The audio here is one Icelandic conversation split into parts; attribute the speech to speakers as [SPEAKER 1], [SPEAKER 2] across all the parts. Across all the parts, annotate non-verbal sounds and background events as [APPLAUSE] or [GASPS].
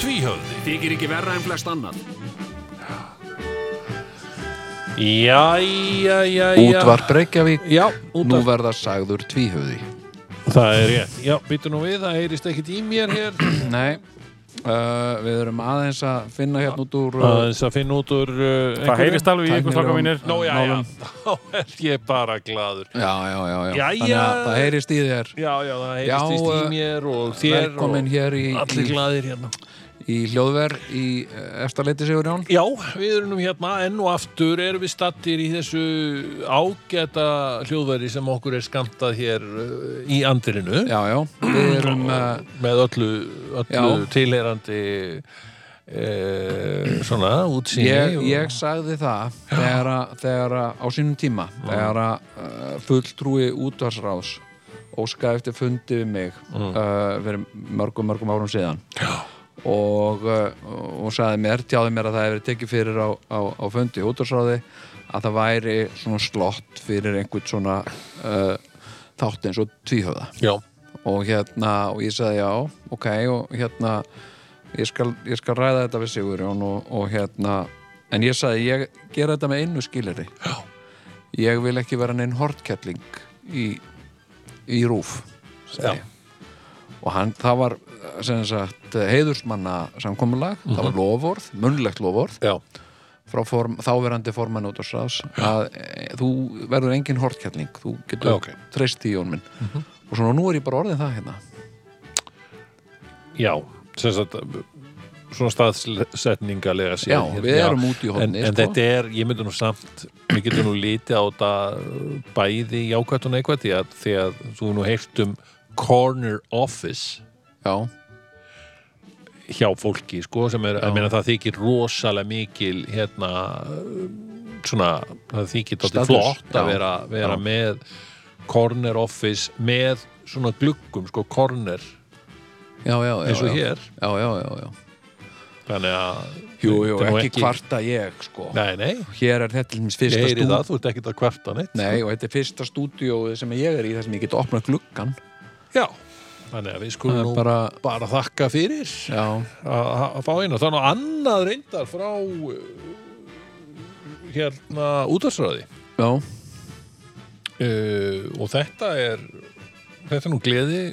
[SPEAKER 1] Tvíhöfði
[SPEAKER 2] Þykir ekki verra en flest annan
[SPEAKER 1] Jæja, jæja
[SPEAKER 3] Útvarp Reykjavík
[SPEAKER 1] Já,
[SPEAKER 3] Nú
[SPEAKER 1] útvarp
[SPEAKER 3] verða sagður tvíhöfði
[SPEAKER 1] Það er rétt Já, býtu nú við, það heyrist ekkit í mér hér
[SPEAKER 3] Nei uh, Við erum aðeins að finna hérna út úr uh,
[SPEAKER 1] aðeins að finna út úr uh,
[SPEAKER 4] Það
[SPEAKER 1] einhverju.
[SPEAKER 4] heyrist alveg í ykkur slaka
[SPEAKER 3] Tæknilegum-
[SPEAKER 4] mínir
[SPEAKER 1] Nú, já, já, [LAUGHS] þá er ég bara gladur
[SPEAKER 3] Já, já, já, já.
[SPEAKER 1] Jæja.
[SPEAKER 3] Þannig að það heyrist í þér
[SPEAKER 1] Já, já, það heyrist
[SPEAKER 3] Já,
[SPEAKER 1] í
[SPEAKER 3] eh,
[SPEAKER 1] stímir og þér
[SPEAKER 3] Velkomin hér í,
[SPEAKER 1] og allir
[SPEAKER 3] í,
[SPEAKER 1] gladir hérna
[SPEAKER 3] í hljóðver í eh, Efstaleiti Sigurjón
[SPEAKER 1] Já, við erum nú hérna enn og aftur erum við stattir í þessu ágæta hljóðveri sem okkur er skamtað hér uh, í andirinu
[SPEAKER 3] Já, já, við erum uh,
[SPEAKER 1] með öllu, öllu
[SPEAKER 3] Já.
[SPEAKER 1] tilherandi e, svona útsýni
[SPEAKER 3] ég,
[SPEAKER 1] og-
[SPEAKER 3] ég sagði það þegar, að, þegar að, á sínum tíma þegar að uh, fulltrúi útvarsráðs óskaði eftir fundi við mig uh, fyrir mörgum, mörgum árum síðan
[SPEAKER 1] Mm. Já.
[SPEAKER 3] og, uh, og sagði mér, tjáði mér að það hefur tekið fyrir á, á, á fundi í útvarsráði að það væri svona slott fyrir einhvern svona uh, þátt eins og tvíhöfða
[SPEAKER 1] Já,
[SPEAKER 3] og hérna, og ég sagði já ok, og hérna ég skal, ég skal ræða þetta við Sigurjón og, og hérna, en ég sagði ég gera þetta með einu skiliri já. ég vil ekki vera neinn hortkettling í, í rúf
[SPEAKER 1] já,
[SPEAKER 3] og hann, það var sem sagt heiðursmanna samkomulag það
[SPEAKER 1] Mhm.
[SPEAKER 3] var lofórð, munnlegt lofórð
[SPEAKER 1] já,
[SPEAKER 3] frá form, þáverandi formann út á sás að e, þú verður engin hortkettling þú getur
[SPEAKER 1] Já,
[SPEAKER 3] já,
[SPEAKER 1] ok. Mhm.
[SPEAKER 3] treyst í jón minn og svona nú er ég bara orðin það hérna
[SPEAKER 1] já sem sagt svona staðsetningalega séð
[SPEAKER 3] Já,
[SPEAKER 1] hérna.
[SPEAKER 3] við erum út í
[SPEAKER 1] en,
[SPEAKER 3] horni sko.
[SPEAKER 1] en þetta er, ég myndi nú samt við getum nú litið á þetta bæði jákvætt og neikvætt því að, því að þú hefur nú heyrt um corner office
[SPEAKER 3] Já,
[SPEAKER 1] hjá fólki sko, sem er, að meina það þykir rosalega mikil hérna svona, það þykir þetta
[SPEAKER 3] Status,
[SPEAKER 1] flott að
[SPEAKER 3] já,
[SPEAKER 1] vera, vera
[SPEAKER 3] já.
[SPEAKER 1] með corner office með svona gluggum, sko, corner
[SPEAKER 3] já, já, já
[SPEAKER 1] eins og
[SPEAKER 3] já.
[SPEAKER 1] hér,
[SPEAKER 3] Já, já, já, já
[SPEAKER 1] þannig að
[SPEAKER 3] Jú, jú,
[SPEAKER 1] þetta er nú
[SPEAKER 3] ekki, kvarta ég, sko
[SPEAKER 1] Nei, nei,
[SPEAKER 3] Hér er þetta til minns fyrsta
[SPEAKER 1] ég heyri
[SPEAKER 3] stúdíó
[SPEAKER 1] það, þú ert ekkert að kvarta neitt sko.
[SPEAKER 3] Nei, og þetta er fyrsta stúdíóið sem ég er í þar sem ég get opnað gluggan
[SPEAKER 1] Já, þannig að við skulum
[SPEAKER 3] Það er
[SPEAKER 1] nú bara...
[SPEAKER 3] bara-
[SPEAKER 1] þakka fyrir að,
[SPEAKER 3] Já,
[SPEAKER 1] að að fá inn og þannig annað reyndar frá uh, hérna útarsræði
[SPEAKER 3] já,
[SPEAKER 1] uh, og þetta er þetta er nú gleði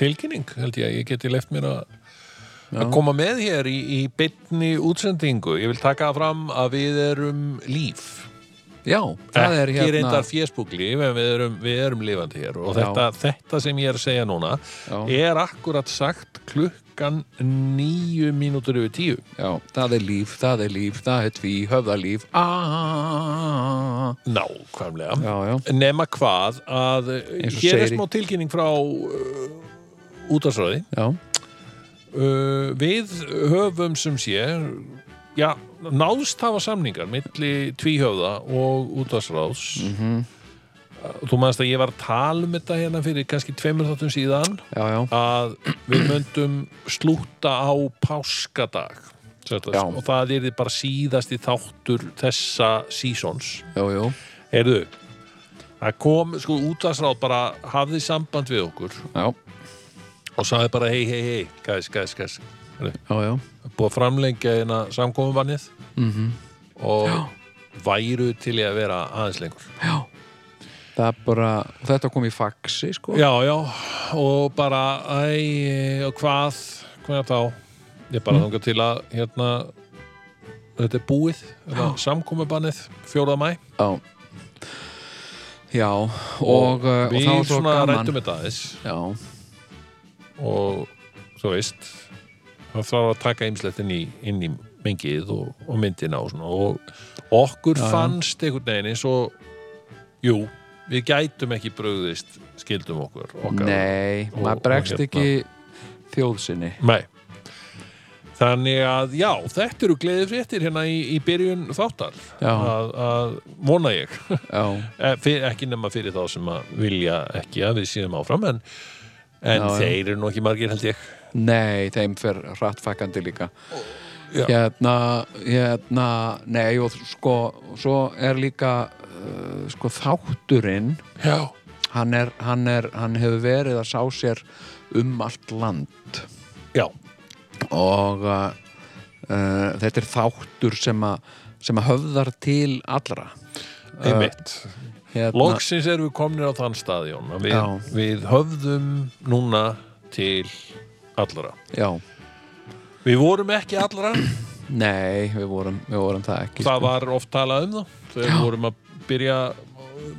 [SPEAKER 1] tilkynning held ég, ég geti left mér að að koma með hér í, í bytni útsendingu, ég vil taka fram að við erum líf
[SPEAKER 3] já Það er
[SPEAKER 1] ekki
[SPEAKER 3] hérna
[SPEAKER 1] reyndar Facebook líf en við erum, við erum lifandi hér og
[SPEAKER 3] Já.
[SPEAKER 1] þetta, þetta sem ég er að segja núna
[SPEAKER 3] já,
[SPEAKER 1] er akkurat sagt klukkan níu mínútur yfir tíu
[SPEAKER 3] já, það er líf, það er líf, það er tví, höfðalíf ah,
[SPEAKER 1] nákvæmlega
[SPEAKER 3] Já, já,
[SPEAKER 1] nema hvað að eh,
[SPEAKER 3] Eins og
[SPEAKER 1] hér er
[SPEAKER 3] segir í-
[SPEAKER 1] smá tilkynning frá uh, útarsræði
[SPEAKER 3] já,
[SPEAKER 1] uh, við höfum sem sé já, náðst hafa samningar milli tvíhöfða og útvarsráðs
[SPEAKER 3] Mhm.
[SPEAKER 1] þú manst að ég var að tala um þetta hérna fyrir kannski tveimur þáttum síðan
[SPEAKER 3] já, já
[SPEAKER 1] að við möndum slúta á páskadag Þetta,
[SPEAKER 3] Já.
[SPEAKER 1] og það er bara síðasti þáttur þessa seasons
[SPEAKER 3] Jú, jú,
[SPEAKER 1] heyrðu það kom, sko útvarsráð bara hafði samband við okkur
[SPEAKER 3] já,
[SPEAKER 1] og sagði bara hei, hei, hei, gæs, gæs, gæs
[SPEAKER 3] já, já
[SPEAKER 1] búið að framlengja hérna samkomumvannið
[SPEAKER 3] Mhm.
[SPEAKER 1] -hmm. og væru til í að vera aðeins lengur
[SPEAKER 3] Það er bara, þetta kom í faxi, sko
[SPEAKER 1] já, já, og bara æ, og hvað hvað þá, ég bara mm.
[SPEAKER 3] Mhm.
[SPEAKER 1] þangað til að hérna þetta er búið, hérna, samkomubannið 4. mæ
[SPEAKER 3] Já, já og, og, uh, og
[SPEAKER 1] við
[SPEAKER 3] það var svo
[SPEAKER 1] svona
[SPEAKER 3] gaman
[SPEAKER 1] rættum þetta aðeins
[SPEAKER 3] Já,
[SPEAKER 1] og þú veist það þarf að taka ýmislegt inn í, inn í mengið og, og myndina og, svona. og okkur
[SPEAKER 3] já.
[SPEAKER 1] fannst einhvern veginn eins og jú, við gætum ekki brugðist skildum okkur okkar
[SPEAKER 3] Nei,
[SPEAKER 1] og-
[SPEAKER 3] maður bregst
[SPEAKER 1] og hérna-
[SPEAKER 3] ekki þjóðsinni
[SPEAKER 1] Nei. Þannig að já, þetta eru gleðifréttir hérna í, í byrjun þáttar
[SPEAKER 3] Já.
[SPEAKER 1] að, að vona ég
[SPEAKER 3] já,
[SPEAKER 1] Eh, fyr, ekki nema fyrir þá sem að vilja ekki að við síðum áfram en, en
[SPEAKER 3] Já, já.
[SPEAKER 1] þeir eru nú ekki margir held ég
[SPEAKER 3] nei, þeim fer hrattfækandi líka
[SPEAKER 1] já.
[SPEAKER 3] hérna, hérna nei, og sko, svo er líka uh, sko þátturinn
[SPEAKER 1] já,
[SPEAKER 3] hann, er, hann, er, hann hefur verið að sá sér um allt land
[SPEAKER 1] já,
[SPEAKER 3] og uh, uh, þetta er þáttur sem að sem að höfðar til allra Eh,
[SPEAKER 1] einmitt
[SPEAKER 3] hérna,
[SPEAKER 1] Loksins erum við komnir á þann staðjón að við,
[SPEAKER 3] Já.
[SPEAKER 1] við höfðum núna til allra
[SPEAKER 3] já,
[SPEAKER 1] Við vorum ekki allra,
[SPEAKER 3] nei, við vorum, við vorum það ekki sko.
[SPEAKER 1] það var oft talað um það þegar við vorum að byrja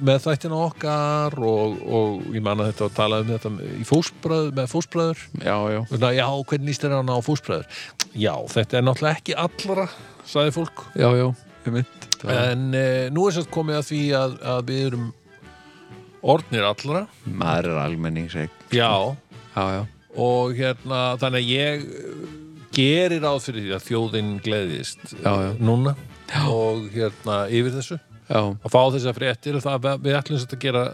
[SPEAKER 1] með þættina okkar og, og ég man að þetta var talað um þetta í fósbræður, með fósbræður
[SPEAKER 3] já, já,
[SPEAKER 1] Svona, já, hvernig nýst þér að ná fósbræður? Já, þetta er náttúrulega ekki allra, sagði fólk.
[SPEAKER 3] já, já, ég mynd
[SPEAKER 1] En e, nú er satt komið að því að, að við erum orðnir allra.
[SPEAKER 3] maður er almenning já,
[SPEAKER 1] Já,
[SPEAKER 3] já,
[SPEAKER 1] og hérna, þannig að ég gerir ráð fyrir því að þjóðin gleðist uh,
[SPEAKER 3] Já, já.
[SPEAKER 1] núna og hérna yfir þessu.
[SPEAKER 3] já,
[SPEAKER 1] Að fá þessar fréttir, það, við ætlum satt að gera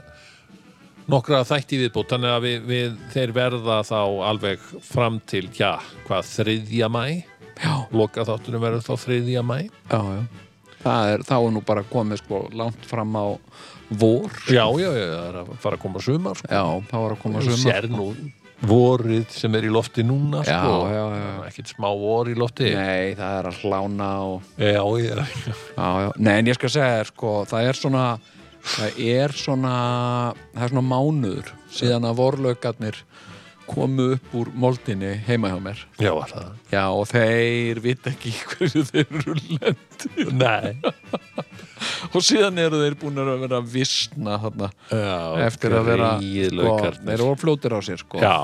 [SPEAKER 1] nokkra þætti viðbútt, þannig að við, við, þeir verða þá alveg fram til, já, hvað, þriðja mæ?
[SPEAKER 3] já,
[SPEAKER 1] loka þáttunum verður þá 3. mæ
[SPEAKER 3] já, já. Það er, þá er nú bara komið sko langt fram á vor
[SPEAKER 1] já, já, já, það er að fara að koma sumar sko.
[SPEAKER 3] já það var að koma
[SPEAKER 1] Þú
[SPEAKER 3] sumar
[SPEAKER 1] sér nú vorið sem er í lofti núna
[SPEAKER 3] Já,
[SPEAKER 1] sko.
[SPEAKER 3] já, já.
[SPEAKER 1] ekkert smá vor í lofti
[SPEAKER 3] nei, það er að hlána og
[SPEAKER 1] já, já,
[SPEAKER 3] Já, já, nei en ég skal segja þér sko, það er svona það er svona það er svona mánuður síðan að vorlaugarnir komu upp úr moldinni heima hjá mér
[SPEAKER 1] já, var það
[SPEAKER 3] Já, og þeir vita ekki [LAUGHS] hverju þeir eru lendi
[SPEAKER 1] nei,
[SPEAKER 3] og síðan eru þeir búin að vera að visna þarna
[SPEAKER 1] já,
[SPEAKER 3] eftir að vera sko, þeir
[SPEAKER 1] gríðlaukarnir.
[SPEAKER 3] eru fljótir á sér sko
[SPEAKER 1] já,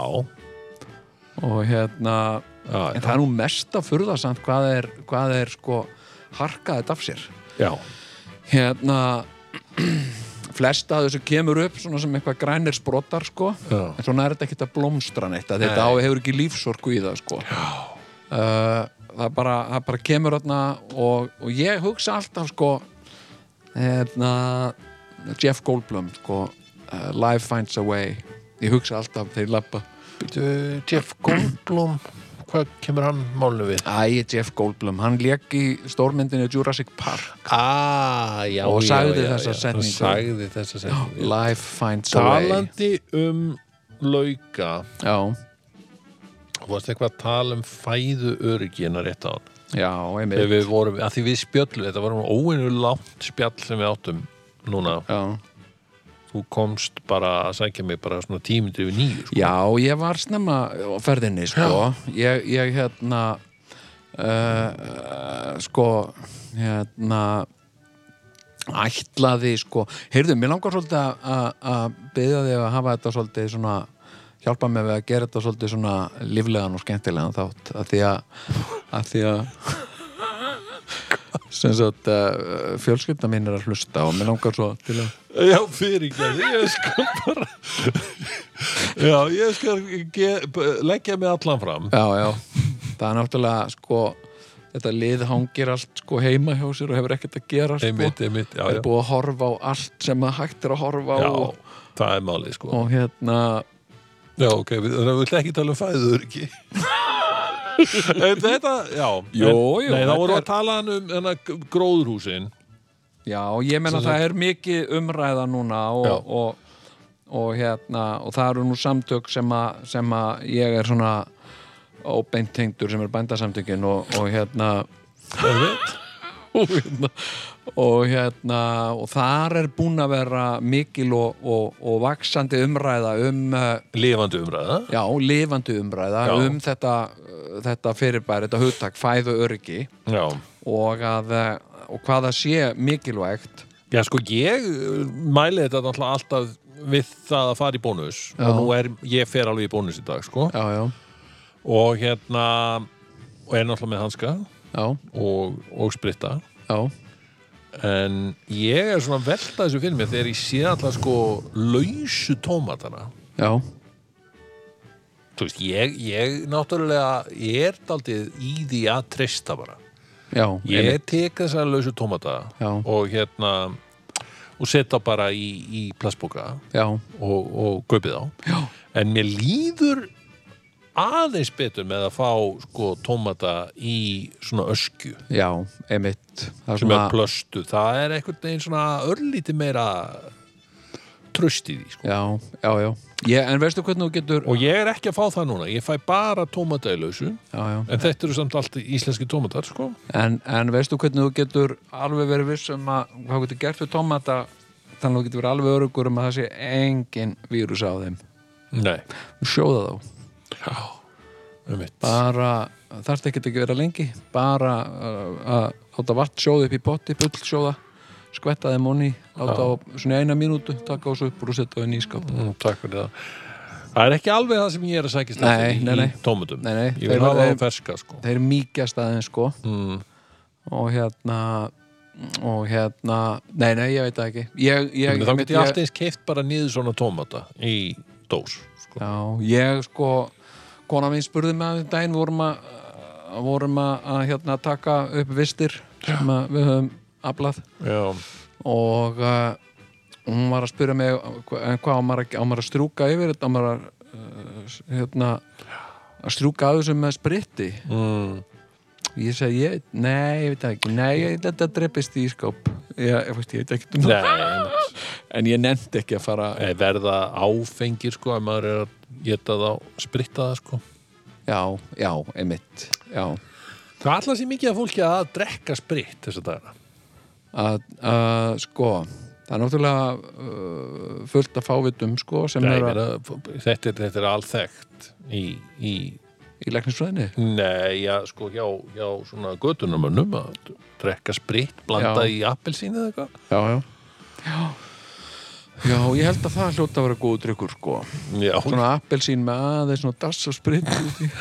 [SPEAKER 3] og hérna, en
[SPEAKER 1] já,
[SPEAKER 3] það er nú mest að furða samt hvað er, hvað er sko harkaðið af sér
[SPEAKER 1] já
[SPEAKER 3] hérna [CLEARS THROAT] flesta af þessu kemur upp svona sem eitthvað grænir sprotar sko
[SPEAKER 1] Já.
[SPEAKER 3] en svona er þetta ekkert að blómstra neitt að þetta á
[SPEAKER 1] Nei.
[SPEAKER 3] hefur ekki lífsorku í það sko uh, það, bara, það bara kemur hérna og, og ég hugsa alltaf sko hérna Jeff Goldblum sko uh, Life Finds a Way ég hugsa alltaf þegar ég lappa
[SPEAKER 1] Býtu, Jeff Goldblum hvað kemur hann málum við?
[SPEAKER 3] Æ, Jeff Goldblum, hann lék í stórmyndinu Jurassic Park
[SPEAKER 1] Ah, já,
[SPEAKER 3] Og
[SPEAKER 1] já,
[SPEAKER 3] sagði
[SPEAKER 1] já,
[SPEAKER 3] þessa
[SPEAKER 1] já.
[SPEAKER 3] setningu.
[SPEAKER 1] sagði þessa setningu
[SPEAKER 3] Life Finds a Way
[SPEAKER 1] talandi um lauka
[SPEAKER 3] Já,
[SPEAKER 1] Þú varst eitthvað að tala um fæðu öryggina rétt á hann.
[SPEAKER 3] já, einmitt
[SPEAKER 1] Þegar við vorum, að því við spjöllum, þetta var um óinu langt spjall sem við áttum núna.
[SPEAKER 3] Já,
[SPEAKER 1] Þú komst bara að sækja mig bara svona tímyndu yfir nýju, sko.
[SPEAKER 3] Já, ég var snemma á ferðinni, sko. Ég, ég hérna, uh, sko, hérna, ætlaði, sko. Heyrðu, mér langar svolítið að- að að byggja þig að hafa þetta svolítið svona, hjálpa mér við að gera þetta svolítið svona líflegan og skemmtilegan þátt. Að því að, að því að, sem sagt, uh, fjölskylda mín er að hlusta og mér langar svo til að...
[SPEAKER 1] Já, fyrir ekki, ég skal bara, já, ég skal ge... leggja mig allan fram.
[SPEAKER 3] já, já það er náttúrulega sko þetta lið hangir allt sko heima hjá sér og hefur ekkert að gera sko
[SPEAKER 1] Einmitt, einmitt, já,
[SPEAKER 3] er
[SPEAKER 1] já.
[SPEAKER 3] búið að horfa á allt sem að hægt er að horfa á
[SPEAKER 1] Já,
[SPEAKER 3] og,
[SPEAKER 1] það er málið, sko.
[SPEAKER 3] og hérna
[SPEAKER 1] Já, ok, við, þannig að við ætlum ekki að tala um fæðu
[SPEAKER 3] [LAUGHS]
[SPEAKER 1] öryggi En Þetta, já
[SPEAKER 3] Jú,
[SPEAKER 1] en-
[SPEAKER 3] jú,
[SPEAKER 1] Nei, þá
[SPEAKER 3] þetta
[SPEAKER 1] vorum við að
[SPEAKER 3] er-
[SPEAKER 1] tala um hana, gróðurhúsin
[SPEAKER 3] já, ég menna
[SPEAKER 1] Sem sagt-
[SPEAKER 3] það er mikið umræða núna
[SPEAKER 1] Já.
[SPEAKER 3] og, og, og hérna og það eru nú samtök sem að, sem að ég er svona óbeint tengdur sem er bændasamtökin og, og hérna og hérna, og hérna og þar er búin að vera mikil og, og, og vaksandi umræða um uh,
[SPEAKER 1] Lifandi umræða
[SPEAKER 3] já, lifandi umræða
[SPEAKER 1] Já.
[SPEAKER 3] um þetta, uh, þetta fyrirbæri, þetta hugtak fæðu öryggi
[SPEAKER 1] Já,
[SPEAKER 3] og, að, uh, og hvað það sé mikilvægt
[SPEAKER 1] já sko, ég uh, mæli þetta náttúrulega alltaf við það að fara í bónus
[SPEAKER 3] Já.
[SPEAKER 1] og nú er, ég fer alveg í bónus í dag, sko
[SPEAKER 3] já, já,
[SPEAKER 1] og hérna og er náttúrulega með hanska
[SPEAKER 3] já,
[SPEAKER 1] og, og spritta
[SPEAKER 3] já,
[SPEAKER 1] en ég er svona að velta þessu fyrir mér þegar ég sé alltaf sko lausu tómatana
[SPEAKER 3] já
[SPEAKER 1] þú veist, ég, ég náttúrulega, ég er daldið í því að treysta bara
[SPEAKER 3] já,
[SPEAKER 1] ég
[SPEAKER 3] einmitt.
[SPEAKER 1] tek þessar lausu tómata
[SPEAKER 3] Já.
[SPEAKER 1] og hérna og setja bara í, í plastboka
[SPEAKER 3] já,
[SPEAKER 1] og, og kaupið á Já. en mér líður aðeins betur með að fá sko tómata í svona öskju
[SPEAKER 3] já, emitt það er
[SPEAKER 1] sem
[SPEAKER 3] svona,
[SPEAKER 1] er plöstu, það er einhvern veginn svona örlítið meira tröst í því sko
[SPEAKER 3] já, já, já ég, en veistu hvernig þú getur
[SPEAKER 1] og ég er ekki að fá það núna, ég fæ bara tómata í lausu
[SPEAKER 3] já, já.
[SPEAKER 1] en þetta eru samt allt íslenski tómatar sko
[SPEAKER 3] En, en veistu hvernig þú getur alveg verið viss um að hvað getur gert við tómata þannig að þú getur verið alveg örugur um að það sé engin vírus á þeim
[SPEAKER 1] nei,
[SPEAKER 3] sjóða þá
[SPEAKER 1] já um mitt,
[SPEAKER 3] bara, þarft ekki að vera lengi bara uh, að láta vatn sjóða upp í potti, bull sjóða skvetta þeim onni, láta á svona eina mínútu, taka á svo upp úr og setja á inn í skáp
[SPEAKER 1] Mm, takk fyrir það það er ekki alveg það sem ég er að sækist
[SPEAKER 3] Nei,
[SPEAKER 1] eftir í-
[SPEAKER 3] nei, nei.
[SPEAKER 1] í tómatum
[SPEAKER 3] Nei, nei,
[SPEAKER 1] ég vil
[SPEAKER 3] þeir-
[SPEAKER 1] hafa það
[SPEAKER 3] þeir-
[SPEAKER 1] ferska sko
[SPEAKER 3] þeir mýkjast aðeins sko
[SPEAKER 1] mm.
[SPEAKER 3] og hérna og hérna, nei, nei, ég veit það ekki ég,
[SPEAKER 1] Ég,
[SPEAKER 3] ég,
[SPEAKER 1] þá get ég
[SPEAKER 3] ég-
[SPEAKER 1] alltaf eins keift bara niður svona tómata í dós sko.
[SPEAKER 3] Já, ég sko kona mín spurði mig að um daginn við vorum að, að vorum að, að hérna, taka upp vistir sem að við höfum aflað
[SPEAKER 1] Já,
[SPEAKER 3] og uh, hún var að spyrja mig hva- en hvað á maður að, á maður að strúka yfir þetta á maður að uh, hérna, að strúka að þessu með spritti
[SPEAKER 1] mm,
[SPEAKER 3] ég segi, ég, nei, ég veit það ekki nei, ég, þetta dreipist í skáp ég, ég, veist, ég veit ekki um það
[SPEAKER 1] nei,
[SPEAKER 3] en ég nefndi ekki að fara
[SPEAKER 1] nei, Eh, verða áfengir sko ef maður er að geta þá spritta það sko
[SPEAKER 3] já, já, einmitt já
[SPEAKER 1] Það er alltaf sér mikið að fólki að drekka spritt þessa dagina
[SPEAKER 3] að, að sko það er náttúrulega uh, fullt af fávitum sko sem
[SPEAKER 1] Nei,
[SPEAKER 3] er að,
[SPEAKER 1] meina, þetta, er- þetta er alþekkt í, í
[SPEAKER 3] í læknisfræðinni
[SPEAKER 1] Nei, já, sko, hjá, hjá svona götunumönnum að drekka spritt, blanda
[SPEAKER 3] Já.
[SPEAKER 1] í appelsín eða eitthvað
[SPEAKER 3] já, já já, ég held að það hljóta að vera góð drykkur sko
[SPEAKER 1] Já,
[SPEAKER 3] svona appelsín með aðeins svona dass og spritt út í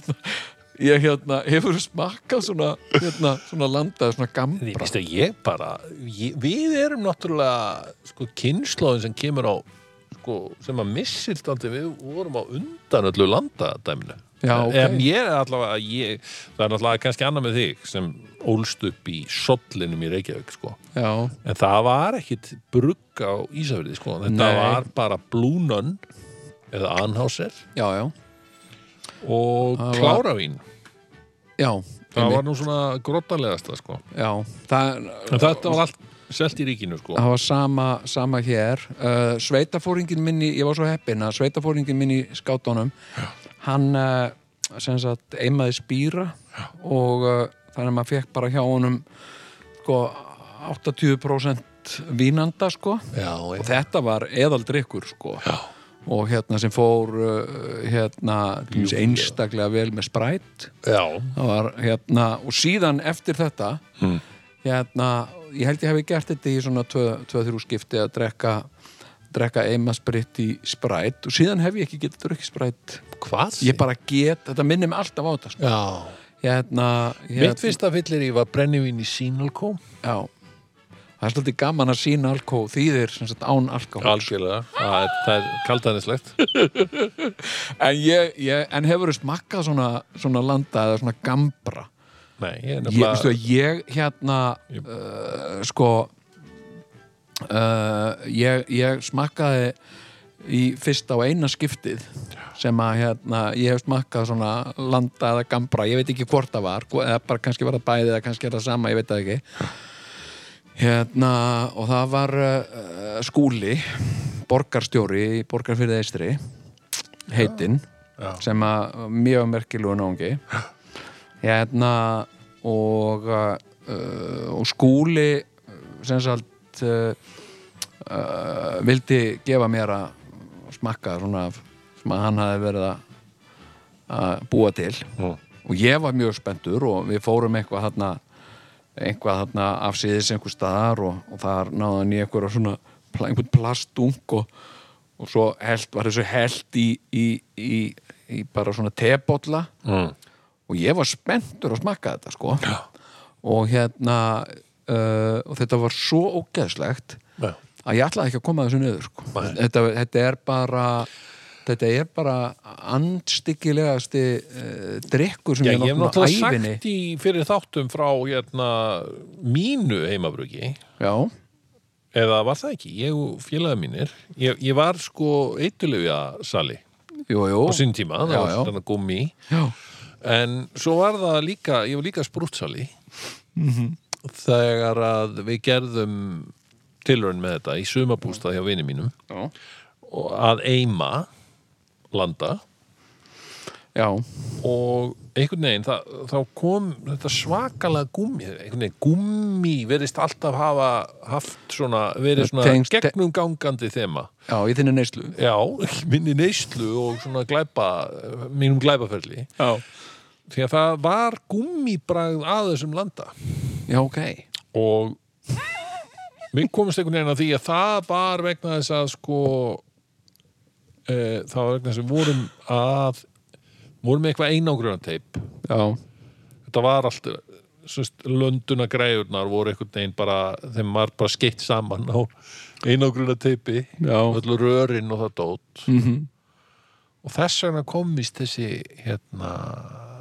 [SPEAKER 3] [LAUGHS] ég hérna, hefur smakkað svona, hérna, svona landað svona
[SPEAKER 1] Ég
[SPEAKER 3] gambra
[SPEAKER 1] veist að ég bara, ég, við erum náttúrulega sko kynnslóðin sem kemur á sko, sem að missilt aldrei við vorum á undan öllu landadæminu
[SPEAKER 3] Já, ok.
[SPEAKER 1] en ég er allavega ég, það er náttúrulega kannski annað með þig sem ólst upp í sollinum í Reykjavík sko.
[SPEAKER 3] já,
[SPEAKER 1] en það var ekkit brugg á Ísafjörði sko. þetta
[SPEAKER 3] Nei.
[SPEAKER 1] var bara Blue Nun eða Anhauser
[SPEAKER 3] já, já
[SPEAKER 1] og
[SPEAKER 3] Það var-
[SPEAKER 1] Kláravín
[SPEAKER 3] já,
[SPEAKER 1] það
[SPEAKER 3] einmitt,
[SPEAKER 1] var nú svona grottalegasta sko.
[SPEAKER 3] já það,
[SPEAKER 1] en þetta var allt selt í ríkinu sko.
[SPEAKER 3] það var sama, sama hér uh, sveitafóringin minni, ég var svo heppin að sveitafóringin minni í skátunum hann uh, sem sagt eimaði spýra og uh, þannig að maður fekk bara hjá honum sko 80% vínanda sko
[SPEAKER 1] Já,
[SPEAKER 3] og þetta var eðaldrykkur sko Já. og hérna sem fór uh, hérna til dæmis einstaklega vel með sprætt
[SPEAKER 1] já,
[SPEAKER 3] það var hérna og síðan eftir þetta hérna, ég held ég hefði gert þetta í svona 2-3 skipti að drekka drekka eima spritt í sprætt og síðan hef ég ekki getið drukkið sprætt
[SPEAKER 1] Hvað?
[SPEAKER 3] ég bara get, þetta minnir mig alltaf á þetta sko.
[SPEAKER 1] Já.
[SPEAKER 3] hérna, hérna
[SPEAKER 1] Mitt fyrsta fyllir ég var brennivín í Sinalco.
[SPEAKER 3] já það er svolítið gaman að sína alkó þýðir sem sagt án alkó
[SPEAKER 1] Algjörlega. Það er, það er kaldaninslegt.
[SPEAKER 3] en, ég, ég, en hefur smakkað svona, svona landa eða svona gambra
[SPEAKER 1] [LAUGHS] Nei, ég er
[SPEAKER 3] ég, veistu
[SPEAKER 1] nefnilega...
[SPEAKER 3] að ég hérna uh, sko uh, ég, ég smakkaði í fyrsta og eina skiptið sem að hérna ég hef smakkað svona landa eða gambra ég veit ekki hvort það var, hvo- eða bara kannski var það bæði eða kannski er það sama, ég veit það ekki hérna og það var uh, skúli borgarstjóri í borgarfyrði eistri heitinn
[SPEAKER 1] Já.
[SPEAKER 3] sem að mjög merkilegu náungi hérna og uh, og skúli uh, sem sagt uh, uh, vildi gefa mér að smakka svona af- sem að hann hafi verið að- að búa til
[SPEAKER 1] Mm.
[SPEAKER 3] og ég var mjög spenntur og við fórum eitthvað þarna eitthvað þarna afsýðis einhver staðar og, og þar náðan ég eitthvað svona pla- einhvern plastung og, og svo held, var þessu held í, í, í, í bara svona tebolla
[SPEAKER 1] Mm.
[SPEAKER 3] og ég var spenntur að smakka þetta sko og hérna uh, og þetta var svo ógeðslegt
[SPEAKER 1] Já.
[SPEAKER 3] að ég ætlaði ekki að koma þessu niður sko.
[SPEAKER 1] Nei.
[SPEAKER 3] þetta, þetta er bara þetta er bara andstyggilegasti uh, drikkur sem
[SPEAKER 1] Já,
[SPEAKER 3] ég
[SPEAKER 1] ég hef
[SPEAKER 3] nokkuð á
[SPEAKER 1] náttúrulega
[SPEAKER 3] æfinni
[SPEAKER 1] sagt í fyrir þáttum frá hérna, mínu heimabruki
[SPEAKER 3] Já,
[SPEAKER 1] eða var það ekki, ég og félagi mínir ég, ég var sko eitulefja sali
[SPEAKER 3] jú, jú
[SPEAKER 1] á sinn tíma, það
[SPEAKER 3] Já,
[SPEAKER 1] var
[SPEAKER 3] já.
[SPEAKER 1] svona gummi
[SPEAKER 3] Já,
[SPEAKER 1] en svo var það líka ég var líka sprútsali þegar að við gerðum tilraun með þetta í sumabústað hjá vini mínum
[SPEAKER 3] já,
[SPEAKER 1] og að eima landa
[SPEAKER 3] já,
[SPEAKER 1] og einhvern veginn það, þá kom þetta svakalega gummi einhvern veginn gummi verðist alltaf hafa haft svona verið svona
[SPEAKER 3] Tengst-
[SPEAKER 1] gegnumgangandi þema
[SPEAKER 3] já, í þinni neyslu
[SPEAKER 1] já, minni neyslu og svona glæpa mínum glæpaferli
[SPEAKER 3] Já,
[SPEAKER 1] því að það var gummibragð að þessum landa
[SPEAKER 3] já, ok
[SPEAKER 1] og við komumst einhvern veginn að því að það var vegna þess að sko e, það var vegna þess að við vorum að vorum með eitthvað einangrunateip
[SPEAKER 3] Já,
[SPEAKER 1] þetta var allt sest, lönduna græjurnar voru einhvern veginn bara þeim var bara skeitt saman á einogruna teipi
[SPEAKER 3] Já.
[SPEAKER 1] öllu rörin og það dót
[SPEAKER 3] mhm
[SPEAKER 1] og þess vegna komist þessi hérna,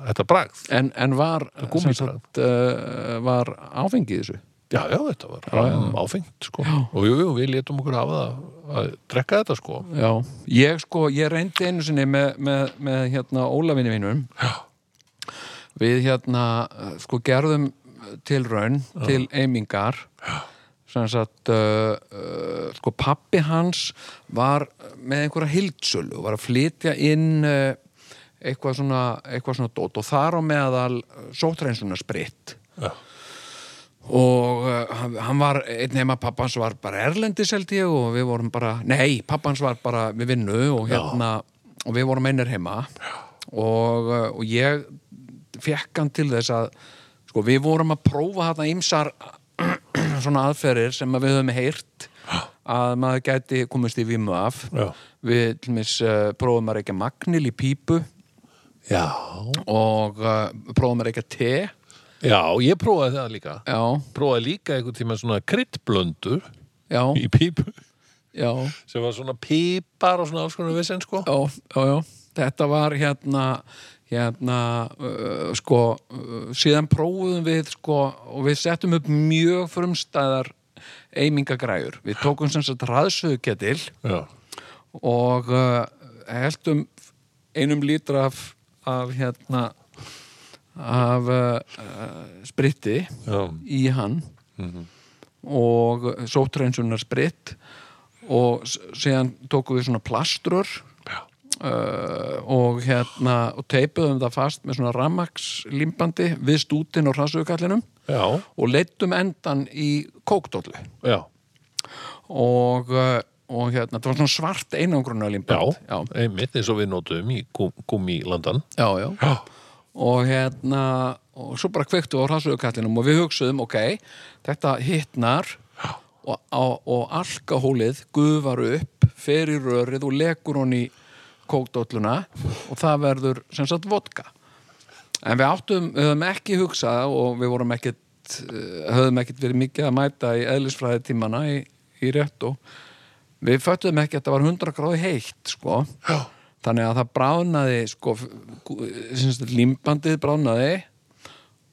[SPEAKER 1] þetta bragð
[SPEAKER 3] En, en var,
[SPEAKER 1] gúmmíbragð.
[SPEAKER 3] sem sagt, uh, var áfengi í þessu?
[SPEAKER 1] já, já, þetta var já. áfengt sko. og jú, jú, við létum okkur hafa það að drekka þetta sko
[SPEAKER 3] Já. Ég sko, ég reyndi einu sinni með, með, með hérna Ólafinni mínum. Já. Við hérna, eh, sko, gerðum til raun, til eimingar. Já. Sem sagt, uh, uh, sko, pappi hans var með einhverja hildsölu, var að flytja inn uh, eitthvað svona, eitthvað svona dót og þar á meðal sótreinsuna spritt.
[SPEAKER 1] já,
[SPEAKER 3] og uh, hann- hann var einn heima pappans var bara erlendis held ég og við vorum bara, nei, pappans var bara við vinnu og hérna og við vorum einir heima og, uh, og ég fekk hann til þess að sko, við vorum að prófa þarna ymsar [CLEARS THROAT] svona aðferðir sem að við höfum heyrt að maður gæti komist í vimu af
[SPEAKER 1] Já.
[SPEAKER 3] við til mis uh, prófum að reykja magnil í pípu
[SPEAKER 1] já.
[SPEAKER 3] og uh, prófum að reykja te
[SPEAKER 1] ég prófaði það líka
[SPEAKER 3] já,
[SPEAKER 1] prófaði líka einhvern tíma svona kryddblöndur
[SPEAKER 3] já,
[SPEAKER 1] í pípu
[SPEAKER 3] já
[SPEAKER 1] sem var svona pípar og svona alls konar vissin sko
[SPEAKER 3] já, já, já. Þetta var hérna, hérna uh, sko, uh, síðan prófuðum við sko, og við settum upp mjög frumstæðar eimingagræjur. Við tókum sem sagt ræðsöðuketil
[SPEAKER 1] já,
[SPEAKER 3] og uh, heldum einum lítra af, af hérna af uh, uh, spritti
[SPEAKER 1] já.
[SPEAKER 3] í hann og sótreinsunar spritt og s- síðan tókum við svona plastrur
[SPEAKER 1] Já.
[SPEAKER 3] uh, og hérna og teipuðum það fast með svona rammakslimbandi við stútin og hraðsögukallinum
[SPEAKER 1] Já,
[SPEAKER 3] og leittum endan í kókdóllu
[SPEAKER 1] já,
[SPEAKER 3] og, uh, og hérna, það var svona svart einangrunna
[SPEAKER 1] já,
[SPEAKER 3] limband já,
[SPEAKER 1] einmitt eins og við notum í gummilandan.
[SPEAKER 3] já, já.
[SPEAKER 1] Já,
[SPEAKER 3] og hérna og svo bara kveiktu á hraðsögukallinum og við hugsuðum, ok, þetta hittnar og, og, og alkohólið gufar upp fer í rörið og lekur hún í kókdólluna og það verður sem sagt vodka en við áttum, við höfum ekki hugsað og við vorum ekkit eh, höfum ekkit verið mikið að mæta í eðlisfræði tímana í, í rétt og við föttum ekki að þetta var 100 gráði heitt sko
[SPEAKER 1] já,
[SPEAKER 3] þannig að það bráðnaði sko, syns, limbandið bráðnaði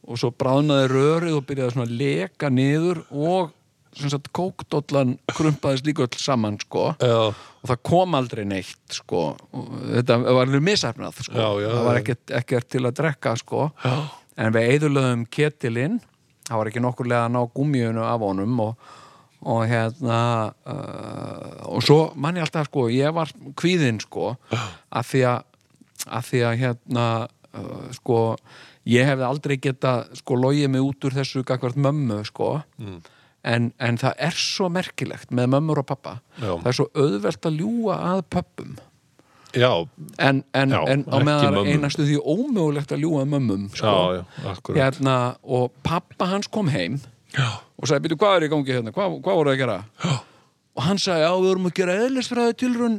[SPEAKER 3] og svo bráðnaði rörið og byrjaði svona að leka niður og sem sagt kókdollan krumpaðist líka öll saman sko
[SPEAKER 1] já,
[SPEAKER 3] og það kom aldrei neitt sko Og þetta var alveg misafnað sko
[SPEAKER 1] Já, já,
[SPEAKER 3] það var
[SPEAKER 1] já.
[SPEAKER 3] ekkert, ekkert til að drekka sko
[SPEAKER 1] já,
[SPEAKER 3] en við eðurlöðum ketilinn það var ekki nokkurlega að ná gúmíunu af honum og, og hérna uh, og svo mann ég alltaf sko, ég var kvíðinn sko af því að af því að hérna uh, sko, ég hefði aldrei geta sko logið mig út úr þessu gagvart mömmu sko
[SPEAKER 1] Mm.
[SPEAKER 3] en, en það er svo merkilegt með mömmur og pappa
[SPEAKER 1] Já.
[SPEAKER 3] það er svo auðvelt að ljúga að pöppum
[SPEAKER 1] já,
[SPEAKER 3] en, en,
[SPEAKER 1] Já,
[SPEAKER 3] en á
[SPEAKER 1] ekki
[SPEAKER 3] meðan
[SPEAKER 1] mömmum.
[SPEAKER 3] einastu því ómögulegt að ljúga að mömmum sko
[SPEAKER 1] já, já, akkurat.
[SPEAKER 3] hérna, og pappa hans kom heim
[SPEAKER 1] Já,
[SPEAKER 3] og sagði, byrju, hvað er í gangi hérna, hvað, hvað voru að gera? Já. Og hann sagði, já, við vorum að gera eðlisfræði tilrun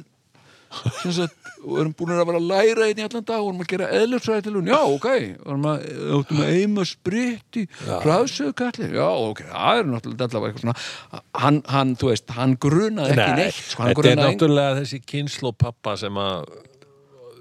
[SPEAKER 3] sem sagt, og erum búin að vera að læra einn í allan dag og erum að gera eðlisfræði til hún, já, ok og erum að, áttum að eima spritt í hraðsöðkallir, já, ok það er náttúrulega allavega eitthvað svona hann, hann, þú veist, hann grunaði ekki neitt sko, hann
[SPEAKER 1] þetta er
[SPEAKER 3] grunaði engu-
[SPEAKER 1] náttúrulega þessi kynslu pappa sem að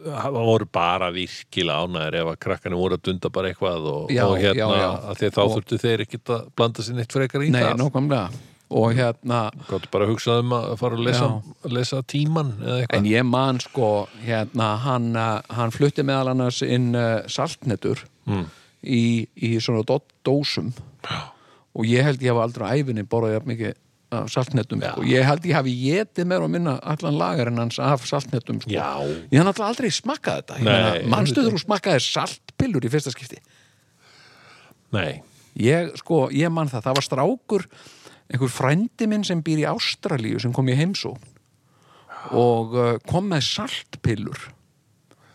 [SPEAKER 1] hafa voru bara virkilega ánæður ef að krakkanum voru að dunda bara eitthvað og,
[SPEAKER 3] Já,
[SPEAKER 1] og hérna,
[SPEAKER 3] já, já.
[SPEAKER 1] að því að þá
[SPEAKER 3] Og-
[SPEAKER 1] þurftu þeir ekkit að blanda sér neitt frekar í
[SPEAKER 3] Nei,
[SPEAKER 1] það
[SPEAKER 3] nákvæmlega og hérna,
[SPEAKER 1] gott bara að hugsa um að fara að lesa, lesa tíman eða
[SPEAKER 3] En
[SPEAKER 1] eitthvað
[SPEAKER 3] ég man sko, hérna, hann, eh, hann flutti meðal annars inn uh, saltnetur
[SPEAKER 1] Mm.
[SPEAKER 3] í, í svona dó- dósum og ég held ég hafa aldrei á æfinni borðað jafn mikið af saltnetum sko. ég held ég hafi getið meira og minna allan lagarinn hans af saltnetum sko.
[SPEAKER 1] Já.
[SPEAKER 3] ég hann alltaf aldrei smakkað þetta Ég
[SPEAKER 1] Nei,
[SPEAKER 3] meina, manstu þegar þú smakkaði saltpillur í fyrsta skipti
[SPEAKER 1] Nei,
[SPEAKER 3] ég, sko, ég man það, það var strákur einhver frændi minn sem býr í Ástralíu sem kom í heimsókn og uh, kom með saltpillur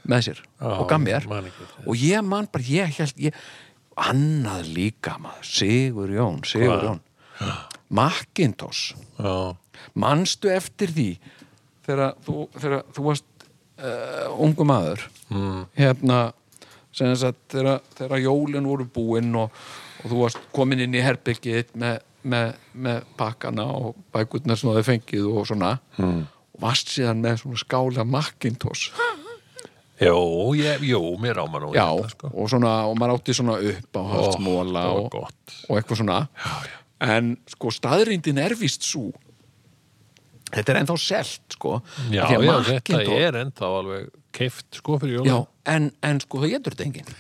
[SPEAKER 3] með sér
[SPEAKER 1] Já,
[SPEAKER 3] og gaf mér
[SPEAKER 1] ég man ekki eftir
[SPEAKER 3] og ég man bara, ég held ég, annað líka maður, Sigur Jón Sigur
[SPEAKER 1] Hvað?
[SPEAKER 3] Jón Macintosh,
[SPEAKER 1] já,
[SPEAKER 3] manstu eftir því þegar þú, þegar þú varst uh, ungu maður mm. hérna sem sagt, þegar, þegar jólin voru búin og, og þú varst komin inn í herbyggið þitt með, með, með pakkana og bækurnar sem þú hafði fengið og svona mm. og varst síðan með svona skála Macintosh
[SPEAKER 1] jó, ég, jó, mér áman og
[SPEAKER 3] já,
[SPEAKER 1] þetta sko
[SPEAKER 3] og svona, og maður átti svona upp á haldsmóla
[SPEAKER 1] það var
[SPEAKER 3] og,
[SPEAKER 1] gott.
[SPEAKER 3] og eitthvað svona já, já. en sko staðrindin er vist svo þetta er ennþá selt sko
[SPEAKER 1] Já,
[SPEAKER 3] Af því að
[SPEAKER 1] já, þetta
[SPEAKER 3] Macintosh-
[SPEAKER 1] er ennþá alveg keift sko fyrir jólum
[SPEAKER 3] Já, en, en sko það getur þetta enginn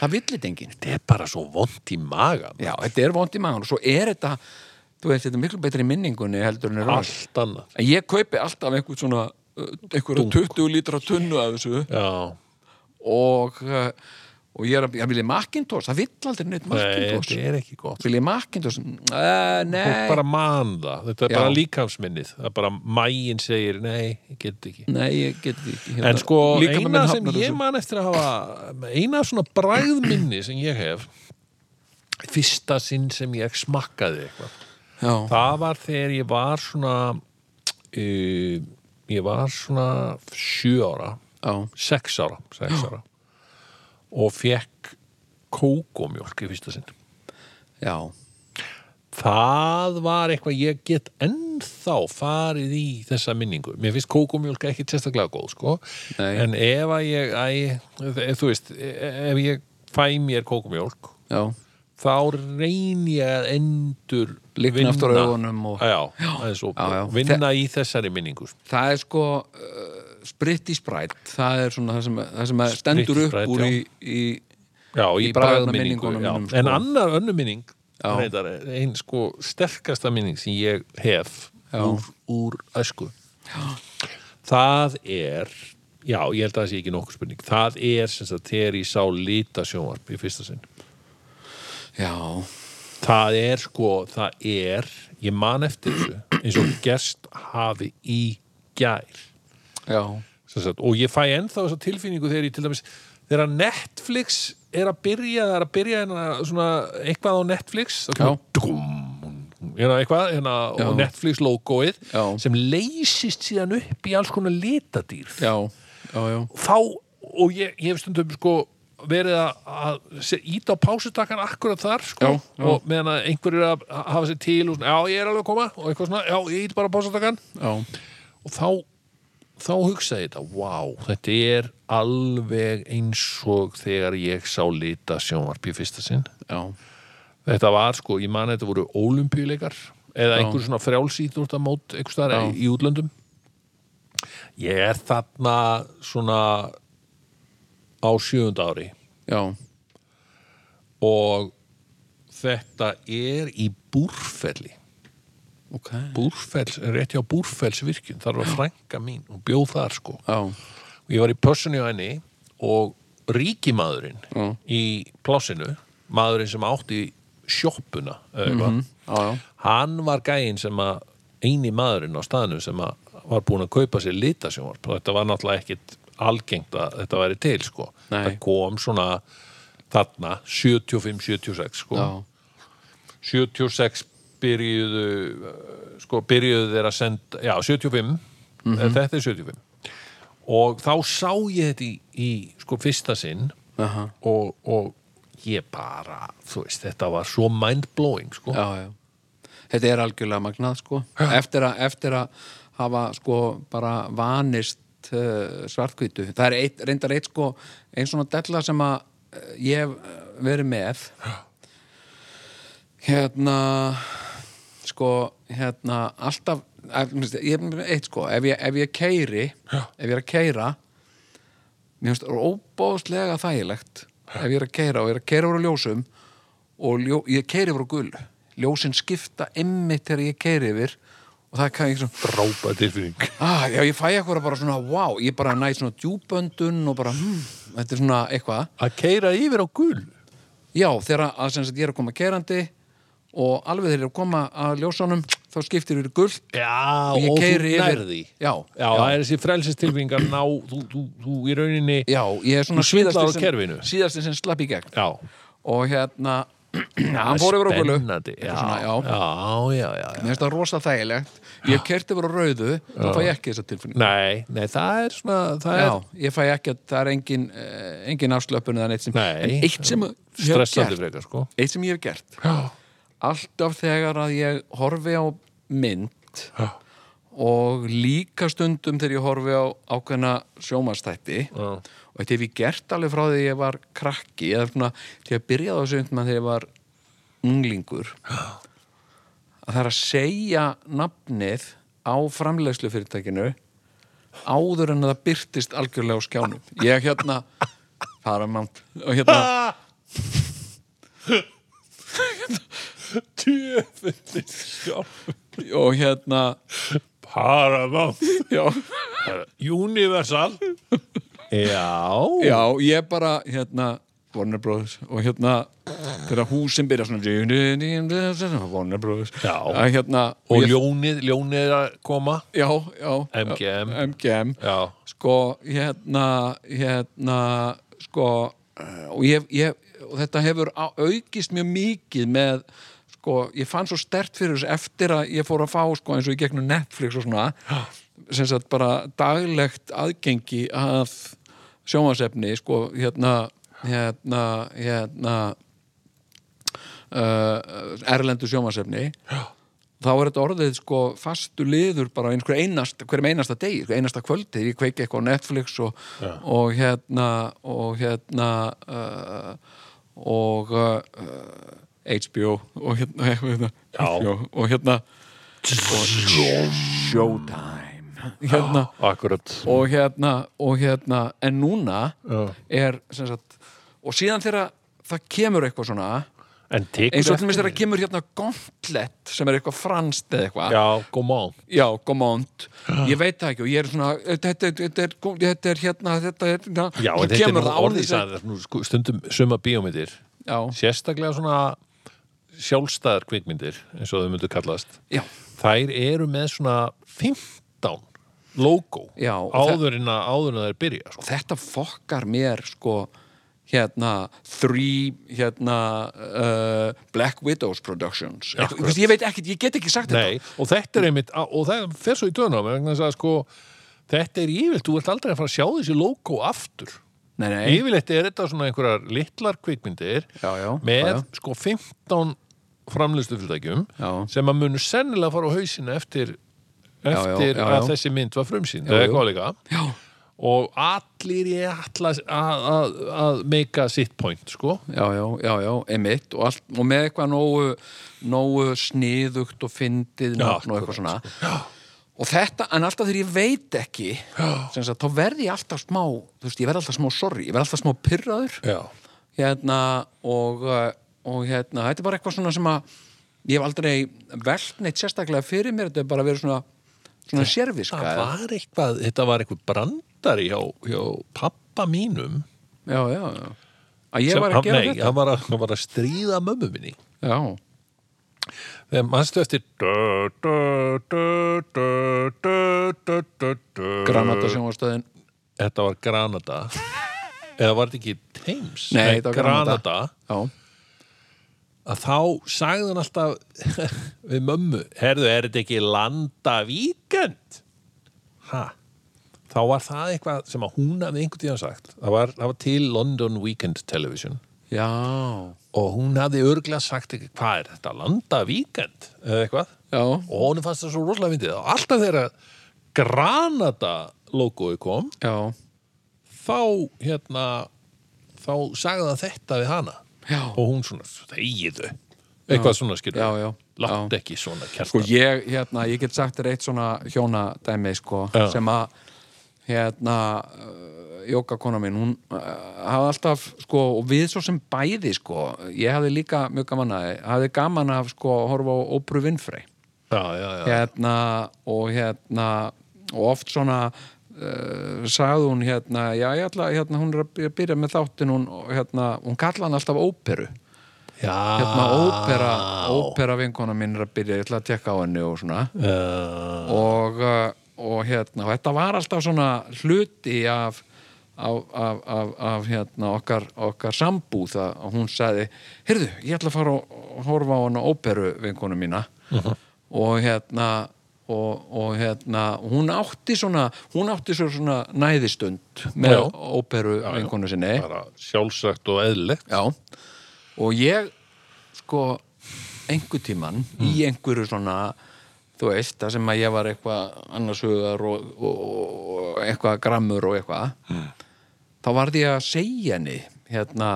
[SPEAKER 3] það villir þetta enginn
[SPEAKER 1] Þetta er bara svo vond í magan
[SPEAKER 3] Já, þetta er vond í maður og svo er þetta þú veist, þetta er miklu betri í minningunni heldur en er allt
[SPEAKER 1] Allt annað
[SPEAKER 3] En ég kaupi alltaf einhvern svona uh, einhverja 20 lítra tunnu af þessu
[SPEAKER 1] Já,
[SPEAKER 3] og, uh, og ég er að, ég vil ég Macintosh, það vill aldrei neitt
[SPEAKER 1] nei,
[SPEAKER 3] Macintosh
[SPEAKER 1] þetta er ekki gott
[SPEAKER 3] Vil ég Macintosh? Uh,
[SPEAKER 1] Fólk
[SPEAKER 3] nei,
[SPEAKER 1] bara man það, þetta er
[SPEAKER 3] Já.
[SPEAKER 1] bara líkamsminnið Það er bara mægin segir, nei, ég get ekki
[SPEAKER 3] nei, ég get því ekki
[SPEAKER 1] En sko,
[SPEAKER 3] Líka með
[SPEAKER 1] eina
[SPEAKER 3] minn
[SPEAKER 1] sem
[SPEAKER 3] hafnar
[SPEAKER 1] ég
[SPEAKER 3] þessu
[SPEAKER 1] man eftir að hafa eina svona bræðminni sem ég hef fyrsta sinn sem ég smakkaði eitthvað
[SPEAKER 3] Já,
[SPEAKER 1] það var þegar ég var svona uh, ég var svona sjö ára
[SPEAKER 3] já,
[SPEAKER 1] sex ára, sex ára og fekk kókomjólk í fyrsta sinn
[SPEAKER 3] já
[SPEAKER 1] það var eitthvað ég get ennþá farið í þessa minningu mér finnst kókumjólk ekki sérstaklega góð sko.
[SPEAKER 3] Nei.
[SPEAKER 1] en ef að ég æ, e- þú veist, e- ef ég fæ mér kókumjólk
[SPEAKER 3] Já,
[SPEAKER 1] þá reyn ég að endur
[SPEAKER 3] Lygna aftur
[SPEAKER 1] vinna-
[SPEAKER 3] augunum og-
[SPEAKER 1] já, já, og,
[SPEAKER 3] Já, já.
[SPEAKER 1] vinna í þessari minningu
[SPEAKER 3] það er sko uh, spritt í sprætt það er svona það sem, það sem að stendur
[SPEAKER 1] í
[SPEAKER 3] upp
[SPEAKER 1] Sprite,
[SPEAKER 3] úr í,
[SPEAKER 1] já.
[SPEAKER 3] í
[SPEAKER 1] já, í,
[SPEAKER 3] Í
[SPEAKER 1] bragðminningu
[SPEAKER 3] bragðminningunum
[SPEAKER 1] já.
[SPEAKER 3] mínum, sko.
[SPEAKER 1] en annar önnu minning
[SPEAKER 3] Já.
[SPEAKER 1] reyndar, ein sko sterkasta minning sem ég hef
[SPEAKER 3] Já.
[SPEAKER 1] úr, úr æsku það er já, ég held að það sé ekki nokkuð spurning það er sem sagt þegar ég sá lita sjónvarp í fyrsta sinn
[SPEAKER 3] já,
[SPEAKER 1] það er sko, það er ég man eftir þessu eins og gerst hafi í gær
[SPEAKER 3] já,
[SPEAKER 1] Sem sagt, og ég fæ ennþá þessa tilfinningu þegar ég til dæmis þegar Netflix er að byrja það er að byrja hérna svona eitthvað á Netflix þá kemur dúm, hérna eitthvað hérna, og
[SPEAKER 3] Já.
[SPEAKER 1] Netflix logoið
[SPEAKER 3] Já.
[SPEAKER 1] sem leysist síðan upp í alls konar litadýr
[SPEAKER 3] já, já, já.
[SPEAKER 1] þá og ég, ég hef stundum sko verið að- að se- íta á pásutakkan akkurat þar sko
[SPEAKER 3] Já, já.
[SPEAKER 1] og meðan að einhverjir að hafa sér til og svona, já ég er alveg að koma og eitthvað svona, já ég ít bara á pásutakkan
[SPEAKER 3] já.
[SPEAKER 1] og þá þá hugsaði ég þetta, wow, þetta er alveg eins og þegar ég sá lita sjónvarp í fyrsta sinn.
[SPEAKER 3] já.
[SPEAKER 1] Þetta var sko, ég man að þetta voru ólumpíuleikar eða
[SPEAKER 3] Já.
[SPEAKER 1] einhver svona frjálsýþrótta mót einhvers staðar
[SPEAKER 3] Já.
[SPEAKER 1] í útlöndum. Ég er þarna svona á sjöfund ári
[SPEAKER 3] já.
[SPEAKER 1] og þetta er í Búrfelli.
[SPEAKER 3] ok
[SPEAKER 1] Búrfells, rétt hjá Búrfellsvirkjun, þar var frænka mín og bjóð þar sko.
[SPEAKER 3] já,
[SPEAKER 1] og ég var í pössunni á henni og ríkimaðurinn
[SPEAKER 3] Já.
[SPEAKER 1] í plásinu maðurinn sem átti sjoppuna mm
[SPEAKER 3] já, já,
[SPEAKER 1] hann var gæinn sem að eini maðurinn á staðnum sem að var búinn að kaupa sér litasjónvarp og þetta var náttúrulega ekkit algengt að þetta væri til sko
[SPEAKER 3] Nei.
[SPEAKER 1] það kom svona þarna 75-76 sko
[SPEAKER 3] já,
[SPEAKER 1] 76 byrjuðu
[SPEAKER 3] Mhm.
[SPEAKER 1] uh, sko, byrjuðu þeir að senda já, 75, mm þetta er 75 og þá sá ég þetta í, í sko fyrsta sinn
[SPEAKER 3] Aha.
[SPEAKER 1] og, og ég bara, þú veist, þetta var svo mind-blowing, sko.
[SPEAKER 3] já, já. Þetta er algjörlega magnað sko. eftir, að, eftir að hafa sko bara vanist uh, svartkvítu það er eitt, reyndar eitt sko einn svona della sem að eh, ég hef eh, verið með hérna sko hérna alltaf ef- minnst, ég, eitt sko, ef ég, ef ég keiri
[SPEAKER 1] Já.
[SPEAKER 3] ef ég er að keira mér finnst óbóðslega þægilegt ef ég er að keira og ég er að keira úr á ljósum og ljó, ég keiri úr á gul ljósin skipta emmitt þegar ég keiri yfir og það er kannski svona
[SPEAKER 1] Rápa tilfinning.
[SPEAKER 3] ah, já, ég fæ eitthvað bara svona, wow ég bara næ svona djúböndun og bara, hmm, þetta er svona eitthvað
[SPEAKER 1] Að keira yfir á gul.
[SPEAKER 3] Já, þegar að, sem sagt, ég er að koma kerandi og alveg þeir eru að koma að ljósunum þá skiptir yfir í gult
[SPEAKER 1] Já,
[SPEAKER 3] og ég
[SPEAKER 1] og þú
[SPEAKER 3] keyri yfir-
[SPEAKER 1] nærði.
[SPEAKER 3] Já,
[SPEAKER 1] já,
[SPEAKER 3] já.
[SPEAKER 1] það er þessi frelsistilfinning að ná, þú, þú, þú í rauninni,
[SPEAKER 3] Já, ég er svona
[SPEAKER 1] Þú svindlar á
[SPEAKER 3] síðasti
[SPEAKER 1] kerfinu.
[SPEAKER 3] sem, síðasti sem slapp í gegn
[SPEAKER 1] já.
[SPEAKER 3] og hérna, [CLEARS THROAT] hann fór yfir á gulu
[SPEAKER 1] Spennandi, já,
[SPEAKER 3] svona, já.
[SPEAKER 1] já, já, já, já.
[SPEAKER 3] Mér finnst það rosa þægilegt Ég kerti yfir á rauðu, þá fæ ég ekki þessa tilfinning
[SPEAKER 1] Nei, nei, það er svona, það
[SPEAKER 3] Já,
[SPEAKER 1] er
[SPEAKER 3] ég fæ ekki að það er engin, eh, engin afslöpun eða neitt sem
[SPEAKER 1] Nei.
[SPEAKER 3] En eitt sem ég hef
[SPEAKER 1] stressandi
[SPEAKER 3] gert
[SPEAKER 1] frekar, sko.
[SPEAKER 3] Eitt sem ég hef gert
[SPEAKER 1] Já,
[SPEAKER 3] alltaf þegar að ég horfi á mynd
[SPEAKER 1] já,
[SPEAKER 3] og líka stundum þegar ég horfi á ákveðna sjómanstætti
[SPEAKER 1] já.
[SPEAKER 3] og þetta hef ég gert alveg frá því ég var krakki eða svona til að byrja á þessu einhvern þegar ég var unglingur að það er að segja nafnið á framleiðslu fyrirtækinu áður en að það byrtist algjörlega á skjánum ég hérna Paramount og hérna
[SPEAKER 1] Tjöfundi sjálf
[SPEAKER 3] og hérna
[SPEAKER 1] Paramount
[SPEAKER 3] já
[SPEAKER 1] Universal Já,
[SPEAKER 3] Já, ég bara, hérna Warner Brothers og hérna þegar húsin byrja svona Warner Brothers
[SPEAKER 1] Já.
[SPEAKER 3] að, hérna,
[SPEAKER 1] Og
[SPEAKER 3] ég-
[SPEAKER 1] ljónið, ljónið er að koma
[SPEAKER 3] Já, já
[SPEAKER 1] MGM.
[SPEAKER 3] MGM
[SPEAKER 1] Já,
[SPEAKER 3] Sko, hérna, hérna sko, eh, og ég, ég og þetta hefur á- aukist mjög mikið með, sko, ég fann svo stert fyrir þessu eftir að ég fór að fá sko, eins og í gegnum Netflix og svona sem sagt bara daglegt aðgengi að sjónvarsefni, sko, hérna hérna, hérna uh, erlendu sjónvarsefni þá er þetta orðið sko fastu liður bara á einhver einast, hverjum einasta degi, hverjum einasta kvöldi ég kveiki eitthvað á Netflix og, og hérna og hérna uh, og uh, HBO og hérna, [LAUGHS] og hérna,
[SPEAKER 1] Já.
[SPEAKER 3] og hérna og Showtime hérna
[SPEAKER 1] akkurat
[SPEAKER 3] og hérna, og hérna en núna
[SPEAKER 1] Já.
[SPEAKER 3] er sem sagt, og síðan þegar það kemur eitthvað svona
[SPEAKER 1] En tekur
[SPEAKER 3] eins og
[SPEAKER 1] eftir
[SPEAKER 3] til mér þegar
[SPEAKER 1] því?
[SPEAKER 3] það kemur hérna gauntlet sem er eitthvað franskt eða eitthvað
[SPEAKER 1] Já, Ah. come on
[SPEAKER 3] já gomont, ég veit það ekki og ég er svona, þetta, þetta, þetta, er, þetta er hérna, þetta er hérna
[SPEAKER 1] Já,
[SPEAKER 3] svo
[SPEAKER 1] en þetta er
[SPEAKER 3] kemur
[SPEAKER 1] nú
[SPEAKER 3] það
[SPEAKER 1] orðið
[SPEAKER 3] orðið sem-
[SPEAKER 1] það er nú sko- Stundum suma bíómyndir
[SPEAKER 3] já,
[SPEAKER 1] Sérstaklega svona sjálfstæðar kvikmyndir eins og þau myndu kallast
[SPEAKER 3] já,
[SPEAKER 1] Þær eru með svona 15 logo
[SPEAKER 3] Já, og það-
[SPEAKER 1] áður en að áður en að þær byrja sko.
[SPEAKER 3] þetta fokkar mér sko hérna, Three hérna, uh, Black Widows Productions
[SPEAKER 1] Já,
[SPEAKER 3] Eitthvað- þú veist, ég veit ekkert, ég get ekki sagt
[SPEAKER 1] Nei,
[SPEAKER 3] þetta
[SPEAKER 1] og þetta er einmitt og það fer svo í döðnum vegna þess að sko þetta er yfirlt, þú ert aldrei að fara að sjá þessi logo aftur
[SPEAKER 3] nei, nei,
[SPEAKER 1] Yfirleitt er þetta svona einhverjar litlar kvikmyndir
[SPEAKER 3] Já, já,
[SPEAKER 1] með
[SPEAKER 3] já, já.
[SPEAKER 1] sko 15 framlýstu fyrirtækjum
[SPEAKER 3] Já.
[SPEAKER 1] sem að munu sennilega fara á hausina eftir,
[SPEAKER 3] já,
[SPEAKER 1] eftir
[SPEAKER 3] já,
[SPEAKER 1] að
[SPEAKER 3] já.
[SPEAKER 1] þessi mynd var frumsýnd eða
[SPEAKER 3] Jú, jú.
[SPEAKER 1] eitthvað líka.
[SPEAKER 3] já,
[SPEAKER 1] og allir ég ætla að, að, að meika sitt point sko.
[SPEAKER 3] já, já, já, já, emitt og, allt, og með eitthvað nógu, nógu sniðugt og
[SPEAKER 1] Já, sko.
[SPEAKER 3] fyndið nafn og eitthvað svona og þetta, en alltaf þegar ég veit ekki sem sagt, þá verð ég alltaf smá þú veist, ég verð alltaf smá sorry, ég verð alltaf smá pyrraður
[SPEAKER 1] Já.
[SPEAKER 3] hérna og, uh, og hérna, þetta er bara eitthvað svona sem að ég hef aldrei velt neitt sérstaklega fyrir mér, þetta er bara verið svona svona sérviska
[SPEAKER 1] Það
[SPEAKER 3] eða-
[SPEAKER 1] var eitthvað, þetta var eitthvað brandari hjá, hjá pappa mínum
[SPEAKER 3] já, já, já að ég var að
[SPEAKER 1] hann,
[SPEAKER 3] gera
[SPEAKER 1] nei, hann var að, hann var að stríða mömmu minni
[SPEAKER 3] þetta já,
[SPEAKER 1] þegar mannstu eftir
[SPEAKER 3] granata sjónvastöðin
[SPEAKER 1] þetta var Granada eða var þetta ekki Thames
[SPEAKER 3] Nei, þetta var Granada.
[SPEAKER 1] Granada
[SPEAKER 3] já,
[SPEAKER 1] að þá sagði hann alltaf [LAUGHS] við mömmu, herðu, er þetta ekki landa víkend? Ha? þá var það eitthvað sem að hún hafði einhvern tíðan sagt það var, það var til London Weekend Television
[SPEAKER 3] já,
[SPEAKER 1] og hún hafði örglega sagt ekki hvað er þetta, landa víkend eða eitthvað
[SPEAKER 3] já,
[SPEAKER 1] og honum fannst það svo rosalega fyndið og alltaf þegar Granada logoið kom
[SPEAKER 3] já,
[SPEAKER 1] þá hérna þá sagði það þetta við hana
[SPEAKER 3] Já.
[SPEAKER 1] og hún svona þegiðu eitthvað svona skilur
[SPEAKER 3] já, já.
[SPEAKER 1] látt ekki svona
[SPEAKER 3] Sko
[SPEAKER 1] kjartan
[SPEAKER 3] ég, hérna, ég get sagt þér eitt svona hjónadæmi, sko,
[SPEAKER 1] Já.
[SPEAKER 3] sem að hérna uh, jókakona mín, hún uh, hafði alltaf, sko, og við svo sem bæði, sko, ég hafði líka mjög gaman að hafði gaman af, sko, að horfa á Óbru Vinfrey,
[SPEAKER 1] já, já, já,
[SPEAKER 3] hérna og hérna, og oft svona uh, sagði hún hérna, já, ég ætla, hérna, hún er að by- byrja með þáttin, hún, hérna, hún kalla hann alltaf óperu
[SPEAKER 1] já.
[SPEAKER 3] hérna
[SPEAKER 1] Ah.
[SPEAKER 3] ópera, ópera vinkona mín er að byrja, ég ætla að tekka á henni og svona
[SPEAKER 1] Uh,
[SPEAKER 3] og, uh, og hérna og þetta var alltaf svona hluti af af, af, af, af hérna okkar, okkar sambúð að að hún sagði, heyrðu, ég ætla að fara og horfa á hana óperu vinkonu mína
[SPEAKER 1] Mhm.
[SPEAKER 3] og hérna og, og hérna, hún átti svona hún átti svo svona næðistund með
[SPEAKER 1] Já.
[SPEAKER 3] óperu vinkonu sinni
[SPEAKER 1] bara sjálfsagt og eðlilegt
[SPEAKER 3] Já, og ég sko einhver tíman í einhverju svona þú veist, það sem að ég var eitthvað annarsugar og, og, og eitthvað grammur og eitthvað þá varði ég að segja henni hérna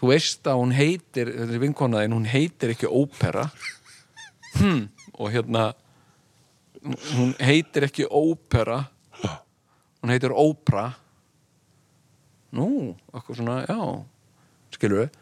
[SPEAKER 3] þú veist að hún heitir, þessi vinkonaðin hún heitir ekki ópera hm, og hérna hún heitir ekki ópera hún heitir ópra nú, okkur svona, já skilur við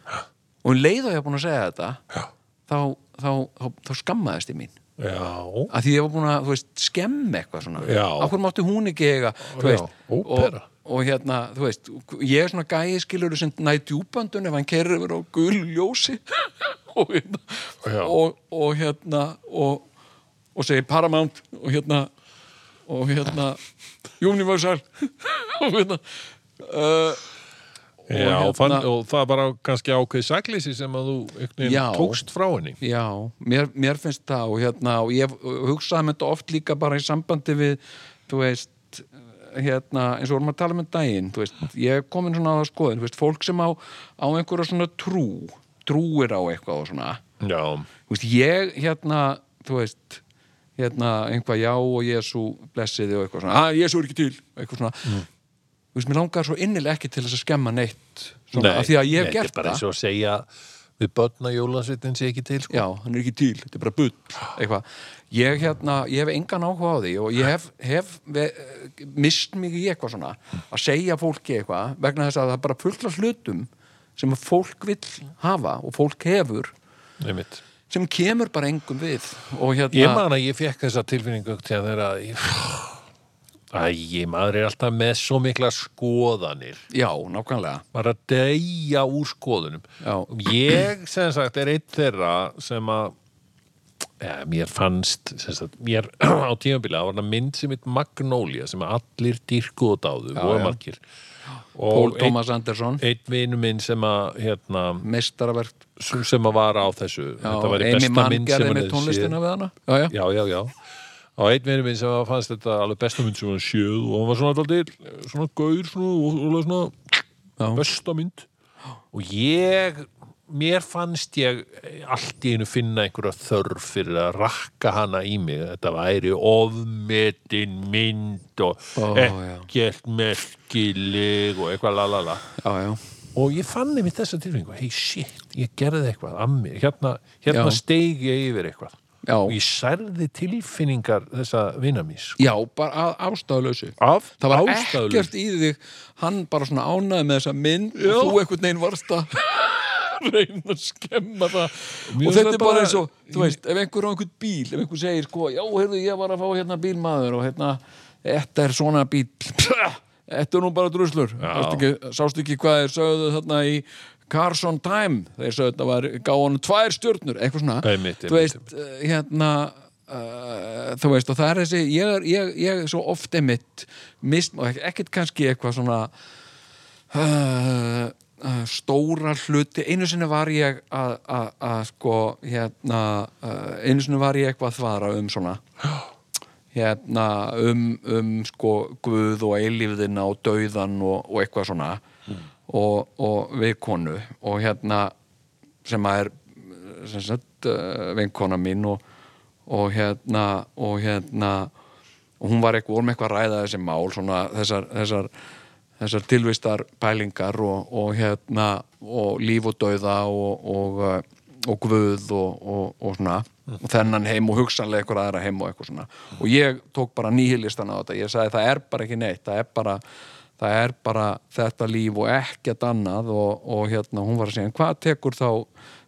[SPEAKER 3] og um leið og ég var búin að segja þetta þá, þá, þá, þá skammaðist ég mín
[SPEAKER 1] já,
[SPEAKER 3] að því ég var búin að, þú veist, skemmi eitthvað svona
[SPEAKER 1] Já.
[SPEAKER 3] okkur mátti hún ekki eiga þú
[SPEAKER 1] Já,
[SPEAKER 3] veist, og,
[SPEAKER 1] ópera.
[SPEAKER 3] og hérna, þú veist ég er svona gæi skilur sem næði djúböndun ef hann kerur yfir á gul ljósi [LAUGHS] og, hérna,
[SPEAKER 1] Já.
[SPEAKER 3] og, og hérna og, og segi Paramount og hérna og hérna Universal [LAUGHS] og hérna uh,
[SPEAKER 1] já,
[SPEAKER 3] hérna-
[SPEAKER 1] og, fann, og það bara kannski ákveð sakleysi sem að þú einhvern
[SPEAKER 3] Já.
[SPEAKER 1] veginn tókst frá henni
[SPEAKER 3] Já, mér, mér finnst það og hérna, og ég hugsaði með þetta oft líka bara í sambandi við, þú veist hérna, eins og vorum að tala með daginn þú veist, ég er komin svona á það skoðin þú veist, fólk sem á, á einhverja svona trú trúir á eitthvað og svona
[SPEAKER 1] já,
[SPEAKER 3] þú veist, ég hérna, þú veist hérna, einhvað já og Jésu blessiði og eitthvað svona, að Jésu er ekki til eitthvað svona,
[SPEAKER 1] Mm.
[SPEAKER 3] þú veist, mér langar svo innilega ekki til þess að skemma neitt svona, af því að ég hef
[SPEAKER 1] þetta
[SPEAKER 3] gert
[SPEAKER 1] er bara
[SPEAKER 3] það
[SPEAKER 1] eins og að segja við börna jólasveitin sé ekki til sko.
[SPEAKER 3] já, hann er ekki til, þetta er bara bull eitthvað, ég hérna, ég hef engan áhuga á því og ég hef, hef ve, mist mig í eitthvað svona að segja fólki eitthvað, vegna þess að það er bara fullt af hlutum sem að fólk vill hafa og fólk hefur
[SPEAKER 1] Einmitt.
[SPEAKER 3] sem kemur bara engum við og hérna,
[SPEAKER 1] ég man að ég fekk þessa tilfinningu til þegar að æg, maður er alltaf með svo mikla skoðanir
[SPEAKER 3] já, nákvæmlega
[SPEAKER 1] bara að deyja úr skoðunum
[SPEAKER 3] Já.
[SPEAKER 1] ég sem sagt er einn þeirra sem að ja, mér fannst sem sagt, mér [CLEARS THROAT] á tímabili það var það mynd sem eitt Magnólia sem að allir dýrkuð og dáðu og
[SPEAKER 3] já.
[SPEAKER 1] margir
[SPEAKER 3] Pól
[SPEAKER 1] og einn
[SPEAKER 3] Tómas Andersson,
[SPEAKER 1] ein vinnu minn sem að hérna,
[SPEAKER 3] meistaraverk
[SPEAKER 1] sem að vara á þessu já, þetta var í
[SPEAKER 3] Amy
[SPEAKER 1] besta
[SPEAKER 3] Mann
[SPEAKER 1] mynd sem
[SPEAKER 3] gerði
[SPEAKER 1] hann
[SPEAKER 3] með
[SPEAKER 1] hefði séð
[SPEAKER 3] tónlistina við hana já, já,
[SPEAKER 1] já, já, já og einn vinnu minn sem að fannst þetta alveg besta mynd sem hann sjöð og hann var svona alltaf svona gaur svona, og, og, og svona
[SPEAKER 3] Já.
[SPEAKER 1] besta mynd og ég mér fannst ég allt í einu finna einhverja þörf fyrir að rakka hana í mig þetta væri ofmetin mynd og
[SPEAKER 3] Ó, já.
[SPEAKER 1] ekkert merkileg og eitthvað lalala
[SPEAKER 3] já, já,
[SPEAKER 1] og ég fann einmitt þessa tilfinningu hei shit, ég gerði eitthvað að mér, hérna, hérna
[SPEAKER 3] Já.
[SPEAKER 1] steig ég yfir eitthvað
[SPEAKER 3] Já.
[SPEAKER 1] og ég særði tilfinningar þessa vinamís
[SPEAKER 3] já, bara að- ástæðulausu
[SPEAKER 1] af
[SPEAKER 3] það var
[SPEAKER 1] ástæðulaust.
[SPEAKER 3] ekkert í þig hann bara svona ánaði með þessa mynd og þú einhvern veginn varst að [LAUGHS] reyna að skemma það
[SPEAKER 1] Mér
[SPEAKER 3] og þetta
[SPEAKER 1] finnst
[SPEAKER 3] er
[SPEAKER 1] það
[SPEAKER 3] bara
[SPEAKER 1] bara-
[SPEAKER 3] eins og, þú veist, ef einhver á einhvern bíl ef einhver segir, sko, já, heyrðu, ég var að fá hérna bílmaður og hérna, þetta er svona bíl [LAUGHS] þetta er nú bara druslur Sástu ekki, sástu ekki hvað þeir sögðu þarna í Cars on Time þeir sögðu þetta var, gá hann tvær stjörnur eitthvað svona,
[SPEAKER 1] Einmitt, einmitt,
[SPEAKER 3] þú veist uh, hérna uh, þú veist og það er þessi ég er, ég, ég er svo oft einmitt mist, og ek- ekkert kannski eitthvað svona uh, uh, stóra hluti einu sinni var ég að að- eh, að sko hérna uh, einu sinni var ég eitthvað að þvara um svona hérna um, um sko guð og eilífðina og dauðan og, og eitthvað svona og, og við konu og hérna sem að er sem sagt eh, vinkona mín og, og hérna og hérna og hún var eitthvað, vorum eitthvað að ræða þessi mál svona þessar, þessar, þessar tilvistar pælingar og, og hérna og líf og dauða og, og, eh, og guð og, og, og svona og þennan heim og hugsanlega eitthvað aðra heim og eitthvað svona og ég tók bara nýhilistan á þetta ég sagði það er bara ekki neitt það er bara, það er bara þetta líf og ekkert annað og, og hérna hún var að segja "En hvað tekur þá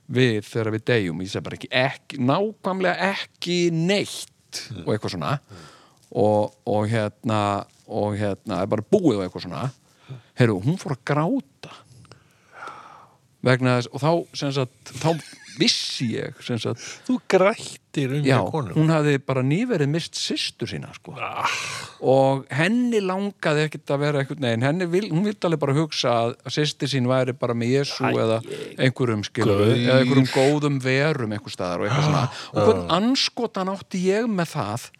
[SPEAKER 3] við þegar við deyjum ég sagði bara ekki, ekki nákvæmlega ekki neitt og eitthvað svona og, og hérna og hérna, það er bara búið og eitthvað svona heyrðu, hún fór að gráta vegna þess og þá, sem sagt, þá vissi ég sem sagt,
[SPEAKER 1] Þú grættir um
[SPEAKER 3] já,
[SPEAKER 1] hjá konum. Ah,
[SPEAKER 3] hún hafði bara nýverið mist systur sína sko. og henni langaði ekkit að vera ekkert neginn, henni vil, hún vildi alveg bara hugsa að systur sín væri bara með Jésu eða einhverjum skilur
[SPEAKER 1] Gaur.
[SPEAKER 3] eða einhverjum góðum verum einhver staðar og eitthvað svona
[SPEAKER 1] Ah.
[SPEAKER 3] og hvern anskotan átti ég með það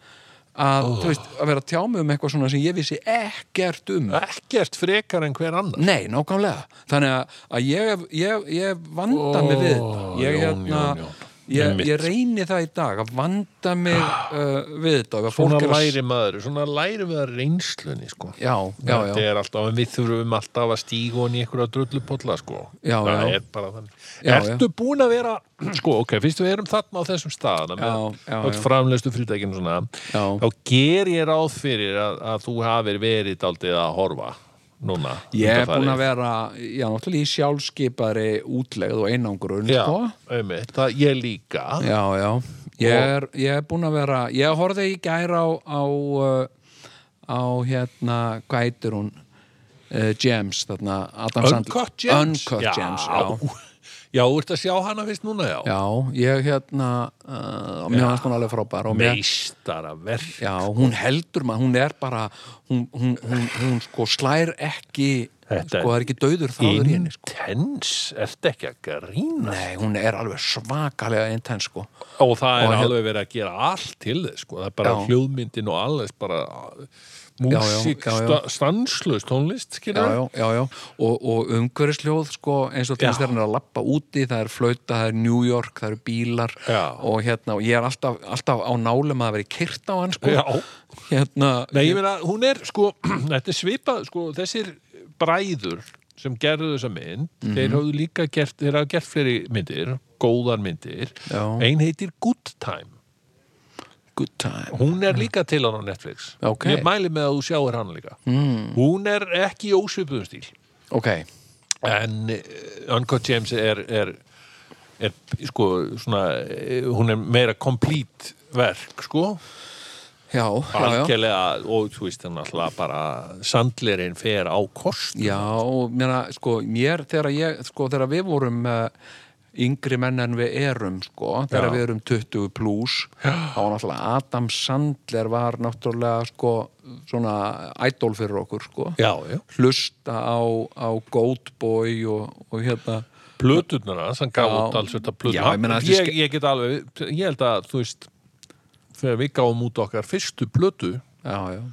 [SPEAKER 1] Ah.
[SPEAKER 3] að, þú veist, að vera að tjá mig um eitthvað svona sem ég vissi ekkert um
[SPEAKER 1] Ekkert frekar en hver annar.
[SPEAKER 3] Nei, nákvæmlega. Þannig að, að ég, hef- ég, ég hef vanda mig við þetta. Ég,
[SPEAKER 1] Jón,
[SPEAKER 3] hérna,
[SPEAKER 1] Jón, Jón.
[SPEAKER 3] Ég,
[SPEAKER 1] Einmitt. Ah.
[SPEAKER 3] ég reyni það í dag að vanda mig uh, við þetta. og ef að
[SPEAKER 1] Svona
[SPEAKER 3] fólk er að-
[SPEAKER 1] læri maður, svona læri við að reynslunni, sko.
[SPEAKER 3] Já, já,
[SPEAKER 1] Þetta
[SPEAKER 3] já.
[SPEAKER 1] er alltaf, en við þurfum alltaf að stíga honi í einhverja drullupolla, sko.
[SPEAKER 3] Já,
[SPEAKER 1] það
[SPEAKER 3] já.
[SPEAKER 1] er bara þannig.
[SPEAKER 3] Já,
[SPEAKER 1] Ertu búin að vera, [CLEARS THROAT] sko, ok, fyrst við erum þarna á þessum staðana með
[SPEAKER 3] Já, já,
[SPEAKER 1] öll
[SPEAKER 3] já.
[SPEAKER 1] framlegstu fyrirtækinu svona,
[SPEAKER 3] Já.
[SPEAKER 1] þá ger ég ráð fyrir að, að þú hafir verið daldið að horfa núna.
[SPEAKER 3] Ég er
[SPEAKER 1] undanfarið.
[SPEAKER 3] búin að vera, já, náttúrulega í sjálfskipari útlegð og einangrun,
[SPEAKER 1] Já,
[SPEAKER 3] sko.
[SPEAKER 1] einmitt, það ég líka.
[SPEAKER 3] Já, já. Ég er, ég er búin að vera, ég horfði í gæra á, á, uh, á hérna, hvað heitir hún? Uh, James, þarna, Adam Sandler.
[SPEAKER 1] Uncut Gems?
[SPEAKER 3] Uncut Gems, já.
[SPEAKER 1] Já, þú ert að sjá hana fyrst núna, já.
[SPEAKER 3] Já, ég hérna uh, og mér fannst hún alveg frábær og mér,
[SPEAKER 1] Meistara verð.
[SPEAKER 3] já, hún heldur maður, hún er bara hún, hún, hún, hún sko slær ekki
[SPEAKER 1] Þetta
[SPEAKER 3] sko það er ekki dauður þáður í henni sko.
[SPEAKER 1] Intens, ertu ekki að grína?
[SPEAKER 3] Nei, hún er alveg svakalega intens sko
[SPEAKER 1] Og það er
[SPEAKER 3] Og hér-
[SPEAKER 1] alveg verið að gera allt til þess, sko. Það er bara
[SPEAKER 3] Já.
[SPEAKER 1] hljóðmyndin og alles bara
[SPEAKER 3] já,
[SPEAKER 1] músík,
[SPEAKER 3] já, já.
[SPEAKER 1] stanslust tónlist,
[SPEAKER 3] Já,
[SPEAKER 1] skilur
[SPEAKER 3] já, já, já, og, og umhverfisljóð sko, eins og
[SPEAKER 1] Já.
[SPEAKER 3] þess þegar hann er að lappa úti það er flauta, það er New York, það eru bílar
[SPEAKER 1] Já.
[SPEAKER 3] og hérna, og ég er alltaf, alltaf á nálum að vera kyrt á hann sko
[SPEAKER 1] Já.
[SPEAKER 3] hérna,
[SPEAKER 1] Nei, ég meina, hún er, sko, [CLEARS THROAT] þetta er svipað, sko, þessir bræður sem gerðu þessa mynd,
[SPEAKER 3] Mhm.
[SPEAKER 1] þeir hafðu líka gert, þeir hafðu gert fleiri myndir, góðar myndir.
[SPEAKER 3] Já.
[SPEAKER 1] Ein heitir Good Time.
[SPEAKER 3] good time
[SPEAKER 1] Hún er líka til hann á Netflix.
[SPEAKER 3] Mhm. Ok. Mhm.
[SPEAKER 1] Ég mæli með að þú sjáir hann líka. Mm. Hún er ekki í ósvipuðum stíl.
[SPEAKER 3] ok,
[SPEAKER 1] en uh, Uncut James er, er, er sko svona, eh, hún er meira complete verk sko
[SPEAKER 3] já, já, já
[SPEAKER 1] algjörlega og þú veist hann alltaf bara sandlerinn fer á kost
[SPEAKER 3] Já, og mér, sko, mér þegar, ég, sko, þegar við vorum uh, yngri menn en við erum sko, þegar
[SPEAKER 1] Já.
[SPEAKER 3] við erum 20 plus þá var náttúrulega Adam Sandler var náttúrulega sko, svona idol fyrir okkur sko.
[SPEAKER 1] já, já.
[SPEAKER 3] hlusta á, á Goat Boy og, og hérna
[SPEAKER 1] plöturnar hans, hann gaf
[SPEAKER 3] Já.
[SPEAKER 1] út alls þetta plötur
[SPEAKER 3] Já, ég meina, þetta er
[SPEAKER 1] ég,
[SPEAKER 3] ske-
[SPEAKER 1] ég get alveg, ég held að þú veist, þegar við gáum út okkar fyrstu plötu,
[SPEAKER 3] já, já.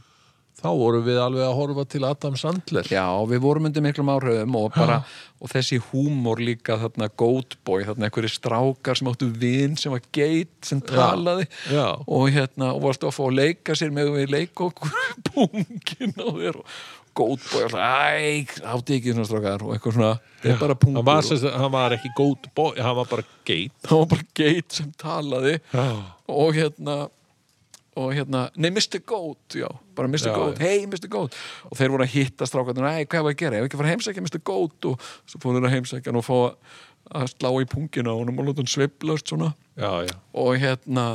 [SPEAKER 1] þá vorum við alveg að horfa til Adam Sandler
[SPEAKER 3] já, við vorum undir miklum áhrifum og bara, og þessi húmor líka þarna Goat Boy, þarna einhverju strákar sem áttu vin sem var geit sem talaði
[SPEAKER 1] já.
[SPEAKER 3] og hérna og varst að fá að leika sér með við leika okkur [LAUGHS] pungin á þér og góð bói og æg, átti ekki svona strákar og eitthvað svona, þetta er bara
[SPEAKER 1] hann
[SPEAKER 3] pungur
[SPEAKER 1] var,
[SPEAKER 3] og
[SPEAKER 1] sem, sagt- hann var ekki góð boy, hann var bara geit
[SPEAKER 3] [LAUGHS] það var bara geit sem talaði
[SPEAKER 1] Já.
[SPEAKER 3] og hérna og hérna, nei Mr. Goat, já bara Mr.
[SPEAKER 1] Já,
[SPEAKER 3] Goat, hei Mr. Goat og þeir voru að hitta strákarnir, ei hvað var að gera, ég var ekki að fara að heimsækja Mr. Goat og svo fóru þeir að heimsækja hann og fá að slá í pungina og hann og láta hann sveiflast svona
[SPEAKER 1] já, já
[SPEAKER 3] og hérna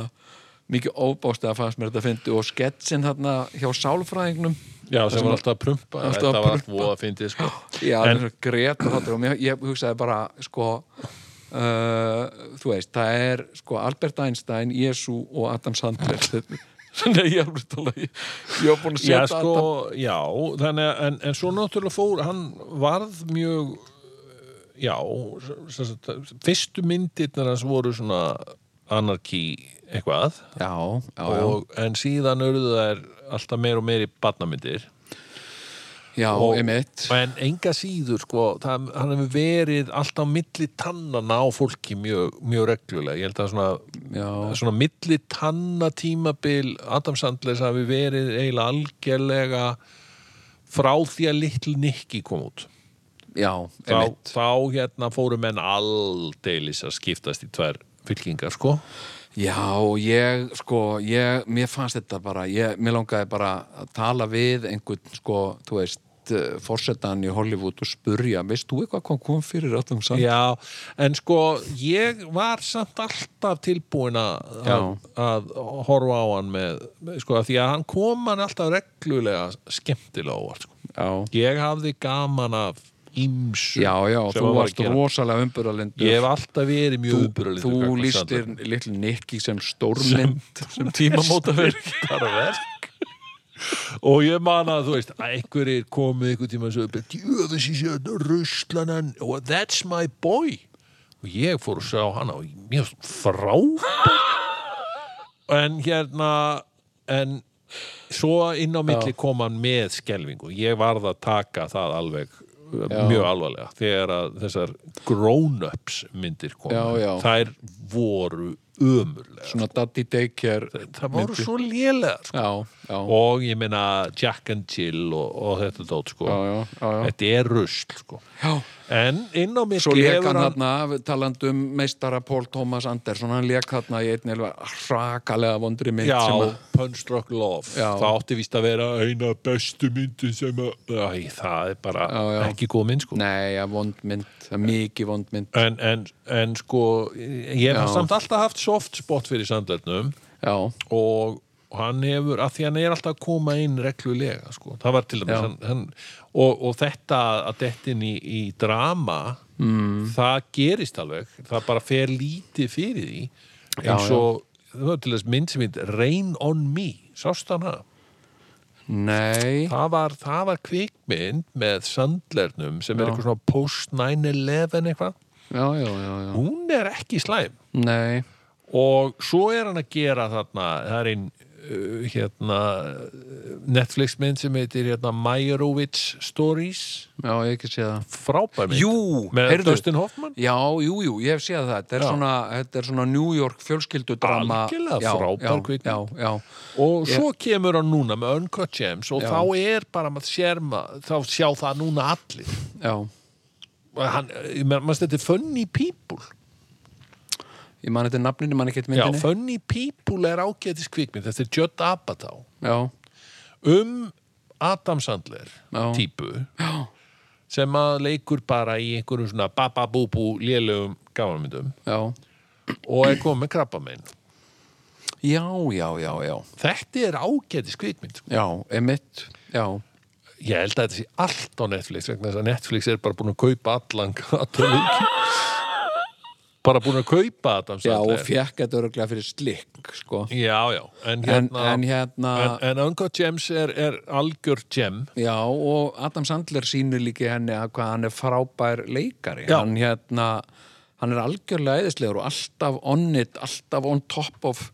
[SPEAKER 3] mikið óbást að fannst mér þetta fyndi og sketsin þarna hjá sálfræðingnum
[SPEAKER 1] Já, sem var alltaf að prumpa
[SPEAKER 3] Alltaf
[SPEAKER 1] Þetta
[SPEAKER 3] að
[SPEAKER 1] var
[SPEAKER 3] prumpa.
[SPEAKER 1] voða að fyndið sko.
[SPEAKER 3] já, en, greta þáttur og mér, ég hugsaði bara sko uh, þú veist, það er sko Albert Einstein, Jésu og Adam Sandler
[SPEAKER 1] [LAUGHS]
[SPEAKER 3] nei, ég alveg tala ég ég var búin að
[SPEAKER 1] Já,
[SPEAKER 3] setja
[SPEAKER 1] sko, já þannig, að- en, en svo náttúrulega fór hann varð mjög já, sem sagt, fyrstu myndirnar hans voru svona anarkí eitthvað
[SPEAKER 3] já, já,
[SPEAKER 1] og, en síðan urðu þær alltaf meir og meir í badnamyndir
[SPEAKER 3] já, já
[SPEAKER 1] og-
[SPEAKER 3] einmitt
[SPEAKER 1] en enga síður sko, það, hann hefur verið alltaf milli tannana á fólki mjög, mjög reglulega ég held að svona,
[SPEAKER 3] já,
[SPEAKER 1] svona milli tanna tímabil Adam Sandlers hafi verið eiginlega algerlega frá því að litlu Nikki kom út
[SPEAKER 3] já,
[SPEAKER 1] þá,
[SPEAKER 3] einmitt
[SPEAKER 1] þá hérna fóru menn aldeilis að skiptast í tvær fylkingar sko
[SPEAKER 3] Já, ég, sko, ég, mér fannst þetta bara, ég, mér langaði bara að tala við einhvern, sko, þú veist, fórsetan í Hollywood og spurja, veist þú eitthvað hvað kom fyrir áttum samt?
[SPEAKER 1] Já, en sko ég var samt alltaf tilbúin að,
[SPEAKER 3] Já.
[SPEAKER 1] að horfa á hann með, með sko, af því að hann kom hann alltaf reglulega skemmtilega óvart sko.
[SPEAKER 3] Já,
[SPEAKER 1] Ég hafði gaman af ímsu
[SPEAKER 3] já, já,
[SPEAKER 1] sem
[SPEAKER 3] þú
[SPEAKER 1] hann var að
[SPEAKER 3] varst
[SPEAKER 1] gera.
[SPEAKER 3] rosalega umburalindur.
[SPEAKER 1] Ég hef alltaf verið mjög uppröðlítur
[SPEAKER 3] Þú lístir litlu Nikki sem stórmynd.
[SPEAKER 1] sem tímamóta [LAUGHS] verk bara verk og ég man að þú veist að einhverjir komið einhver tíma og sögðu djöfis í sérna ruslanan hérna og that's my boy og ég fór og sá hana og mér fannst frábær en hérna en svo inn á milli kom hann með skelvingu ég varð að taka það alveg uh,
[SPEAKER 3] Já.
[SPEAKER 1] mjög alvarlega þegar að þessar grown-ups myndir koma
[SPEAKER 3] Já, já.
[SPEAKER 1] þær voru ömurlega
[SPEAKER 3] Svona daddy daycare.
[SPEAKER 1] það voru svo lélegar sko.
[SPEAKER 3] Já, já,
[SPEAKER 1] og ég meina Jack and Jill og, og þetta dót sko.
[SPEAKER 3] já, já, já, já.
[SPEAKER 1] þetta er rusl sko.
[SPEAKER 3] Já.
[SPEAKER 1] en inn á mitt
[SPEAKER 3] Svo lék hann þarna, talandi um meistara Pól Tómas Andersson, hann lék þarna í einn elva hrakalega vondri mynd
[SPEAKER 1] já,
[SPEAKER 3] sem að
[SPEAKER 1] Punstruck Love
[SPEAKER 3] Já.
[SPEAKER 1] það átti víst að vera eina bestu myndin sem að Æ, það er bara
[SPEAKER 3] Já, já.
[SPEAKER 1] ekki góð mynd sko.
[SPEAKER 3] Nei, ja, vondmynd, það er mikið vondmynd
[SPEAKER 1] en, en, en sko ég
[SPEAKER 3] Já.
[SPEAKER 1] hef samt alltaf haft soft spot fyrir sandlernum
[SPEAKER 3] Já,
[SPEAKER 1] og hann hefur, að því hann er alltaf að koma inn reglulega, sko, það var til dæmis
[SPEAKER 3] Já.
[SPEAKER 1] hann, hann, og, og þetta að dettin í, í drama mm. það gerist alveg það bara fer lítið fyrir því
[SPEAKER 3] Já,
[SPEAKER 1] eins og, það var til dæmis mynd sem heit Rain on Me, sást hann hana
[SPEAKER 3] nei
[SPEAKER 1] það var, það var kvikmynd með sandlernum sem
[SPEAKER 3] Já.
[SPEAKER 1] er eitthvað svona post 9-11 eitthvað,
[SPEAKER 3] Já, já, já, já
[SPEAKER 1] hún er ekki slæm
[SPEAKER 3] Nei,
[SPEAKER 1] og svo er hann að gera þarna, það er einn uh, hérna uh, Netflix mynd sem heitir hérna Meyerowitz Stories
[SPEAKER 3] já, ég hef ekki séð það
[SPEAKER 1] frábær mynd
[SPEAKER 3] Jú,
[SPEAKER 1] með
[SPEAKER 3] heyrðu.
[SPEAKER 1] Dustin Hoffman
[SPEAKER 3] Já, jú, jú, ég hef séð það Þetta er,
[SPEAKER 1] Já.
[SPEAKER 3] svona, þetta er svona New York fjölskyldudrama
[SPEAKER 1] Algjörlega
[SPEAKER 3] Já,
[SPEAKER 1] frábær
[SPEAKER 3] já,
[SPEAKER 1] kvikmynd.
[SPEAKER 3] Já, já,
[SPEAKER 1] og svo kemur hann núna með Uncut Gems og
[SPEAKER 3] Já.
[SPEAKER 1] þá er bara maður sér maður þá sjá það núna allir
[SPEAKER 3] já
[SPEAKER 1] Og hann, ég meina, maður stætti Funny People
[SPEAKER 3] Ég man þetta nafninu, man ekki eitt
[SPEAKER 1] já,
[SPEAKER 3] myndinni
[SPEAKER 1] Funny People er ágætis kvikmynd þetta er Judd Apatow
[SPEAKER 3] Já,
[SPEAKER 1] um Adam Sandler
[SPEAKER 3] Já.
[SPEAKER 1] típu já. sem að leikur bara í einhverjum svona bababúbú lélögum gamanmyndum
[SPEAKER 3] já
[SPEAKER 1] og er komið með krabbamenn
[SPEAKER 3] Já, já, já, já
[SPEAKER 1] þetta er ágætis kvikmynd sko.
[SPEAKER 3] Já, emitt, já
[SPEAKER 1] ég held að þetta sé allt á Netflix vegna þess að Netflix er bara búin að kaupa allan Adam bara búin að kaupa Adam
[SPEAKER 3] Já, og
[SPEAKER 1] Sandler
[SPEAKER 3] fekk þetta örgulega fyrir slikk, sko
[SPEAKER 1] já, já. en
[SPEAKER 3] En,
[SPEAKER 1] hérna
[SPEAKER 3] en hérna
[SPEAKER 1] en, en Uncle James er, er algjör gem
[SPEAKER 3] Já, og Adam Sandler sýnir líki henni að hvað hann er frábær leikari.
[SPEAKER 1] Já.
[SPEAKER 3] Hann hérna, hann er algjörlega eðislegur og alltaf on it, alltaf on top of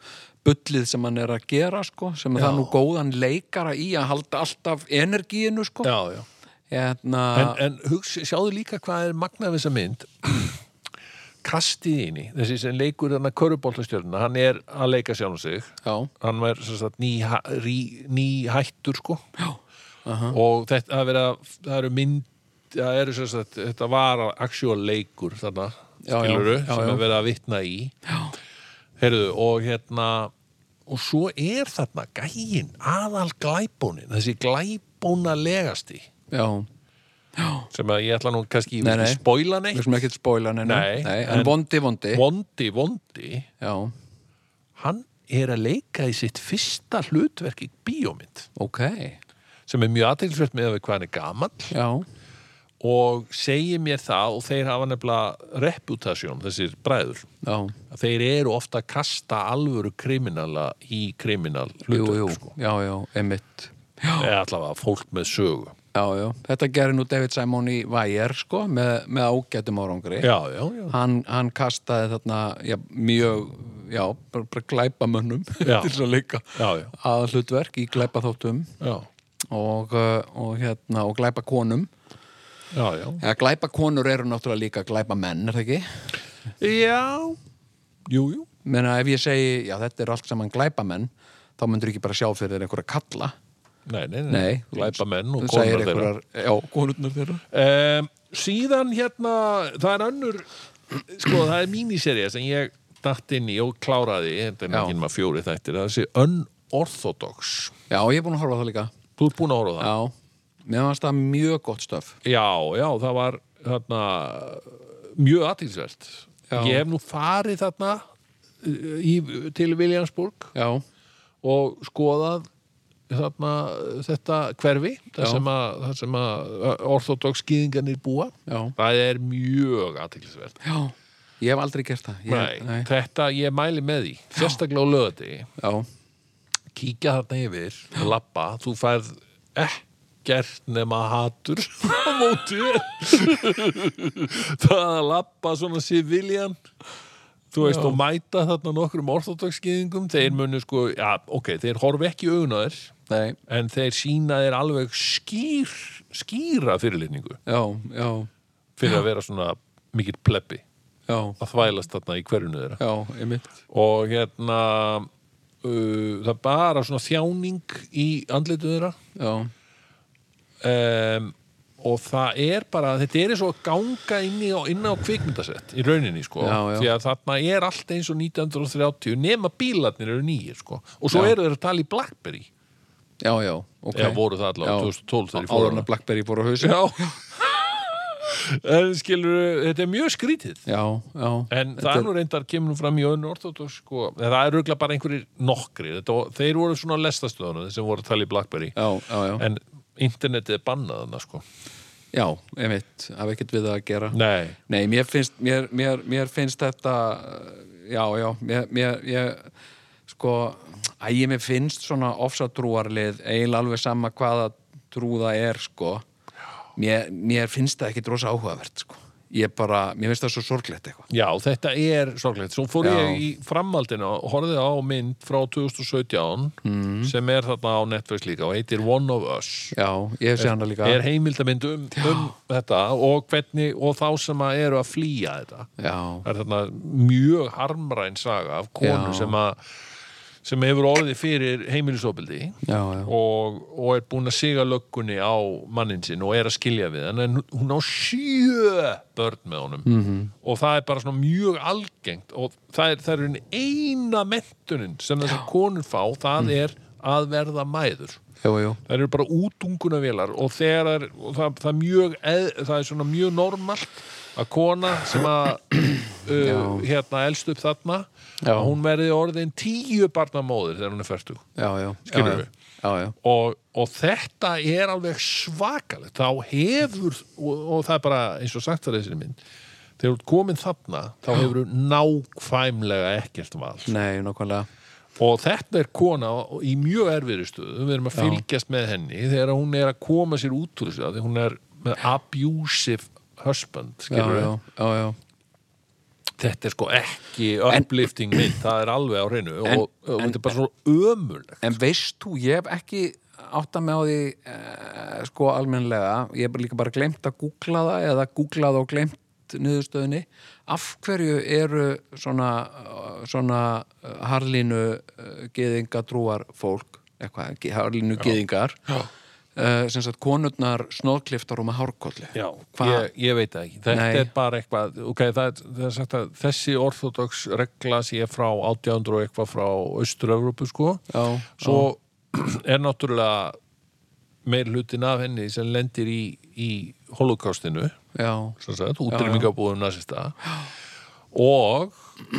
[SPEAKER 3] bullið sem hann er að gera, sko, sem er það nú góðan leikara í að halda alltaf energíinu, sko.
[SPEAKER 1] já, já
[SPEAKER 3] Hérna,
[SPEAKER 1] en, en hugsa, sjáðu líka hvað er magnað við þessa mynd kastið inn í þessi sem leikur hann að körubóltastjörnuna hann er að leika sjálfum sig
[SPEAKER 3] já,
[SPEAKER 1] hann er sem sagt ný, rí, ný hættur sko Já, og þetta það er verið að það eru mynd það eru sem sagt, þetta var actual leikur þarna,
[SPEAKER 3] Já, já,
[SPEAKER 1] skiluru
[SPEAKER 3] já,
[SPEAKER 1] sem
[SPEAKER 3] já.
[SPEAKER 1] er verið að vitna í Já. heyrðu, og hérna og svo er þarna gægin aðal glæbónin, þessi glæbónalegasti
[SPEAKER 3] já.
[SPEAKER 1] sem að ég ætla nú kannski
[SPEAKER 3] Nei,
[SPEAKER 1] nei, nei.
[SPEAKER 3] nei.
[SPEAKER 1] spóila
[SPEAKER 3] Við
[SPEAKER 1] neitt
[SPEAKER 3] sem ekkert spóila henni.
[SPEAKER 1] Nei,
[SPEAKER 3] nei.
[SPEAKER 1] en-
[SPEAKER 3] En vondi, vondi.
[SPEAKER 1] vondi, vondi,
[SPEAKER 3] Já,
[SPEAKER 1] hann er að leika í sitt fyrsta hlutverk í bíómynd
[SPEAKER 3] ok.
[SPEAKER 1] sem er mjög aðteglisvert með að við hvað hann er gamall
[SPEAKER 3] Já,
[SPEAKER 1] og segir mér það og þeir hafa nefnilega reputasjón, þessir bræður
[SPEAKER 3] já,
[SPEAKER 1] að þeir eru ofta að kasta alvöru kriminala í kriminal
[SPEAKER 3] jú, jú,
[SPEAKER 1] hlutverk sko.
[SPEAKER 3] já, já, emitt.
[SPEAKER 1] eða allavega fólk með sögu
[SPEAKER 3] Já, já, þetta gerir nú David Simon í Væjar, sko, með, með ágætum árangri.
[SPEAKER 1] já, já, já,
[SPEAKER 3] Hann, hann kastaði þarna já, mjög já, bara, bara glæpa [LAUGHS] mönnum til
[SPEAKER 1] Já.
[SPEAKER 3] þess að leika
[SPEAKER 1] já, já,
[SPEAKER 3] að hlutverk í glæpa þáttum
[SPEAKER 1] já,
[SPEAKER 3] og, uh, og, hérna, og glæpa konum
[SPEAKER 1] já, já.
[SPEAKER 3] eða glæpa konur eru náttúrulega líka glæpa menn, er það ekki?
[SPEAKER 1] Já, jú, jú.
[SPEAKER 3] Menna ef ég segi, já þetta er allt saman glæpa menn þá myndur ekki bara sjá fyrir þér einhverja kalla
[SPEAKER 1] Nei, nei,
[SPEAKER 3] Nei,
[SPEAKER 1] Glæpa menn og
[SPEAKER 3] þú
[SPEAKER 1] konar
[SPEAKER 3] segir
[SPEAKER 1] þeirra.
[SPEAKER 3] einhverjar- Já, konurnar þeirra
[SPEAKER 1] Um, síðan hérna, það er önnur, sko, það er míniserja sem ég datt inn í og kláraði, þetta er
[SPEAKER 3] Já.
[SPEAKER 1] ekki nema fjóri þættir, það sé unorthodox.
[SPEAKER 3] Já, ég er búin að horfa á það líka
[SPEAKER 1] Þú ert búin að horfa á það?
[SPEAKER 3] Já, mér fannst það mjög gott stöf
[SPEAKER 1] Já, já, það var þarna mjög aðtilsvert.
[SPEAKER 3] Já.
[SPEAKER 1] Ég hef nú farið þarna uh, í, til Viljansburg
[SPEAKER 3] Já,
[SPEAKER 1] og skoðað þarna, þetta hverfi þar
[SPEAKER 3] Já.
[SPEAKER 1] sem að, þar sem að eh, orthodox skýðingarnir búa
[SPEAKER 3] já,
[SPEAKER 1] það er mjög aðtilsvert
[SPEAKER 3] já Ég hef aldrei gert það ég,
[SPEAKER 1] Nei, þetta ég mæli með því sérstaklega á lögati
[SPEAKER 3] Já,
[SPEAKER 1] kíkja þarna yfir, lappa þú færð ekkert nema hatur á móti þér. það að lappa svona civiljan þú veist, og mæta þarna nokkrum orthodoxskýðingum, þeir munu sko já, ok, þeir horfi ekki augunar
[SPEAKER 3] nei,
[SPEAKER 1] en þeir sína þeir alveg skýr, skýra fyrirlitningu
[SPEAKER 3] já, já,
[SPEAKER 1] fyrir að vera svona mikill plebbi
[SPEAKER 3] já
[SPEAKER 1] að þvælast þarna í hverjunu þeirra
[SPEAKER 3] Já, einmitt
[SPEAKER 1] og hérna uh, það er bara svona þjáning í andlitu þeirra
[SPEAKER 3] Já,
[SPEAKER 1] um, og það er bara þetta er eins og að ganga inn, í, inn á kvikmyndasett í rauninni sko
[SPEAKER 3] Já, já.
[SPEAKER 1] því að þarna er allt eins og 1930 nema bílarnir eru nýjir sko og svo
[SPEAKER 3] Já.
[SPEAKER 1] eru þeir að tala í Blackberry
[SPEAKER 3] já, já, ok
[SPEAKER 1] eða voru það allavega
[SPEAKER 3] Já.
[SPEAKER 1] 2012 þegar ég fór
[SPEAKER 3] Áðurna
[SPEAKER 1] þarna.
[SPEAKER 3] Blackberry fór á hausin
[SPEAKER 1] Já En skilur, þetta er mjög skrítið
[SPEAKER 3] Já, já
[SPEAKER 1] En
[SPEAKER 3] Þetta
[SPEAKER 1] það
[SPEAKER 3] er-
[SPEAKER 1] er nú reyndar kemur nú fram í önnu orthodox sko. En það er röglega bara einhverjir nokkri þetta, var- Þeir voru svona lestastöðunum þeir sem voru að tala í Blackberry
[SPEAKER 3] Já, já, já,
[SPEAKER 1] En internetið er bannað hana sko.
[SPEAKER 3] já, einmitt Haf ekkert við það að gera
[SPEAKER 1] Nei,
[SPEAKER 3] Nei, mér finnst, mér, mér, mér finnst þetta uh, já, já, mér, mér ég, sko, að ég mér finnst svona ofsatrúarlið eiginlega alveg sama hvaða trú það er, sko mér, mér finnst það ekkit rosa áhugavert, sko ég bara, mér finnst það svo sorglegt eitthvað
[SPEAKER 1] já, þetta er sorglegt Svo fór
[SPEAKER 3] Já.
[SPEAKER 1] ég í framhaldinu og horfði á mynd frá 2017
[SPEAKER 3] Mhm.
[SPEAKER 1] sem er þarna á Netflix líka og heitir One of Us
[SPEAKER 3] Já, ég hef séð hana líka
[SPEAKER 1] er heimildamind um, um þetta og, hvernig, og þá sem að eru að flýja þetta
[SPEAKER 3] Já,
[SPEAKER 1] það er þarna mjög harmræn saga af konu
[SPEAKER 3] Já.
[SPEAKER 1] sem að sem hefur orðið fyrir heimilisofbildi
[SPEAKER 3] já, já,
[SPEAKER 1] og, og er búin að siga löggunni á mannin sinn og er að skilja við hann en hún á sjö börn með honum -hmm. og það er bara svona mjög algengt og það er, það er ein- eina mentunin sem þessar konur fá það er að verða mæður
[SPEAKER 3] já, já,
[SPEAKER 1] það eru bara útungunavélar og þegar er, og það, það er mjög eð, það er svona mjög normalt að kona sem að uh, hérna elst upp þarna
[SPEAKER 3] Já.
[SPEAKER 1] að hún verði orðin tíu barnamóðir þegar hún er fertug
[SPEAKER 3] já, já
[SPEAKER 1] Skilurðu?
[SPEAKER 3] Já, já,
[SPEAKER 1] og, og þetta er alveg svakalegt þá hefur, og, og það er bara eins og sagt það þessir minn þegar þú ert komin þarna, þá hefur þú nákvæmlega ekkert val
[SPEAKER 3] nei, nákvæmlega
[SPEAKER 1] og þetta er kona í mjög erfiðri stöðu við erum að fylgjast með henni þegar hún er að koma sér út úr þessu af því hún er með abusive husband
[SPEAKER 3] Já,
[SPEAKER 1] skilurðu.
[SPEAKER 3] já, já, já
[SPEAKER 1] þetta er sko ekki uplifting mynd, það er alveg á hreinu
[SPEAKER 3] En-
[SPEAKER 1] og, og þetta er bara svo ömurlegt
[SPEAKER 3] En veist þú, ég hef ekki átta mig á því eh, sko almennlega, ég hef bara líka bara glemt að googla það eða googla það og glemt niðurstöðunni, af hverju eru svona, eh, svona eh, harlínu eh, gyðinga trúar fólk eitthvað, ge- harlínu gyðingar eh, sem sagt konurnar snóðkliftar og með hárkollu
[SPEAKER 1] Já,
[SPEAKER 3] Hva-
[SPEAKER 1] ég, ég veit það ekki þetta
[SPEAKER 3] Nei.
[SPEAKER 1] er bara eitthvað, ok, það er, það er sagt að þessi orthodox regla sé frá 1800 og eitthvað frá Austur-Európu sko
[SPEAKER 3] Já,
[SPEAKER 1] svo [CLEARS THROAT] er náttúrulega meir hlutin af henni sem lendir í, í holokástinu
[SPEAKER 3] já,
[SPEAKER 1] sem sagt, útrýmingabúðum nasista og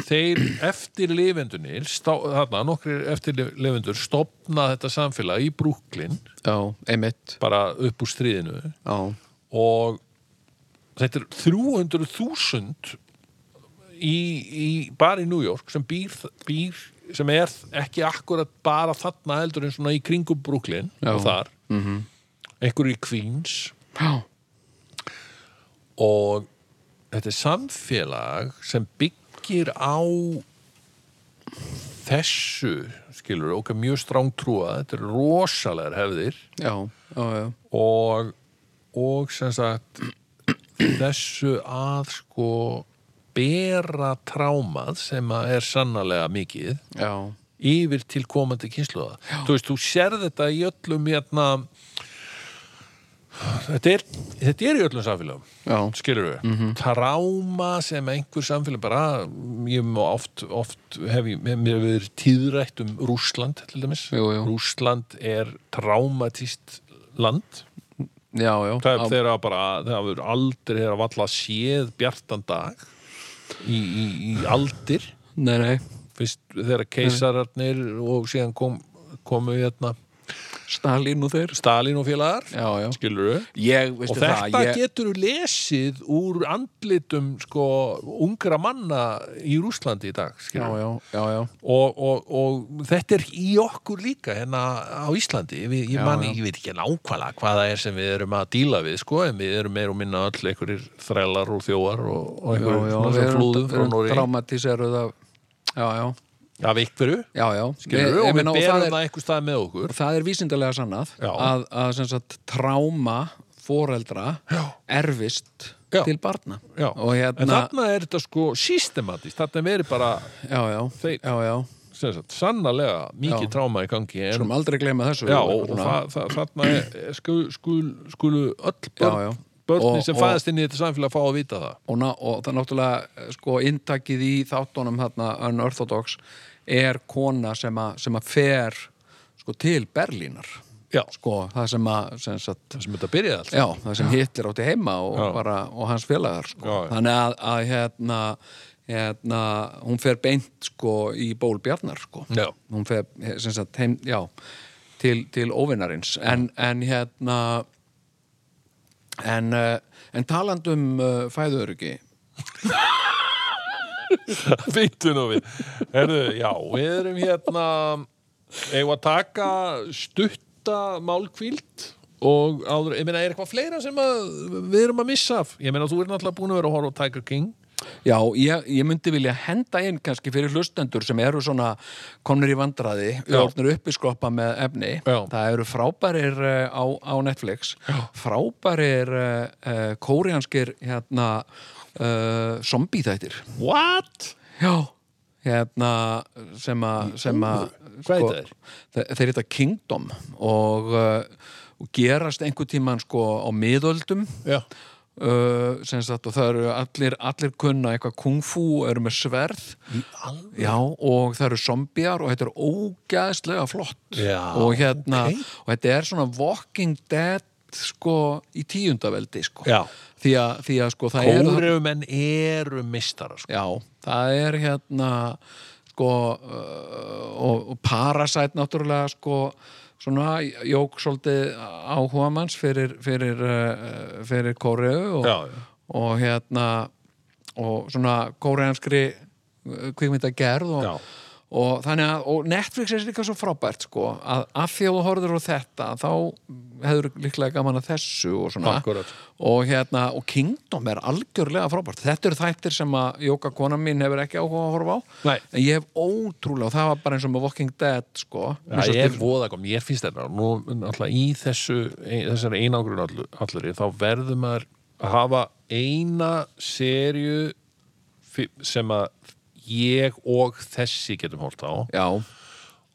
[SPEAKER 1] þeir eftirlifendunir stá, þarna, nokkrir eftirlifendur stopna þetta samfélag í Brooklyn
[SPEAKER 3] já, einmitt
[SPEAKER 1] bara upp úr stríðinu
[SPEAKER 3] já,
[SPEAKER 1] og þetta er 300.000 í, í, bara í New York sem býr, býr sem er ekki akkurat bara þarna heldur en svona í kringum Brooklyn
[SPEAKER 3] Já.
[SPEAKER 1] og þar mm -hmm. einhverju í Queens
[SPEAKER 3] já,
[SPEAKER 1] og þetta er samfélag sem byggir á þessu, skilur, okkar mjög strángtrúa, þetta eru rosalegar hefðir
[SPEAKER 3] já, já, já,
[SPEAKER 1] og, og sem sagt þessu að sko bera trámað sem að er sannarlega mikið
[SPEAKER 3] já,
[SPEAKER 1] yfir til komandi kynsluða þú veist, þú sér þetta í öllum hérna þetta er, þetta er í öllum samfélagum
[SPEAKER 3] já,
[SPEAKER 1] skilur við, mm
[SPEAKER 3] Mhm.
[SPEAKER 1] tráma sem einhver samfélag bara ég má oft, oft hef ég mér mér hefur verið tíðrætt um Rússland til dæmis,
[SPEAKER 3] Jú, jú.
[SPEAKER 1] Rússland er traumatist land
[SPEAKER 3] já, já,
[SPEAKER 1] það er
[SPEAKER 3] já,
[SPEAKER 1] þeirra bara, það hefur aldrei þeirra valla séð bjartan dag í, í, í aldir
[SPEAKER 3] nei, nei,
[SPEAKER 1] fyrst þeirra keisararnir og síðan kom, komu hérna
[SPEAKER 3] Stalin og þeir,
[SPEAKER 1] Stalin og félagar
[SPEAKER 3] já, já,
[SPEAKER 1] skilur við
[SPEAKER 3] ég,
[SPEAKER 1] og
[SPEAKER 3] veistu það,
[SPEAKER 1] þetta
[SPEAKER 3] ég,
[SPEAKER 1] getur lesið úr andlitum sko ungra manna í Rúslandi í dag
[SPEAKER 3] já,
[SPEAKER 1] skilur við.
[SPEAKER 3] já, já, já,
[SPEAKER 1] og, og, og þetta er í okkur líka hérna á Íslandi við, ég,
[SPEAKER 3] Já,
[SPEAKER 1] man,
[SPEAKER 3] já.
[SPEAKER 1] ég veit ekki nákvæmlega hvað það er sem við erum að díla við sko en við erum meir og minna öll einhverjir þrælar og þjóar og, og
[SPEAKER 3] já,
[SPEAKER 1] einhverjum
[SPEAKER 3] já,
[SPEAKER 1] svona
[SPEAKER 3] við
[SPEAKER 1] sem flúðum
[SPEAKER 3] erum,
[SPEAKER 1] frá
[SPEAKER 3] erum
[SPEAKER 1] Nóri
[SPEAKER 3] traumatiseruð af, já, já,
[SPEAKER 1] af einhverju
[SPEAKER 3] já, já,
[SPEAKER 1] skilur við,
[SPEAKER 3] ég
[SPEAKER 1] og við
[SPEAKER 3] meina,
[SPEAKER 1] berum
[SPEAKER 3] það er-
[SPEAKER 1] það einhver stað með okkur
[SPEAKER 3] og það er vísindalega sannað
[SPEAKER 1] Já.
[SPEAKER 3] að, að sem sagt tráma foreldra
[SPEAKER 1] Já.
[SPEAKER 3] erfist
[SPEAKER 1] Já.
[SPEAKER 3] til barna
[SPEAKER 1] Já.
[SPEAKER 3] og
[SPEAKER 1] en
[SPEAKER 3] hérna
[SPEAKER 1] þarna er þetta sko systematist þarna er verið bara
[SPEAKER 3] já, já,
[SPEAKER 1] Þeir-
[SPEAKER 3] já, já,
[SPEAKER 1] sem sagt, sannarlega mikið
[SPEAKER 3] Já.
[SPEAKER 1] tráma í gangi en
[SPEAKER 3] sem aldrei gleyma þessu
[SPEAKER 1] Já,
[SPEAKER 3] Svona.
[SPEAKER 1] og það, það, þarna er- er- skul, skul, skulu öll börn,
[SPEAKER 3] Já, já.
[SPEAKER 1] börnin
[SPEAKER 3] Og-
[SPEAKER 1] sem
[SPEAKER 3] og-
[SPEAKER 1] fæðast inn í þetta samfélag fá að vita það.
[SPEAKER 3] og, ná, og það er náttúrulega eh, sko inntakið í þáttunum þarna unorthodox er kona sem að, sem að fer sko til Berlínar
[SPEAKER 1] Já,
[SPEAKER 3] sko það sem að sem sagt,
[SPEAKER 1] það sem þetta byrjaði allt.
[SPEAKER 3] já, það sem Hitler átti heima og,
[SPEAKER 1] Já.
[SPEAKER 3] bara, og hans félagar sko.
[SPEAKER 1] Já, já.
[SPEAKER 3] þannig að, að hérna, hérna hún fer beint sko í ból Bjarnar sko
[SPEAKER 1] Já.
[SPEAKER 3] hún fer sem sagt heim, já til, til óvinnarins en, en hérna en, eh, en talandum uh, fæðuöryggi
[SPEAKER 1] Býttu nú við. Herðu, já, við erum hérna, eigum að taka stutta málkvíld og áður, ég meina, er eitthvað fleira sem að, við erum að missa af? Ég meina, þú er náttúrulega búin að vera að horfa á Tiger King.
[SPEAKER 3] Já, ég, ég myndi vilja henda inn kannski fyrir hlustendur sem eru svona komnir í vandraði,
[SPEAKER 1] Já.
[SPEAKER 3] orðnir upp í skroppa með efni.
[SPEAKER 1] Já.
[SPEAKER 3] Það eru frábærir eh, á, á Netflix, Já. frábærir uh, kórianskir hérna uh, zombie-þættir.
[SPEAKER 1] What?
[SPEAKER 3] Já. Hérna sem að... sem að- sko,
[SPEAKER 1] Hvað heita þeir?
[SPEAKER 3] Þe- Þeir heita Kingdom og, uh, og gerast einhver tíman sko á miðöldum
[SPEAKER 1] Já.
[SPEAKER 3] uh, sem sagt og það eru allir, allir kunna eitthvað kung fu eru með sverð já, og það eru zombiar og þetta er ógæðslega flott
[SPEAKER 1] Já,
[SPEAKER 3] og hérna
[SPEAKER 1] ókei.
[SPEAKER 3] og þetta er svona Walking Dead sko í tíundaveldi sko
[SPEAKER 1] Já.
[SPEAKER 3] því að, því að sko það eru
[SPEAKER 1] Kórumenn eru mistara, sko.
[SPEAKER 3] já, það er hérna sko uh, og, og Parasite náttúrulega sko svona jók svolítið áhuga manns fyrir, fyrir, uh, fyrir Kóreu og,
[SPEAKER 1] Já, já.
[SPEAKER 3] og hérna og svona kóreanskri kvikmynda gerð og,
[SPEAKER 1] Já.
[SPEAKER 3] og þannig að og Netflix er líka svo frábært sko að af því að þú horfður á þetta þá hefur líklega gaman að þessu og svona
[SPEAKER 1] Akkúrat.
[SPEAKER 3] og hérna og Kingdom er algjörlega frábært þetta eru þættir sem að Jóka kona mín hefur ekki áhuga að horfa á
[SPEAKER 1] Nei.
[SPEAKER 3] en ég hef ótrúlega og það var bara eins og með Walking Dead sko
[SPEAKER 1] Já, ég er voða kom, ég finnst þetta nú náttúrulega í þessu ein- þessari einangrun all- allri þá verður maður að hafa eina serju fi- sem að ég og þessi getum hort á
[SPEAKER 3] já,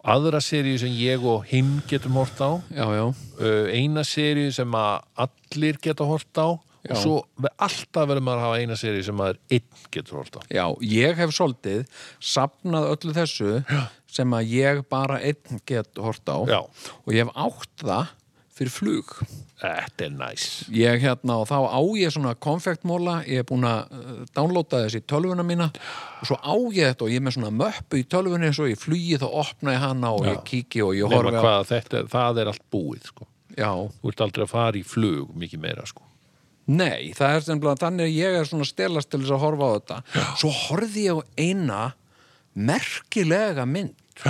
[SPEAKER 1] aðra serju sem ég og hinn getum hort á
[SPEAKER 3] já, já,
[SPEAKER 1] uh, eina serju sem að allir geta hort á og
[SPEAKER 3] Já.
[SPEAKER 1] svo ve- alltaf verður maður að hafa eina serju sem maður einn getur hort á
[SPEAKER 3] já ég hef svolítið sapnað öllu þessu já. sem að ég bara einn get hort á
[SPEAKER 1] Já.
[SPEAKER 3] og ég hef átt það fyrir flug
[SPEAKER 1] Þetta er næs
[SPEAKER 3] ég hérna og þá á ég svona konfektmóla, ég er búin að uh, downloada þessi tölvuna mína og svo á ég þetta og ég er með svona möppu í tölvunni svo ég flugi þá opna ég hana og ég kíki og ég
[SPEAKER 1] Nema
[SPEAKER 3] horfi á
[SPEAKER 1] hvað þetta, er- það er allt búið sko.
[SPEAKER 3] Já,
[SPEAKER 1] þú ert aldrei að fara í flug mikið meira sko
[SPEAKER 3] Nei, það er sem bara þannig að ég er svona að stelast til þess að horfa á þetta. Svo horfði ég á eina merkilega mynd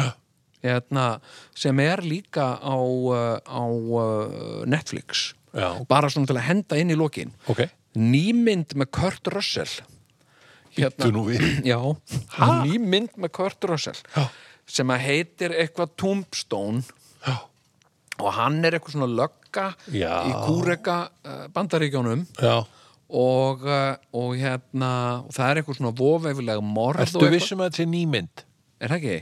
[SPEAKER 3] hérna, sem er líka á, uh, á uh, Netflix.
[SPEAKER 1] Já.
[SPEAKER 3] Bara svona til að henda inn í lokin.
[SPEAKER 1] Ok.
[SPEAKER 3] Nýmynd með Kurt Russell. Hérna- [CLEARS THROAT]
[SPEAKER 1] Bíddu nú við.
[SPEAKER 3] Já, nýmynd með Kurt Russell.
[SPEAKER 1] Já.
[SPEAKER 3] sem að heitir eitthvað Tombstone
[SPEAKER 1] Já.
[SPEAKER 3] og hann er eitthvað svona lögga
[SPEAKER 1] Já.
[SPEAKER 3] í kúreka bandaríkjónum
[SPEAKER 1] Já.
[SPEAKER 3] og, uh, og hérna og það er eitthvað svona vofeifilega morð og
[SPEAKER 1] Ertu
[SPEAKER 3] eitthvað-
[SPEAKER 1] vissum að þetta er nýmynd?
[SPEAKER 3] Er það ekki?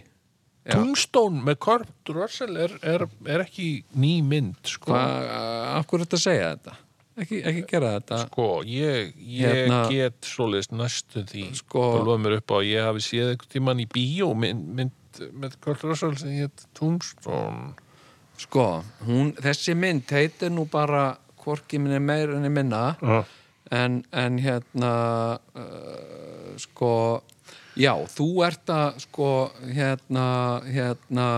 [SPEAKER 3] Já.
[SPEAKER 1] Tungstón með Kurt Russell er, er, er ekki nýmynd, sko.
[SPEAKER 3] Hvað, af hverju ertu að segja þetta? Ekki, ekki gera þetta
[SPEAKER 1] Sko, ég, ég
[SPEAKER 3] Hérna-
[SPEAKER 1] get svoleiðist næstu því
[SPEAKER 3] Sko-
[SPEAKER 1] og lofa mér upp á að ég hafi séð einhvern tímann í bíó mynd, mynd með Kurt Russell sem hétt Tungstón
[SPEAKER 3] Sko, hún, þessi mynd heitir nú bara hvorki minni meir enn í minna
[SPEAKER 1] Já.
[SPEAKER 3] en, en hérna uh, sko já, þú ert að sko hérna hérna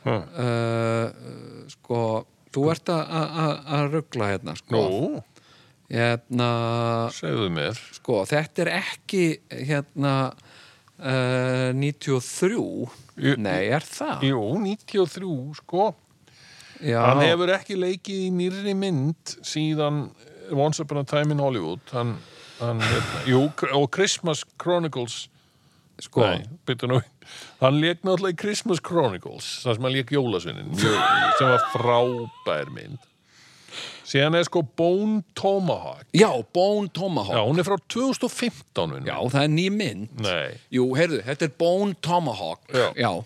[SPEAKER 1] Ha.
[SPEAKER 3] uh, sko þú ert að- að að- að ruggla hérna sko
[SPEAKER 1] Nú,
[SPEAKER 3] hérna
[SPEAKER 1] segðu mér
[SPEAKER 3] sko, þetta er ekki hérna uh, 93
[SPEAKER 1] Jú-
[SPEAKER 3] Nei, er það?
[SPEAKER 1] Jú, 93, sko
[SPEAKER 3] Já,
[SPEAKER 1] Hann hefur ekki leikið í nýrri mynd síðan Once Upon a Time in Hollywood hann, hann, hérna, Jú, og Christmas Chronicles
[SPEAKER 3] sko,
[SPEAKER 1] Nei, byrju nú Hann leik náttúrulega í Christmas Chronicles þar sem hann leik Jólasvinnin mjög- sem var frábær mynd Síðan er sko Bone Tomahawk
[SPEAKER 3] já, Bone
[SPEAKER 1] Já,
[SPEAKER 3] Tomahawk
[SPEAKER 1] hún er frá 2015 vinur.
[SPEAKER 3] Já, það er ný mynd
[SPEAKER 1] Nei,
[SPEAKER 3] Jú, heyrðu, þetta er Bone Tomahawk
[SPEAKER 1] Já.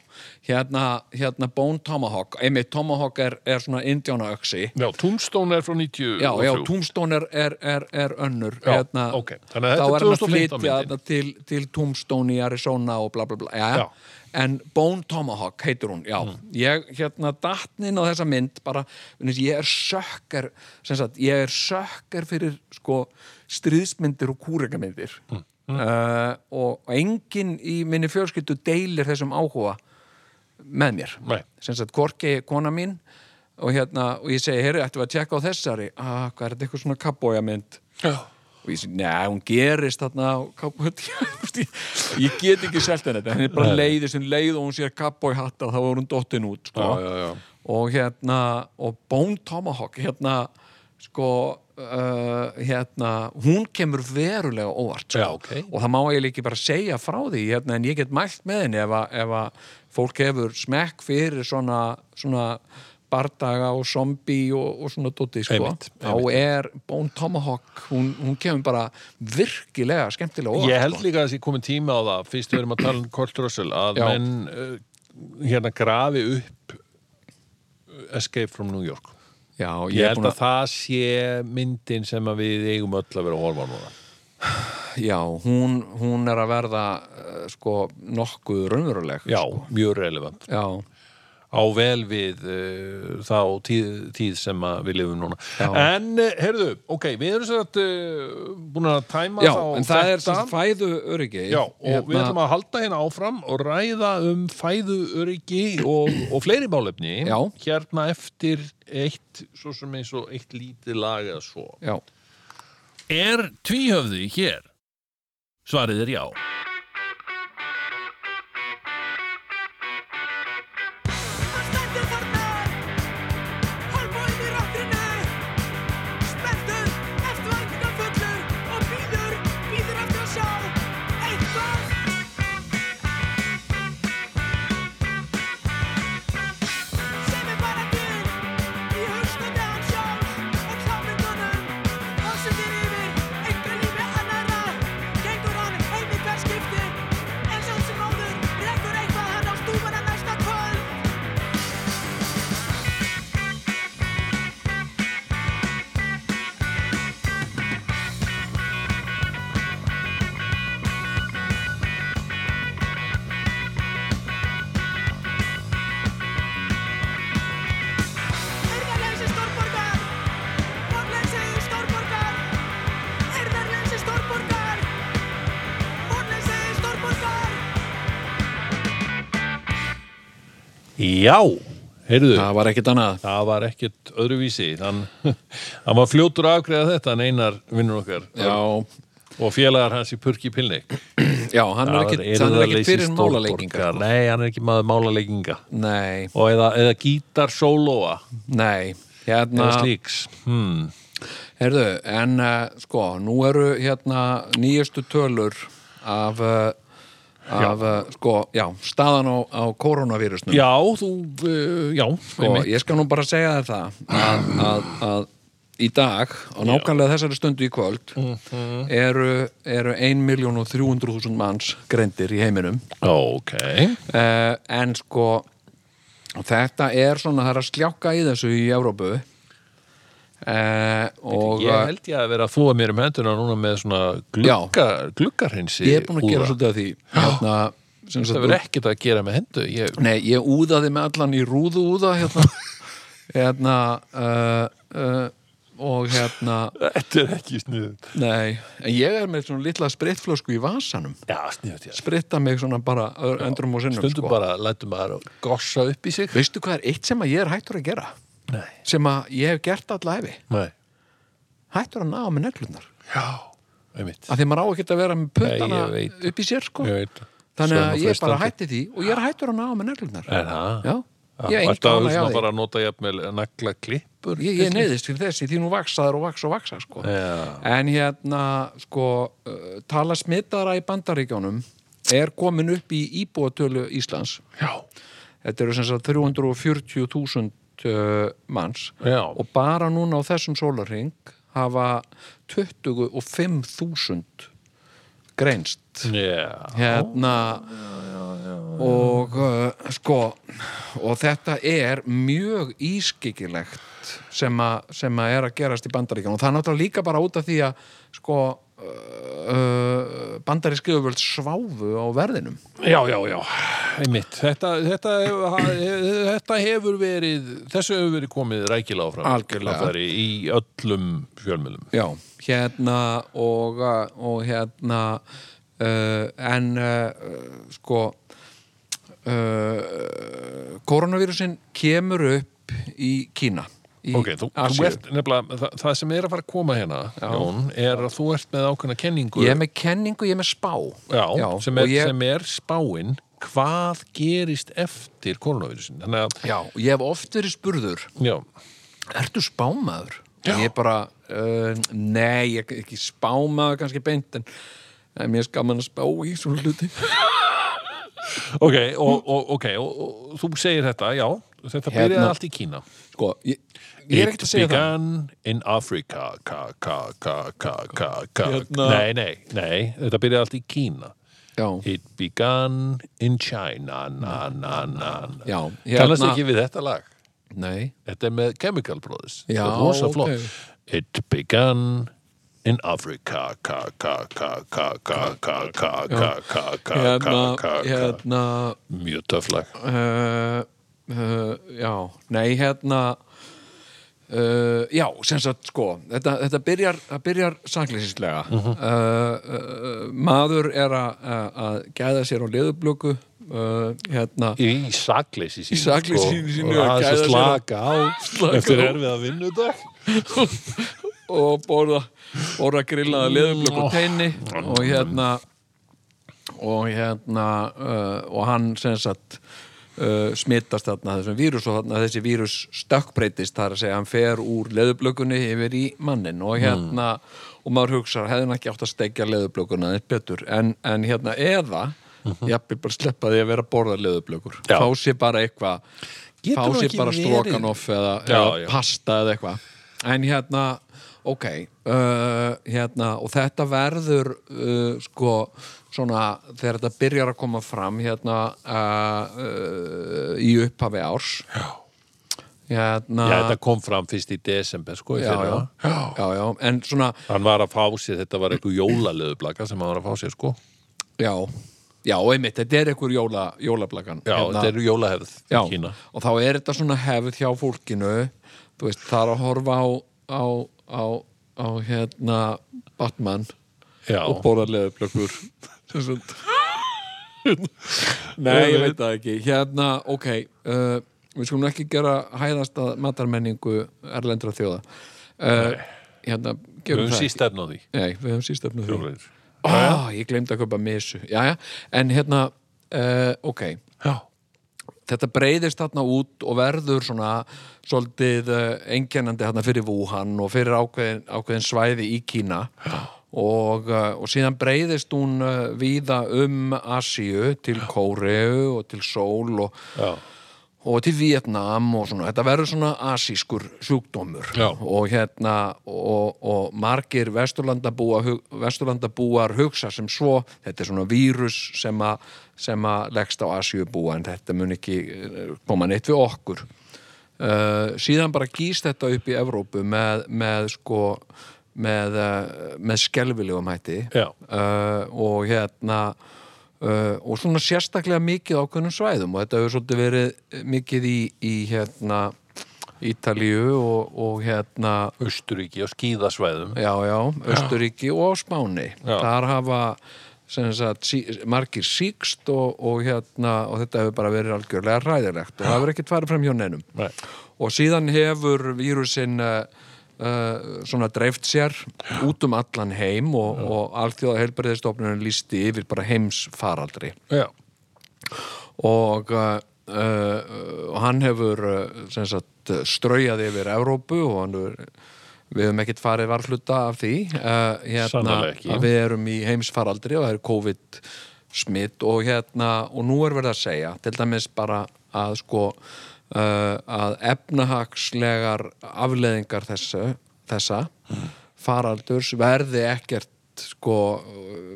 [SPEAKER 3] hérna, hérna Bone Tomahawk Einmitt, Tomahawk er, er svona indjánaöksi
[SPEAKER 1] já, Tombstone er frá 90
[SPEAKER 3] Já, já, Tombstone er, er, er, er önnur
[SPEAKER 1] Já,
[SPEAKER 3] hérna,
[SPEAKER 1] ok. Þannig að þetta
[SPEAKER 3] Þá
[SPEAKER 1] er
[SPEAKER 3] er hann að
[SPEAKER 1] 2015
[SPEAKER 3] flytja
[SPEAKER 1] myndin.
[SPEAKER 3] þarna til, til Tombstone í Arizona og bla bla bla já.
[SPEAKER 1] Já. Mm.
[SPEAKER 3] En Bone Tomahawk heitir hún, já Ég, hérna, dattnin á þessa mynd bara, vegna þess að ég er sökkar sem sagt, ég er sökkar fyrir sko, stríðsmyndir og kúrekamyndir mm. og enginn í minni fjörskyldu deilir þessum áhuga með mér
[SPEAKER 1] Nei.
[SPEAKER 3] sem sagt Korki, kona mín og hérna, og ég segi, heyrðu, ættum við að tjekka á þessari ah, hvað er þetta eitthvað svona kabbójamynd
[SPEAKER 1] já
[SPEAKER 3] og ég segi, neða, hún gerist þarna á [LAUGHS] kabbójamynd ég get ekki selt henni þetta, henni er bara leiði sem leið og hún sér kabbójhatta, þá er hún dottin út, sko
[SPEAKER 1] Já, já, já.
[SPEAKER 3] og hérna, og Bone Tomahawk hérna, sko uh, hérna, hún kemur verulega óvart, sko
[SPEAKER 1] Já, ok.
[SPEAKER 3] og það má ég líki bara segja frá því hérna, en ég get mælt með henni ef að, ef að fólk hefur smekk fyrir svona, svona bardaga og zombi og, og svona dotti sko.
[SPEAKER 1] Einmitt,
[SPEAKER 3] þá er Bone Tomahawk hún, hún kemur bara virkilega skemmtilega óvart sko.
[SPEAKER 1] Ég held líka að þessi komið tíma á það fyrst við erum að tala um Kurt Russell að
[SPEAKER 3] Já.
[SPEAKER 1] menn uh, hérna grafi upp uh, Escape from New York
[SPEAKER 3] Já,
[SPEAKER 1] Ég,
[SPEAKER 3] ég er
[SPEAKER 1] held
[SPEAKER 3] búin
[SPEAKER 1] að,
[SPEAKER 3] að,
[SPEAKER 1] það sé myndin sem að við eigum öll að vera að horfa á núna
[SPEAKER 3] já hún, hún er að verða eh, sko, nokkuð raunveruleg sko.
[SPEAKER 1] Já, Sko, mjög relevant
[SPEAKER 3] já,
[SPEAKER 1] á vel við uh, þá tíð, tíð sem að við lifum núna
[SPEAKER 3] Já.
[SPEAKER 1] En, uh, heyrðu, ok, við erum sér að uh, búin að tæma
[SPEAKER 3] já
[SPEAKER 1] þá
[SPEAKER 3] en það er
[SPEAKER 1] þetta.
[SPEAKER 3] sem fæðu öryggi
[SPEAKER 1] Já, og við ætlum að halda hérna áfram og ræða um fæðu öryggi og, og fleiri málefni
[SPEAKER 3] Já.
[SPEAKER 1] hérna eftir eitt, svo sem eins og eitt lítið lag eða svo.
[SPEAKER 3] já
[SPEAKER 2] Er tvíhöfði hér? Svarið er já.
[SPEAKER 4] Stendur þarna Hálfóinn í ráttinni Spenntur, eftirvæntingar fullur Og býður, býður eftir að sjá Eitthvað Sem er bara til Í hausnandi hans sjálf Og klámyndunum Og sem þér yfir Enga lífi annara Gengur hann heim í hver skipti En samt sem áður Rekur eitthvað hann á stúfana næsta kvöld Eyrðarleysi stórborgar Vonleysi stórborgar Eyrðarleysi stórborgar Vonleysi stórborgar
[SPEAKER 1] Já, heyrðu,
[SPEAKER 3] það var ekkit annað
[SPEAKER 1] það var ekkert öðruvísi, þann, hann [LAUGHS] var fljótur að afgreða þetta en einar vinnur okkar
[SPEAKER 3] já,
[SPEAKER 1] og félagar hans í Purki Pilnik.
[SPEAKER 3] Já, hann er
[SPEAKER 1] Það
[SPEAKER 3] ekki, hann er ekki
[SPEAKER 1] eirðarleysi
[SPEAKER 3] fyrir sko.
[SPEAKER 1] stórborgar.
[SPEAKER 3] málaleikinga
[SPEAKER 1] Nei, hann er ekki maður málaleikinga
[SPEAKER 3] Nei,
[SPEAKER 1] og eða, eða gítarsólóa
[SPEAKER 3] nei Hérna,
[SPEAKER 1] eða slíks. Hmm.
[SPEAKER 3] heyrðu, eh, en uh, sko, nú eru hérna nýjustu tölur af uh, af, já. sko, já, staðan á, á koronavírusnum
[SPEAKER 1] Já, þú, uh, já
[SPEAKER 3] sko, ég skal nú bara segja þér það að, að, að í dag á nákvæmlega þessari stundu í kvöld
[SPEAKER 1] Mhm.
[SPEAKER 3] eru, eru 1.300.000 manns greindir í heiminum
[SPEAKER 1] Ok
[SPEAKER 3] uh, en sko þetta er svona, það er að sljáka í þessu í Evrópu uh, og
[SPEAKER 1] Ég held ég að vera að þúa mér um henduna núna með svona glugga, gluggarhinsi
[SPEAKER 3] ég er búin að gera svolítið að því hérna, sem
[SPEAKER 1] Það
[SPEAKER 3] sagt,
[SPEAKER 1] verður ekkert að gera með hendu ég,
[SPEAKER 3] Nei, ég úðaði með allan í rúðu úða [LAUGHS] hérna, hérna uh, uh, og hérna
[SPEAKER 1] Þetta er ekki sniðut
[SPEAKER 3] nei, en ég er með svona litla spritflösku í vasanum
[SPEAKER 1] Já, sniðut, já
[SPEAKER 3] spritta mig svona bara ö- endrum og sinnum sko.
[SPEAKER 1] Stundum bara, lætum maður að gossa upp í sig
[SPEAKER 3] veistu hvað er eitt sem að ég er hættur að gera
[SPEAKER 1] Nei,
[SPEAKER 3] sem að ég hef gert allæfi
[SPEAKER 1] nei
[SPEAKER 3] hættur að ná með neglunar
[SPEAKER 1] Já, einmitt
[SPEAKER 3] af því maður á ekkert að vera með puttana
[SPEAKER 1] Nei, ég veit.
[SPEAKER 3] upp í sér sko
[SPEAKER 1] Ég veit það. Svo
[SPEAKER 3] þannig
[SPEAKER 1] er
[SPEAKER 3] að
[SPEAKER 1] nú
[SPEAKER 3] ég bara
[SPEAKER 1] freistandi.
[SPEAKER 3] hætti því og ég er hættur að ná með neglunar
[SPEAKER 1] Er það?
[SPEAKER 3] já, ég er
[SPEAKER 1] Þetta að
[SPEAKER 3] enga hana
[SPEAKER 1] hugsa
[SPEAKER 3] jáði
[SPEAKER 1] bara að nota jafnvel nagla klippur
[SPEAKER 3] ég, ég neyðist fyrir þessi því nú vaksaður og vaksa og vaksa sko.
[SPEAKER 1] Já.
[SPEAKER 3] en hérna sko, uh, tala smittara í bandaríkjónum er komin upp í íbúatölu Íslands
[SPEAKER 1] Já,
[SPEAKER 3] þetta eru sem sagt 340.000 uh, manns
[SPEAKER 1] Já.
[SPEAKER 3] og bara núna á þessum sólarring hafa 25.000 greinst
[SPEAKER 1] já
[SPEAKER 3] hérna og uh, sko og þetta er mjög ískikilegt sem, a, sem að er að gerast í bandaríkjum og það er náttúrulega líka bara út af því að sko uh, uh, bandaríski öfvöld sváfu á verðinum
[SPEAKER 1] Já, já, já, einmitt Þetta, þetta, hef- ha- þetta hefur verið þessu hefur verið komið rækilega áfram
[SPEAKER 3] Algjörlega.
[SPEAKER 1] Allatari, í öllum fjölmjölum
[SPEAKER 3] Já, hérna og, og hérna uh, en uh, sko uh, koronavírusin kemur upp í Kína í
[SPEAKER 1] Ok, þú, þú
[SPEAKER 3] Asíu.
[SPEAKER 1] ert nefnilega það, það sem er að fara að koma hérna, Jón er að þú ert með ákveðna kenningu
[SPEAKER 3] Ég er með kenningu, ég er með spá
[SPEAKER 1] já, sem, er,
[SPEAKER 3] og ég,
[SPEAKER 1] sem er spáin hvað gerist eftir koronavirusin Þannig að,
[SPEAKER 3] Já, og ég hef oft verið spurður
[SPEAKER 1] já,
[SPEAKER 3] Ertu spámaður?
[SPEAKER 1] Já.
[SPEAKER 3] Ég bara, uh, nei, ég er ekki spámaður kannski beint en en mér er skaman að spá í svona hluti
[SPEAKER 1] ok, og, og, okay og, og þú segir þetta, já Þetta
[SPEAKER 3] Hérna.
[SPEAKER 1] byrjaði allt í Kína
[SPEAKER 3] Sko, ég, ég er
[SPEAKER 1] It
[SPEAKER 3] ekkert að segja það
[SPEAKER 1] began in Africa ka, ka, ka, ka, ka, ka.
[SPEAKER 3] Hérna.
[SPEAKER 1] Nei, nei, nei, þetta byrjaði allt í Kína
[SPEAKER 3] Já.
[SPEAKER 1] It began in China na, na, na, na.
[SPEAKER 3] Já,
[SPEAKER 1] hérna. Kannast ekki við þetta lag
[SPEAKER 3] Nei
[SPEAKER 1] Þetta er með Chemical Brothers
[SPEAKER 3] Já,
[SPEAKER 1] Þetta er rosa
[SPEAKER 3] ok.
[SPEAKER 1] flott It began in Africa ka, ka, ka, ka, ka, ka, ka, ka, ka, ka, ka,
[SPEAKER 3] hérna,
[SPEAKER 1] ka, ka
[SPEAKER 3] hérna
[SPEAKER 1] Mjög töflag
[SPEAKER 3] uh, uh, já, nei, hérna uh, já, sem sagt sko, þetta, þetta byrjar, það byrjar saklýsinslega uh uh, maður er að- að að gæða sér á leðublöku uh, hérna
[SPEAKER 1] Í sakleysi sín
[SPEAKER 3] Í sakleysi sínu
[SPEAKER 1] Sko, Og
[SPEAKER 3] að
[SPEAKER 1] aðeins að
[SPEAKER 3] gæða sér
[SPEAKER 1] slaka á
[SPEAKER 3] Slaka
[SPEAKER 1] Eftir
[SPEAKER 3] á.
[SPEAKER 1] erfið að vinnu dag
[SPEAKER 3] og borða, borða grillaða leðublöku
[SPEAKER 1] Mm,
[SPEAKER 3] og teini og hérna og hérna uh, og hann sem sagt uh, smittast þarna þessum vírus og þarna þessi vírus stökkbreytist þar að segja hann fer úr leðublökunni yfir í mannin og hérna og maður hugsar hefði hann ekki átt að stekja leðublökunna þess betur en, en hérna eða jafnvel bara sleppa því að vera að borða leðublökur
[SPEAKER 1] Mhm. Já.
[SPEAKER 3] fá sér bara eitthvað
[SPEAKER 1] Getur
[SPEAKER 3] fá
[SPEAKER 1] nú
[SPEAKER 3] sér
[SPEAKER 1] ekki
[SPEAKER 3] bara
[SPEAKER 1] verið-
[SPEAKER 3] strókanoff eða,
[SPEAKER 1] Já,
[SPEAKER 3] eða
[SPEAKER 1] já.
[SPEAKER 3] pasta eða eitthvað en hérna, ok uh, hérna, og þetta verður uh, sko svona þegar þetta byrjar að koma fram hérna uh, uh, í upphafi árs já. hérna
[SPEAKER 1] Já, þetta kom fram fyrst í desember sko í
[SPEAKER 3] já, já,
[SPEAKER 1] fyrra.
[SPEAKER 3] já, já, en svona
[SPEAKER 1] Hann var að fá sér, þetta var eitthvað jólaleðublaka sem hann var að fá sér sko
[SPEAKER 3] já, já, einmitt, þetta er einhver jóla, Hérna, jólablagan
[SPEAKER 1] Já, þetta eru jólahefð í
[SPEAKER 3] já,
[SPEAKER 1] Kína
[SPEAKER 3] og þá er þetta svona hefð hjá fólkinu þú veist, það er að horfa á á, á, á hérna Batman
[SPEAKER 1] Já,
[SPEAKER 3] og borða
[SPEAKER 1] [LAUGHS]
[SPEAKER 3] leðublökkur [LAUGHS] Nei, ég veit það ekki Hérna, ok uh, Við skulum ekki gera hæðast að matarmenningu erlendra þjóða uh, Hérna,
[SPEAKER 1] við
[SPEAKER 3] gerum
[SPEAKER 1] höfum
[SPEAKER 3] það
[SPEAKER 1] síst efna Um á því
[SPEAKER 3] ekki. Nei, við höfum síst efnu því
[SPEAKER 1] Jólahefð.
[SPEAKER 3] oh, Ég glemdi að köpa misu Jæja, en hérna, uh, ok
[SPEAKER 1] Já,
[SPEAKER 3] Þetta breyðist þarna út og verður svona eh, svolítið uh, einkennandi þarna fyrir Wuhan og fyrir ákveðin, ákveðin svæði í Kína og, uh, og síðan breyðist hún uh, víða um Asíu til Kóreu og til Sól og,
[SPEAKER 1] Já.
[SPEAKER 3] og til Vietnam og svona, þetta verður svona asískur sjúkdómur
[SPEAKER 1] Já.
[SPEAKER 3] og hérna og, og margir vesturlandabúa, hug- vesturlandabúar hugsa sem svo, þetta er svona vírus sem að, sem að leggst á asíubúa en þetta mun ekki eh, koma neitt við okkur uh, síðan bara gýst þetta upp í Evrópu með, með sko með, uh, með skelfilegum hætti
[SPEAKER 1] Já.
[SPEAKER 3] uh, og hérna uh, og svona sérstaklega mikið á ákveðnum svæðum og þetta hefur svolítið verið mikið í, í hérna Ítalíu og, og hérna
[SPEAKER 1] Austuríki og skíðasvæðum
[SPEAKER 3] já, já, Östuríki og á Spáni
[SPEAKER 1] Já.
[SPEAKER 3] þar hafa sem sagt, sí, margir síkst og, og, hérna, og þetta hefur bara verið algjörlega ræðilegt og það hefur ekkert farið fram hjá neinum
[SPEAKER 1] Nei.
[SPEAKER 3] og síðan hefur vírusin uh, uh, svona dreift sér út um allan heim og, og alþjóða heilbyrðistofnunum lísti yfir bara heimsfaraldri
[SPEAKER 1] Já.
[SPEAKER 3] og uh, uh, hann hefur uh, sem sagt straujað yfir Evrópu og hann hefur við höfum ekkert farið varfluta af því uh, hérna,
[SPEAKER 1] Sannarlega ekki.
[SPEAKER 3] að við erum í heimsfaraldri og það er COVID smitt og hérna og nú er verið að segja, til dæmis bara að sko uh, að efnahagslegar afleðingar þessu, þessa faraldurs verði ekkert sko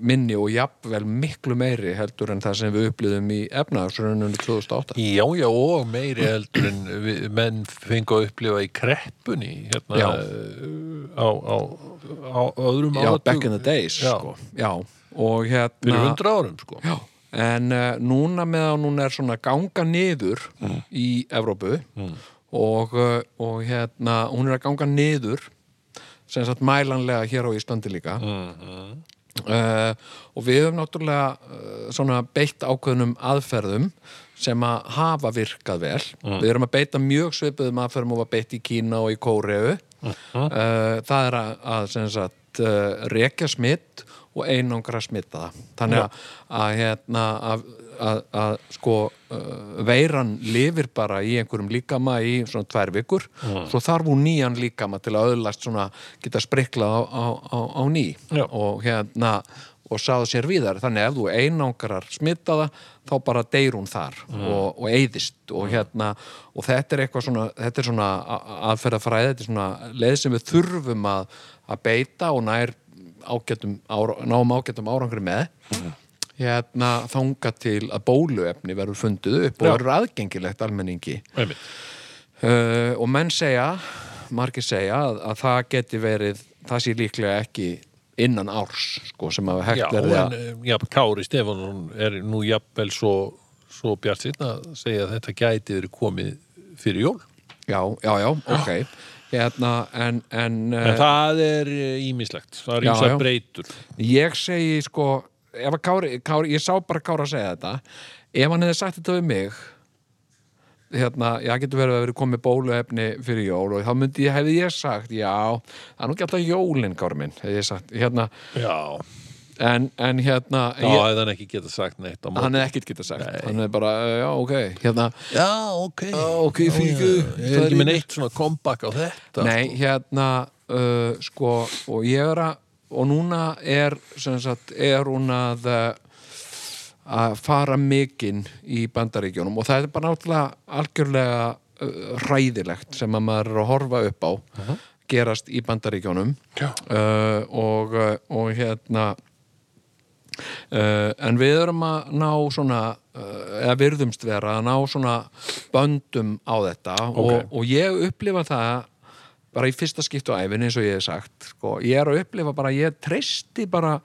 [SPEAKER 3] minni og jafnvel miklu meiri heldur en það sem við upplýðum í efnahagsrununum 2008
[SPEAKER 1] Já, já, og meiri heldur en við, menn fengu að upplifa í kreppunni hérna
[SPEAKER 3] Já.
[SPEAKER 1] eh, á, á, á öðrum
[SPEAKER 3] Já,
[SPEAKER 1] áratug-
[SPEAKER 3] back in the days
[SPEAKER 1] Já,
[SPEAKER 3] Sko. Já, og hérna
[SPEAKER 1] fyrir hundra árum sko
[SPEAKER 3] Já, en uh, núna meðan hún er svona ganga niður í Evrópu og, uh, og hérna hún er að ganga niður sem sagt mælanlega hér á Íslandi líka uh, og við höfum náttúrulega uh, svona beitt ákveðnum aðferðum sem að hafa virkað vel við erum að beita mjög svipuðum aðferðum og var beitt í Kína og í Kóreu uh, það er að, að sem sagt uh, rekja smitt og einangra smitta það þannig að, að hérna að, að, að sko uh, veiran lifir bara í einhverjum líkama í svona tvær vikur svo þarf hún nýjan líkama til að öðlast svona geta spriklað á, á, á, á ný
[SPEAKER 1] Já.
[SPEAKER 3] og hérna og sáðu sér víðar, þannig ef þú einangrar smitaða, þá bara deyr hún þar og, og eyðist og hérna, og þetta er eitthvað svona þetta er svona aðferðafræði þetta er svona leið sem við þurfum að, að beita og nær ágætum, ára, náum ágætum árangri með hérna þanga til að bóluefni verður fundið upp og verður aðgengilegt almenningi
[SPEAKER 1] Einmitt.
[SPEAKER 3] Uh, og menn segja, margir segja að, að það geti verið, það sé líklega ekki innan árs sko, sem að
[SPEAKER 1] Já,
[SPEAKER 3] hægt verði
[SPEAKER 1] en
[SPEAKER 3] að
[SPEAKER 1] eh, já, Kári Stefánsson er nú jafnvel svo, svo bjart sýnna að segja að þetta gæti verið komið fyrir jól
[SPEAKER 3] já, já, já, ok
[SPEAKER 1] [GASPS]
[SPEAKER 3] hérna, en, en,
[SPEAKER 1] En
[SPEAKER 3] en
[SPEAKER 1] það er ímislegt, það er
[SPEAKER 3] Eh. Já,
[SPEAKER 1] ímsa
[SPEAKER 3] já.
[SPEAKER 1] breytur
[SPEAKER 3] ég segi sko ef að Kári, Kári, ég sá bara Kári að segja þetta ef hann hefði sagt þetta við mig hérna, ég getur verið að verið komið bóluefni fyrir jól og þá myndi ég, hefði ég sagt já, það er nú ekki alltaf jólin Kári minn, hefði ég sagt, hérna
[SPEAKER 1] Já,
[SPEAKER 3] en, en hérna
[SPEAKER 1] þá
[SPEAKER 3] ég,
[SPEAKER 1] hefði hann ekki getað sagt neitt á móti
[SPEAKER 3] hann hefði ekkert geta sagt hann hefði bara, uh, já ok hérna,
[SPEAKER 1] Já, ok
[SPEAKER 3] ok, fyrir ekki
[SPEAKER 1] Ég er ekki með neitt svona comeback á þetta
[SPEAKER 3] nei, hérna uh, sko, og ég er að og núna er sem sagt, er hún að uh, að fara mikinn í bandaríkjónum og það er bara náttúrulega algjörlega uh, hræðilegt sem að maður er að horfa upp á gerast í bandaríkjónum
[SPEAKER 1] Já.
[SPEAKER 3] uh, og, uh, og hérna Uh, en við erum að ná svona uh, eða virðumst vera að ná svona böndum á þetta og, og ég upplifa það bara í fyrsta skiptu á æfinni eins og ég hef sagt sko. ég er að upplifa bara, ég treysti bara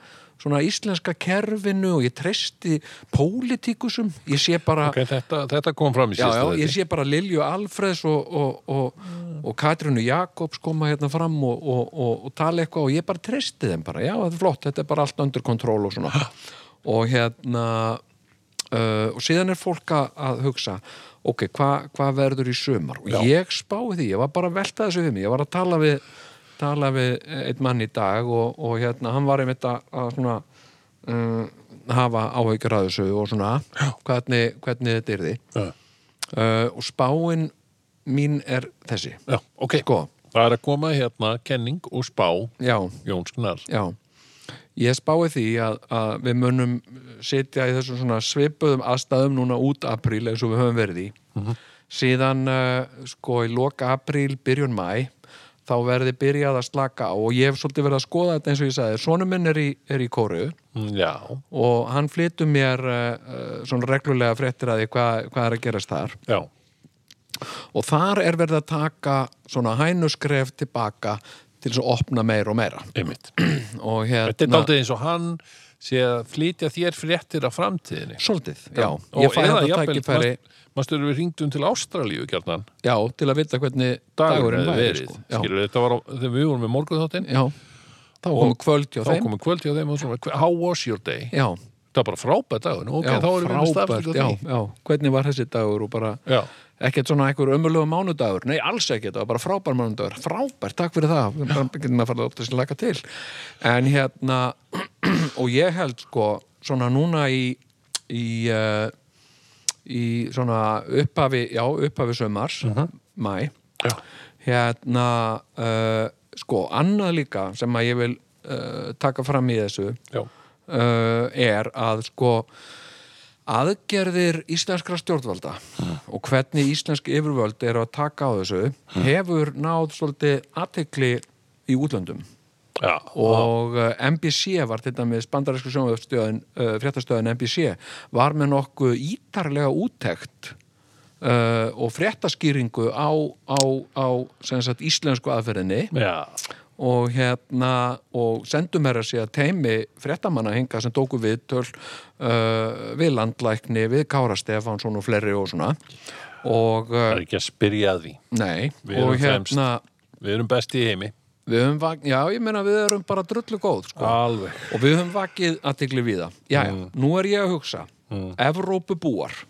[SPEAKER 3] svona íslenska kerfinu og ég treysti pólitíkusum ég sé bara
[SPEAKER 1] Ok, þetta, þetta kom fram í
[SPEAKER 3] já,
[SPEAKER 1] sísta
[SPEAKER 3] já, ég sé bara Lilju Alfreðs og, og, og, og Katrinu Jakobs koma hérna fram og, og, og, og tala eitthvað og ég bara treysti þeim bara, já, þetta er flott, þetta er bara allt undir kontról og svona og hérna uh, og síðan er fólk að- að hugsa ok, hvað hva verður í sumar og ég spáði því, ég var bara að velta þessu við mig ég var að tala við, tala við eh, einn mann í dag og, og hérna hann var einmitt að, að svona um, hafa áhyggjur að þessu og svona hvernig, hvernig þetta er því
[SPEAKER 1] já.
[SPEAKER 3] uh, og spáin mín er þessi
[SPEAKER 1] já, ok
[SPEAKER 3] sko,
[SPEAKER 1] Það er að koma hérna kenning og spá
[SPEAKER 3] já,
[SPEAKER 1] Jóns Gnarr
[SPEAKER 3] já Ég spái því að, að við munum sitja í þessum svona svipuðum aðstæðum núna út apríl eins og við höfum verið í.
[SPEAKER 1] Mhm.
[SPEAKER 3] Síðan uh, sko í loka apríl, byrjun mæ, þá verði byrjað að slaka á og ég hef svolítið verið að skoða þetta eins og ég sagði. Sónum minn er í, er í kóru
[SPEAKER 1] Mm, Já,
[SPEAKER 3] og hann flytur mér uh, uh, svona reglulega fréttir að því hvað, hvað er að gerast þar
[SPEAKER 1] já,
[SPEAKER 3] og þar er verið að taka svona hænuskref tilbaka til þess að opna meira og meira [CLEARS THROAT]
[SPEAKER 1] einmitt
[SPEAKER 3] og hérna
[SPEAKER 1] Þetta er daldið eins og hann sé að flytja þér fréttir af framtíðinni
[SPEAKER 3] Svolítið, já,
[SPEAKER 1] Og
[SPEAKER 3] ég fæ
[SPEAKER 1] eða
[SPEAKER 3] þetta
[SPEAKER 1] jafnvel,
[SPEAKER 3] tækifæri
[SPEAKER 1] manst- Manstu erum við ringdum til Ástralíu kjarnan
[SPEAKER 3] já, til að vita hvernig
[SPEAKER 1] dagurinn
[SPEAKER 3] dagurinn
[SPEAKER 1] hefði
[SPEAKER 3] væri
[SPEAKER 1] verið
[SPEAKER 3] sko. já,
[SPEAKER 1] skilur, þetta var á, þegar við vorum með morgunþáttinn
[SPEAKER 3] já, þá komu kvöld hjá
[SPEAKER 1] þá
[SPEAKER 3] þeim
[SPEAKER 1] komum kvöld hjá þeim og svona, hve- how was your day?
[SPEAKER 3] já,
[SPEAKER 1] það var bara frábært dagur, nú, ok,
[SPEAKER 3] já,
[SPEAKER 1] þá erum við með stafstöku
[SPEAKER 3] já, já, hvernig var þessi dagur og bara
[SPEAKER 1] Já.
[SPEAKER 3] ekkert svona einhver ömulegu mánudagur nei, alls ekkert, það var bara frábær mánudagur frábær, takk fyrir það, við bara getum að fara upp til þess að laka til en hérna, [CLEARS THROAT] og ég held sko, svona núna í í uh, í svona upphafi já, upphafi sömars,
[SPEAKER 1] Mhm.
[SPEAKER 3] mæ
[SPEAKER 1] Já.
[SPEAKER 3] hérna uh, sko, annað líka sem að ég vil uh, taka fram í þessu
[SPEAKER 1] já,
[SPEAKER 3] uh, er að sko aðgerðir íslenskra stjórnvalda og hvernig íslensk yfirvöld eru að taka á þessu hefur náð svolítið aðtekli í útlöndum
[SPEAKER 1] já,
[SPEAKER 3] og uh, NBC var þetta með bandarísku sjónvöfstöðin uh, fréttastöðin NBC var með nokkuð ítarlega úttekt uh, og fréttaskýringu á, á, á sem sagt, íslensku aðferðinni
[SPEAKER 1] já,
[SPEAKER 3] og hérna og sendum er að segja teimi fréttamanna hinga sem tóku viðtöl uh, við landlækni, við Kára Stefánsson og fleiri og svona og
[SPEAKER 1] það
[SPEAKER 3] uh,
[SPEAKER 1] er ekki að spyrja að því
[SPEAKER 3] nei,
[SPEAKER 1] Við
[SPEAKER 3] og
[SPEAKER 1] erum fremst.
[SPEAKER 3] hérna
[SPEAKER 1] við erum best í heimi
[SPEAKER 3] við höfum vagn, já ég meina við erum bara drullu góð sko
[SPEAKER 1] alveg,
[SPEAKER 3] og við höfum vakið aðtikli við það já, nú er ég að hugsa Evrópu búar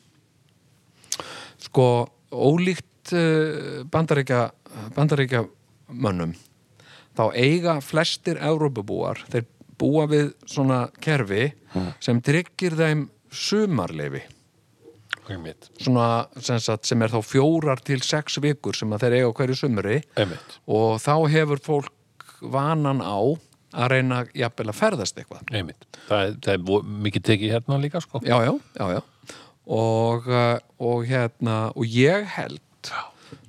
[SPEAKER 3] sko, ólíkt uh, bandaríkja bandaríkja mönnum þá eiga flestir Evrópu búar þeir búa við svona kerfi sem tryggir þeim sumarleifi
[SPEAKER 1] einmitt,
[SPEAKER 3] svona, sem, sagt, sem er þá fjórar til sex vikur sem að þeir eiga á hverju sumri
[SPEAKER 1] einmitt
[SPEAKER 3] og þá hefur fólk vanan á að reyna jafnvel að ferðast eitthvað
[SPEAKER 1] einmitt, það er, það er vo- mikið tekið hérna líka sko,
[SPEAKER 3] já, já, já, já. Og, uh, og hérna og ég held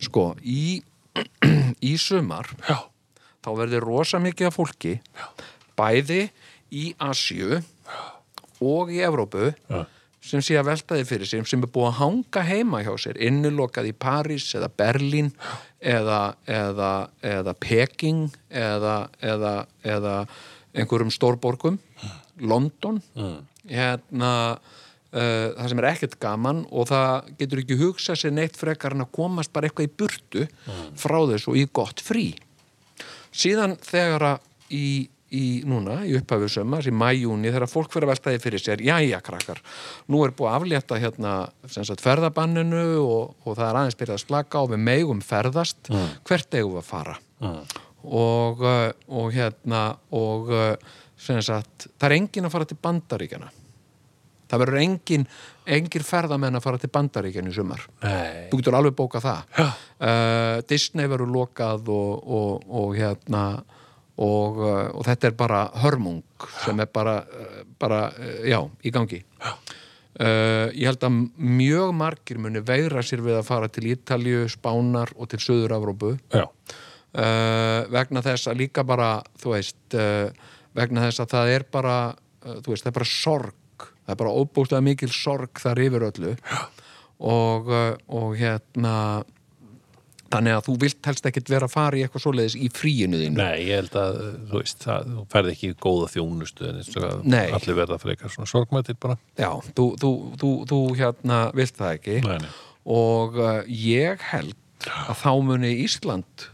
[SPEAKER 3] sko, í, [CLEARS THROAT] í sumar já. þá verður rosa mikið af fólki já. bæði í Asju og í Evrópu
[SPEAKER 1] Já.
[SPEAKER 3] sem sé að velta því fyrir sér sem er búið að hanga heima hjá sér innulokað í París eða Berlín eða, eða, eða Peking eða, eða, eða einhverjum stórborgum London hérna uh, það sem er ekkert gaman og það getur ekki hugsað sér neitt frekar en að komast bara eitthvað í burtu frá þessu og í gott frí síðan þegar að í, í núna, í upphafið sömars, í mæjúni, þegar fólk fyrir að velta því fyrir sér, jæja krakkar, nú er búið að aflétta hérna sem sagt ferðabanninu og, og það er aðeins byrjað að slaka á við megum ferðast, hvert eigum við að fara og, uh, og hérna og uh, sem sagt, það er engin að fara til bandaríkjana það verður engin, engin ferðamenn að fara til bandaríkjana í sumar
[SPEAKER 1] nei,
[SPEAKER 3] þú getur alveg bókað það uh, Disney verður lokað og, og, og hérna og, uh, og þetta er bara hörmung sem er bara, uh, bara uh, já, í gangi uh, ég held að mjög margir muni veira sér við að fara til Ítalju, Spánar og til Suður-Evrópu
[SPEAKER 1] já,
[SPEAKER 3] uh, vegna þess að líka bara þú veist uh, vegna þess að það er bara uh, þú veist, það er bara sorg það er bara óbúslega mikil sorg þar yfir öllu og, uh, og hérna þannig að þú vilt helst ekkit vera að fara í eitthvað svoleiðis í fríinu þínu
[SPEAKER 1] nei, ég held að þú veist, það, þú ferð ekki í góða þjónustu en eins og að
[SPEAKER 3] Nei.
[SPEAKER 1] allir verða frekar svona sorgmættir bara,
[SPEAKER 3] já, þú, þú, þú, þú hérna vilt það ekki
[SPEAKER 1] Nei, nei.
[SPEAKER 3] og uh, ég held að þá muni Ísland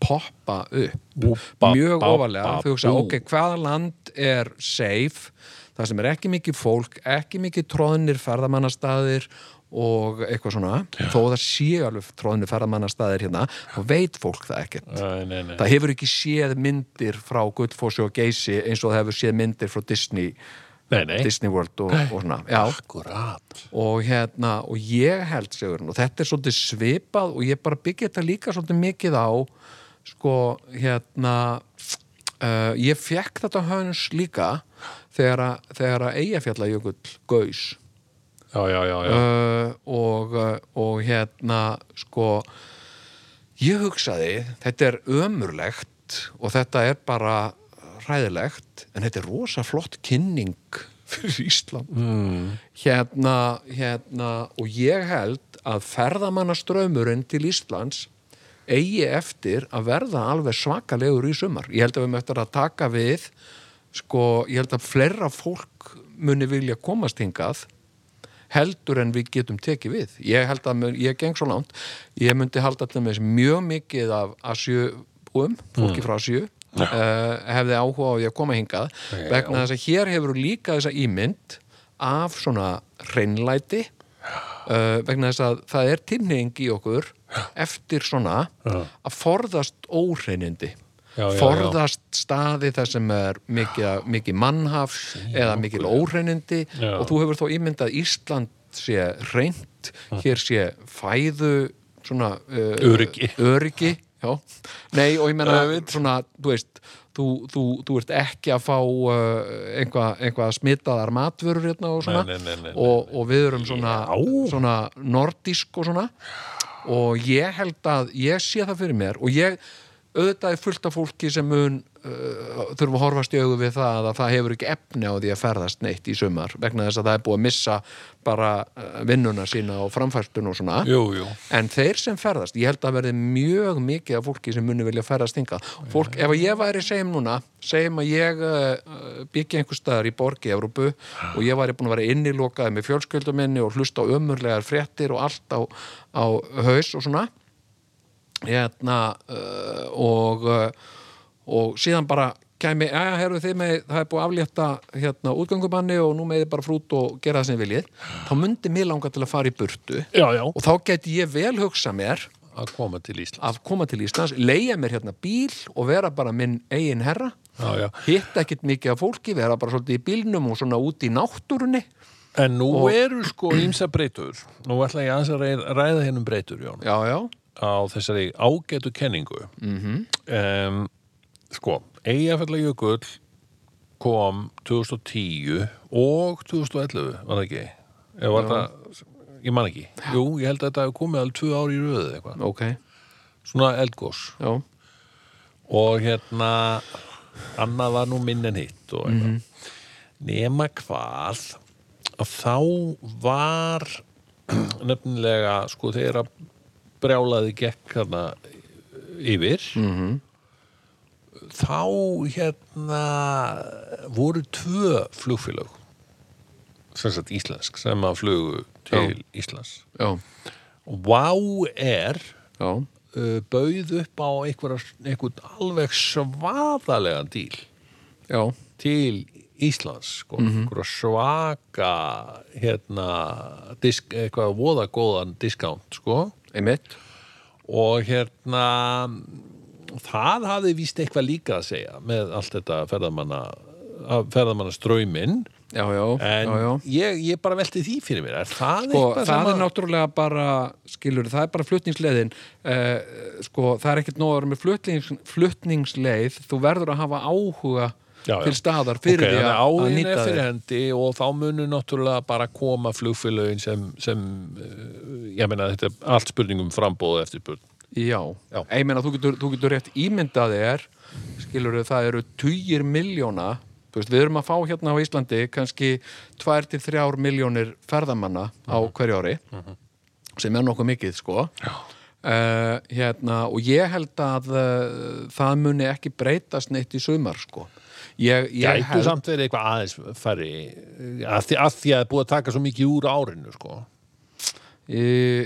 [SPEAKER 3] poppa upp
[SPEAKER 1] Bú, ba,
[SPEAKER 3] mjög
[SPEAKER 1] ba,
[SPEAKER 3] ofalega
[SPEAKER 1] ba,
[SPEAKER 3] þú hugsa,
[SPEAKER 1] bú.
[SPEAKER 3] ok, hvaða land er safe, það sem er ekki mikið fólk ekki mikið tróðnir ferðamannastaðir og eitthvað svona þó það sé alveg tróðnir ferðamannastaðir hérna, þá veit fólk það ekkert
[SPEAKER 1] nei, nei, nei,
[SPEAKER 3] það hefur ekki séð myndir frá Gullfossi og Geysi eins og það hefur séð myndir frá Disney,
[SPEAKER 1] nei, nei.
[SPEAKER 3] Disney World og, og svona, já
[SPEAKER 1] akkurat
[SPEAKER 3] og hérna, og ég held segurinn, og þetta er svolítið svipað og ég bara byggja þetta líka svolítið mikið á sko, hérna uh, ég fekk þetta hans líka þegar að, þegar að Eyjafjallajökull gaus
[SPEAKER 1] já, já, já, já.
[SPEAKER 3] uh, og, uh, og hérna sko ég hugsaði, þetta er ömurlegt og þetta er bara ræðilegt, en þetta er rosa flott kynning fyrir Ísland mm. hérna, hérna og ég held að ferðamannaströmmurinn til Íslands eigi eftir að verða alveg svakalegur í sumar. Ég held að við höfum eftir að taka við sko, ég held að fleira fólk muni vilja komast hingað heldur en við getum tekið við. Ég held að, mun- ég geng svo langt, ég myndi halda til með mjög mikið af asjöum,
[SPEAKER 1] Mm.
[SPEAKER 3] fólki frá asjöu, uh, hefði áhuga á því að koma hingað, vegna þess að hér hefur líka þessa ímynd af svona hreinlæti, uh, vegna þess að það er tilneying í okkur eftir svona að forðast óhreinindi
[SPEAKER 1] Já, já, já.
[SPEAKER 3] forðast staði þar sem er mikið, mikið mannhaf eða mikil óhreinindi
[SPEAKER 1] Já.
[SPEAKER 3] og þú hefur þó ímyndað Ísland sé reynt, hér sé fæðu svona uh,
[SPEAKER 1] Öryggi.
[SPEAKER 3] öryggi já. Nei, og ég menna svona, þú veist þú, þú, þú ert ekki að fá uh, einhvað einhva smitaðar matvörur hérna og svona
[SPEAKER 1] Nei, nei, nei, nei, nei.
[SPEAKER 3] Og, og við erum svona, svona nordísk og svona og ég held að ég sé það fyrir mér og ég auðvitað er fullt af fólki sem mun uh, þurfum að horfast í augu við það að það hefur ekki efni á því að ferðast neitt í sumar vegna þess að það er búið að missa bara uh, vinnuna sína og framfærtun og svona
[SPEAKER 1] Jú, jú.
[SPEAKER 3] en þeir sem ferðast, ég held að verði mjög mikið af fólki sem muni vilja ferðast hingað fólk, ef að ég væri segjum núna segjum að ég uh, byggja einhver staðar í borgi Evrópu og ég væri búin að vera innilokaði með fjölskyldum minni og hlusta á ömurlegar fréttir og allt á, á haus og svona hérna uh, og uh, og síðan bara kæmi, aðja, herru þið með, það er búið að aflétta hérna útgangubanni og nú með þið bara frút og gera það sem þið viljið, þá myndi mér langa til að fara í burtu
[SPEAKER 1] Já, já.
[SPEAKER 3] og þá geti ég vel hugsa mér
[SPEAKER 1] Að koma til Ísland.
[SPEAKER 3] að koma til Íslands, leigja mér hérna bíl og vera bara minn eigin herra
[SPEAKER 1] Já, já.
[SPEAKER 3] hitta ekkit mikið af fólki vera bara svolítið í bílnum og svona út í náttúrunni
[SPEAKER 1] En nú eru sko ímsa breytur. Nú ætla ég aðeins að ræða, ræða hennum breytur, Jón.
[SPEAKER 3] já, já,
[SPEAKER 1] Á þessari ágætu kenningu. Mm -hmm. sko, Eyjafella Jökull kom 2010 og 2011, var það ekki? Ég, var það, ég man ekki. Jú, ég held að þetta hefur komið alveg tvö ár í röðu eitthvað.
[SPEAKER 3] ok já,
[SPEAKER 1] Svona eldgós. og hérna annað var nú minn en hitt og eitthvað nema hvað að þá var [CLEARS THROAT] nefnilega sko þegar að brjálaði gekk þarna yfir -hmm. þá hérna voru tvö flugfélög sem sagt íslensk sem að flugu til Íslands
[SPEAKER 3] já,
[SPEAKER 1] Wow er
[SPEAKER 3] já
[SPEAKER 1] uh, bauð upp á einhver, einhvern alveg svaðalegan díl
[SPEAKER 3] já,
[SPEAKER 1] til Íslands sko,
[SPEAKER 3] Mhm.
[SPEAKER 1] einhverja svaka hérna disk, eitthvað voða góðan diskant sko.
[SPEAKER 3] einmitt
[SPEAKER 1] og hérna það hafði víst eitthvað líka að segja með allt þetta ferðamanna ferðamanna ströyminn
[SPEAKER 3] já, já,
[SPEAKER 1] en
[SPEAKER 3] já, já
[SPEAKER 1] Ég, ég bara velti því fyrir mér er það
[SPEAKER 3] Sko,
[SPEAKER 1] eitthvað
[SPEAKER 3] það
[SPEAKER 1] sem
[SPEAKER 3] er náttúrulega bara, skilur, það er bara flutningsleiðin eh, sko, það er ekkert nóg að vera með flutnings, flutningsleið þú verður að hafa áhuga
[SPEAKER 1] Já, já.
[SPEAKER 3] til staðar fyrir
[SPEAKER 1] Ok,
[SPEAKER 3] því
[SPEAKER 1] þannig
[SPEAKER 3] að,
[SPEAKER 1] að
[SPEAKER 3] að
[SPEAKER 1] áhugin er
[SPEAKER 3] nýta
[SPEAKER 1] fyrir
[SPEAKER 3] þér
[SPEAKER 1] hendi og þá munu náttúrulega bara koma flugfélögin sem, sem eh, ég meina þetta er allt spurningum frambóð og eftirspurn
[SPEAKER 3] Já,
[SPEAKER 1] Já.
[SPEAKER 3] ég meina þú getur, þú getur rétt ímyndað þér skilur það eru tugir miljóna þú veist, við erum að fá hérna á Íslandi kannski 2-3 miljónir ferðamanna á
[SPEAKER 1] Mhm.
[SPEAKER 3] hverju ári sem er nokkuð mikið sko Uh, hérna, og ég held að uh, það muni ekki breytast neitt í sumar sko. ég, ég
[SPEAKER 1] Gætu
[SPEAKER 3] held
[SPEAKER 1] samt verið eitthvað aðeins færri eh, að því að því að það er búið að taka svo mikið úr árinu sko
[SPEAKER 3] í,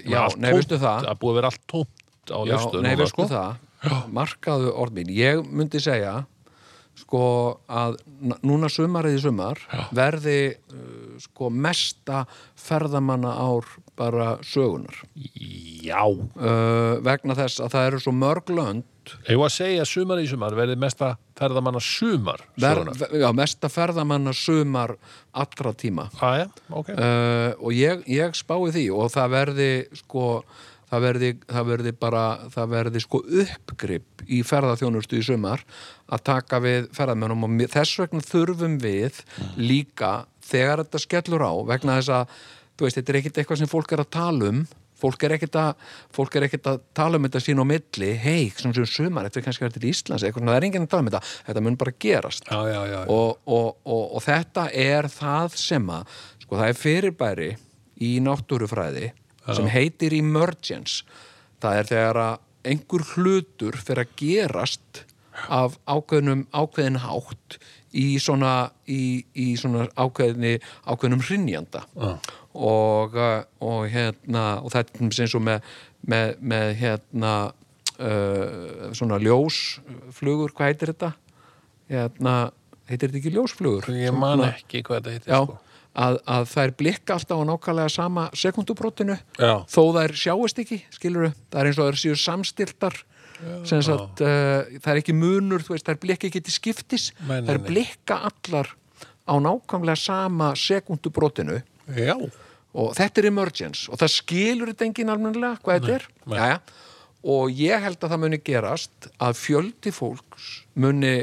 [SPEAKER 3] já,
[SPEAKER 1] Allt
[SPEAKER 3] nei,
[SPEAKER 1] tómt,
[SPEAKER 3] veistu það
[SPEAKER 1] að búið að vera allt tómt á sko.
[SPEAKER 3] Já,
[SPEAKER 1] löfstöðum
[SPEAKER 3] nei, veistu það markaðu orð mín, ég myndi segja sko að n- núna sumarið í sumar verði uh, sko mesta ferðamanna ár bara sögunar
[SPEAKER 1] Já,
[SPEAKER 3] uh, vegna þess að það eru svo mörg lönd
[SPEAKER 1] ég var að segja sumar í sumar verið mesta ferðamanna sumar
[SPEAKER 3] ver,
[SPEAKER 1] sögunnar.
[SPEAKER 3] ver, já, mesta ferðamanna sumar allra tíma Eh,
[SPEAKER 1] Jæja, Ah, ok
[SPEAKER 3] uh, og ég, ég spái því og það verði sko það það verði, það verði bara það verði sko uppgrip í ferðaþjónustu í sumar að taka við ferðamennum og mi- þess vegna þurfum við líka þegar þetta skellur á vegna þess að þú veist, þetta er ekkit eitthvað sem fólk er að tala um fólk er ekkit að, fólk er ekkit að tala um þetta sín á milli, hei, sem sem sumar þetta er kannski verið til Íslands, eitthvað, svona, það er enginn að tala um þetta þetta mun bara gerast
[SPEAKER 1] já, já, já,
[SPEAKER 3] og, og, og, og þetta er það sem að sko, það er fyrirbæri í náttúrufræði sem heitir emergence það er þegar að einhver hlutur fyrir að gerast af ákveðnum ákveðin hátt í svona, í, í svona ákveðni, ákveðnum hrinnjanda og, uh, og hérna og þetta er eins og með, með, með hérna uh, svona ljósflugur hvað heitir þetta? hérna, heitir þetta ekki ljósflugur?
[SPEAKER 1] ég man ekki hvað þetta heitir
[SPEAKER 3] Já,
[SPEAKER 1] sko.
[SPEAKER 3] að, að þær blikka alltaf á nákvæmlega sama sekundubrótinu
[SPEAKER 1] Já.
[SPEAKER 3] þó þær sjáist ekki, skilur það er eins og þær séu samstiltar sem sagt, uh, það er ekki munur þú veist, þær blikka ekki til skiptis
[SPEAKER 1] Nei, nei,
[SPEAKER 3] þær
[SPEAKER 1] nei.
[SPEAKER 3] blikka allar á nákvæmlega sama sekundubrótinu
[SPEAKER 1] já,
[SPEAKER 3] og þetta er emergence og það skilur þetta enginn almennilega hvað þetta er
[SPEAKER 1] nei.
[SPEAKER 3] Jæja. og ég held að það muni gerast að fjöldi fólks muni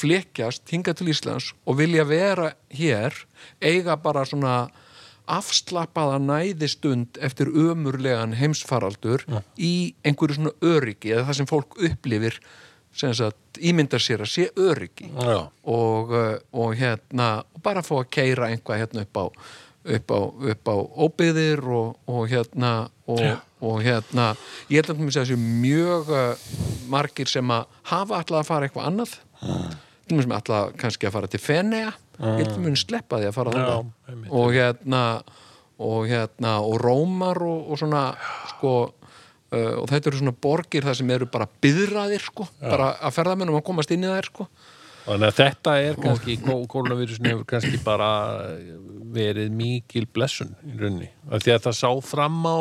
[SPEAKER 3] flékjast hinga til Íslands og vilja vera hér eiga bara svona afslappaða næðistund eftir ömurlegan heimsfaraldur í einhverju svona öryggi eða það sem fólk upplifir sem sagt, ímyndar sér að sé öryggi
[SPEAKER 1] já,
[SPEAKER 3] og, uh, og hérna og bara fá að keira einhvað hérna upp á upp á, upp á óbyðir og, og hérna og, og hérna, ég held að mér segja þessu mjög uh, margir sem að hafa alltaf að fara eitthvað annað
[SPEAKER 1] Ah.
[SPEAKER 3] til mér sem alltaf kannski að fara til Fenea ég held að mér sleppa því að fara
[SPEAKER 1] einmitt.
[SPEAKER 3] þarna og hérna og hérna, og Rómar og, og svona, sko uh, og þetta eru svona borgir þar sem eru bara byðraðir, sko, bara að ferðamennum að komast inn í þær, sko
[SPEAKER 1] Þannig að þetta er kannski, koronavirusin hefur kannski bara eh, verið mikil blessun í rauninni. Af því að það sá fram á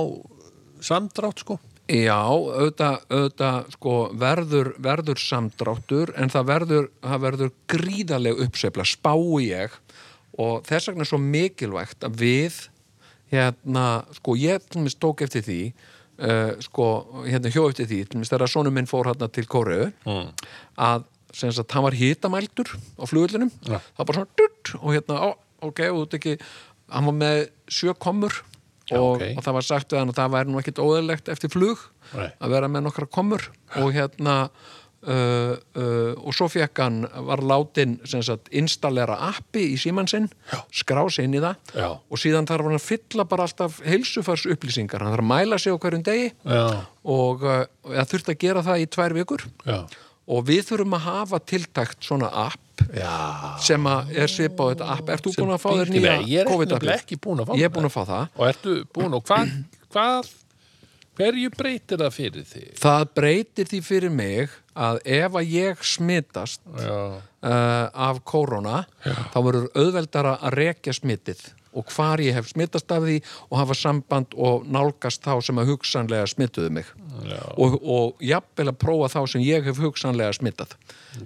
[SPEAKER 1] samdrátt, sko.
[SPEAKER 3] Já, auðvitað, auðvitað sko, verður, verður samdráttur en það verður, það verður gríðaleg uppsefla, spái ég og þess vegna er svo mikilvægt að við hérna, sko, ég til mér tók eftir því uh, sko, hérna hjó eftir því, til mér þegar sonum minn fór hérna til Kóriðu að sem sagt, hann var hitamældur á flugullinum, það var bara svona dutt, og hérna, á, ok, og þú ert ekki hann var með sjö kommur og,
[SPEAKER 1] ok.
[SPEAKER 3] og það var sagt við hann að það væri nú ekkit óðalegt eftir flug
[SPEAKER 1] Nei.
[SPEAKER 3] að vera með nokkra komur og hérna uh, uh, og svo fekk hann var látin sem sagt installera appi í síman sinn, skrá sig inn í það
[SPEAKER 1] Já.
[SPEAKER 3] og síðan þarf hann að fylla bara alltaf heilsufars upplýsingar, hann þarf að mæla sig á hverjum degi
[SPEAKER 1] Já,
[SPEAKER 3] og uh, það þurfti að gera það í tvær vikur
[SPEAKER 1] já.
[SPEAKER 3] og við þurfum að hafa tiltækt svona app
[SPEAKER 1] Já.
[SPEAKER 3] sem að er svipa á þetta app Ert þú búin að fá þér nýja
[SPEAKER 1] Nei, ég er ekki,
[SPEAKER 3] COVID-appið?
[SPEAKER 1] nefnilega ekki búin að fá
[SPEAKER 3] Ég er búin að fá það
[SPEAKER 1] Og ertu búin og hvað, hvað, hverju breytir það fyrir þig?
[SPEAKER 3] Það breytir því fyrir mig að ef að ég smitast
[SPEAKER 1] Já.
[SPEAKER 3] uh, af korona þá verður auðveldara að rekja smitið og hvar ég hef smitast af því og hafa samband og nálgast þá sem að hugsanlega smituðu mig
[SPEAKER 1] Já.
[SPEAKER 3] og, og jafnvel að prófa þá sem ég hef hugsanlega smitað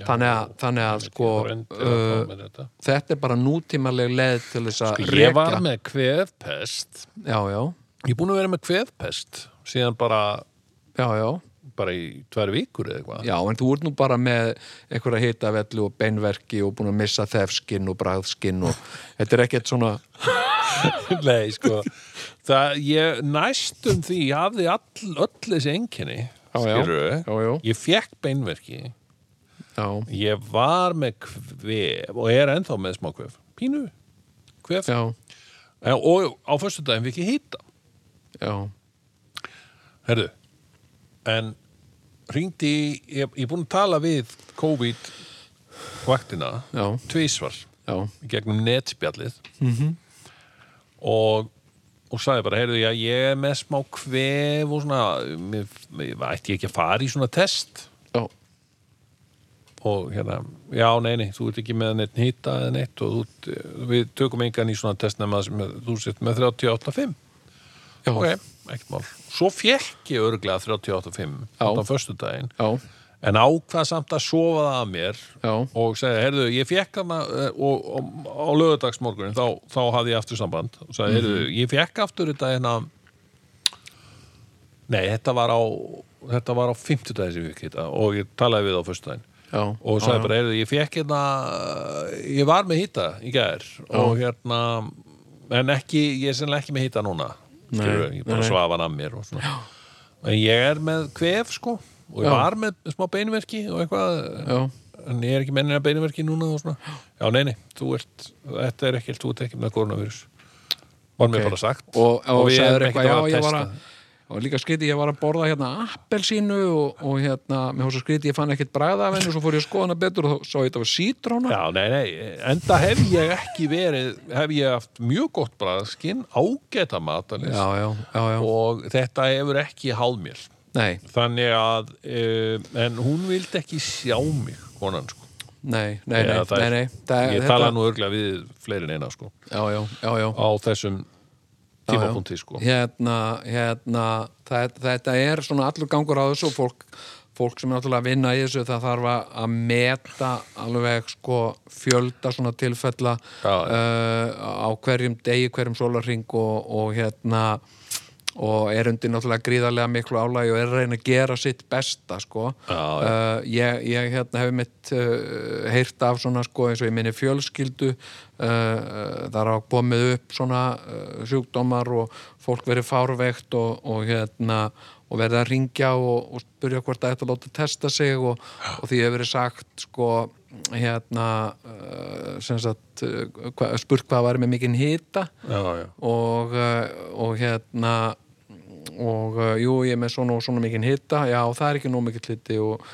[SPEAKER 3] þannig að, þannig að sko
[SPEAKER 1] Ég er endilega að fá
[SPEAKER 3] uh,
[SPEAKER 1] mér þetta.
[SPEAKER 3] þetta er bara nútímaleg leið til þess að
[SPEAKER 1] Sko, Ég var
[SPEAKER 3] rekja
[SPEAKER 1] með kveðpest.
[SPEAKER 3] já, já,
[SPEAKER 1] Ég er búin að vera með kveðpest síðan bara,
[SPEAKER 3] já, já
[SPEAKER 1] bara í tvær vikur eða eitthvað.
[SPEAKER 3] Já, en þú ert nú bara með einhverja hitavellu og beinverki og búin að missa þefskinn og bræðskinn
[SPEAKER 1] [LAUGHS]
[SPEAKER 3] og þetta er ekkert svona
[SPEAKER 1] Nei, sko Það, ég næstum því ég hafði all, öll þessi enginni
[SPEAKER 3] Já, já. Já, já.
[SPEAKER 1] Ég fekk beinverki
[SPEAKER 3] Já,
[SPEAKER 1] Ég var með kvef og er ennþá með smá kvef Pínu, kvef
[SPEAKER 3] já,
[SPEAKER 1] Eh, Og á föstu daginn fikk ég hýta
[SPEAKER 3] já
[SPEAKER 1] Herðu En hringdi, í- ég, ég er búin að tala við COVID vaktina
[SPEAKER 3] Já.
[SPEAKER 1] tvísvar
[SPEAKER 3] Já,
[SPEAKER 1] í gegnum netspjallið og, og sagði bara, heyrðu, já, ég er með smá kvef og svona mér, mér, ætti ég ekki að fara í svona test
[SPEAKER 3] já,
[SPEAKER 1] og hérna, já, nei, nei, þú ert ekki með neitt hýta eða neitt og þú, ert- við tökum engan í svona test nema sem þú sett með 38.5
[SPEAKER 3] já,
[SPEAKER 1] ok, ekkert mál svo fjekk ég örglega 38.5
[SPEAKER 3] Já.
[SPEAKER 1] á föstudaginn
[SPEAKER 3] já,
[SPEAKER 1] en ákvað samt að sofa það að mér
[SPEAKER 3] Já.
[SPEAKER 1] og segja, heyrðu, ég fekk hana eh, og, og, á lögudagsmorgunin þá, þá hafði ég aftur samband og sagði, heyrðu, ég fekk aftur þetta hérna Nei, þetta var á þetta var á 50 dagins í vikið og ég talaði við á föstudaginn
[SPEAKER 3] Já,
[SPEAKER 1] og sagði bara, heyrðu, ég fekk hérna ég var með hýta í gær og hérna en ekki, ég er sennilega ekki með hýta núna
[SPEAKER 3] Nei,
[SPEAKER 1] Skilurðu, ég bara
[SPEAKER 3] nei.
[SPEAKER 1] svafa hann að mér og svona en ég er með kvef sko og ég
[SPEAKER 3] Já.
[SPEAKER 1] var með smá beinverki og eitthvað
[SPEAKER 3] já,
[SPEAKER 1] en ég er ekki með neina beinverki núna og svona já, nei, nei, þú ert, þetta er ekkert þú ert ekki með koronavirus var mér
[SPEAKER 3] Ok.
[SPEAKER 1] bara sagt
[SPEAKER 3] og, og, og
[SPEAKER 1] við
[SPEAKER 3] sagður
[SPEAKER 1] erum
[SPEAKER 3] eitthvað, já,
[SPEAKER 1] ekkert
[SPEAKER 3] ég
[SPEAKER 1] að
[SPEAKER 3] var
[SPEAKER 1] testa
[SPEAKER 3] að og líka skriti, ég var að borða hérna appelsínu og, og hérna, mér hósa skriti, ég fann ekkert bræða af henni og svo fór ég að skoða hana betur og þá sá ég þetta var sítróna
[SPEAKER 1] Já, nei, nei, enda hef ég ekki verið, hef ég haft mjög gott bræðskinn, ágæta matalist
[SPEAKER 3] já, já, já, já.
[SPEAKER 1] og þetta hefur ekki háð mér.
[SPEAKER 3] nei,
[SPEAKER 1] Þannig að, um, en hún vildi ekki sjá mig, konan, sko.
[SPEAKER 3] nei, nei, nei,
[SPEAKER 1] Eða þær.
[SPEAKER 3] nei, nei það,
[SPEAKER 1] Ég tala nú örglega við fleiri en eina, sko,
[SPEAKER 3] já, já, já, já,
[SPEAKER 1] á þessum
[SPEAKER 3] já.
[SPEAKER 1] tímapunkti, sko.
[SPEAKER 3] hérna, hérna það, þetta er svona allur gangur á þessu og fólk, fólk sem er náttúrulega að vinna í þessu það þarf að- að meta alveg sko fjölda svona tilfella
[SPEAKER 1] Já,
[SPEAKER 3] uh, á hverjum degi, hverjum sólarring og, og hérna og er undir náttúrulega gríðarlega miklu álægi og er að reyna að gera sitt besta sko.
[SPEAKER 1] Já, já.
[SPEAKER 3] uh, ég, ég hérna, hef mitt uh, heyrt af svona sko, eins og ég minni fjölskyldu uh, það er á komið upp svona uh, sjúkdómar og fólk verið fárveikt og, og hérna og verið að ringja og, og spyrja hvort það ætti að láta testa sig og, og því hefur verið sagt sko hérna uh, sem sagt uh, hva, spurt hvað var með mikinn hita
[SPEAKER 1] Já, já.
[SPEAKER 3] og, uh, og hérna og uh, jú, ég er með svona og svona mikinn hitta, já, það er ekki nóg mikill hitti og,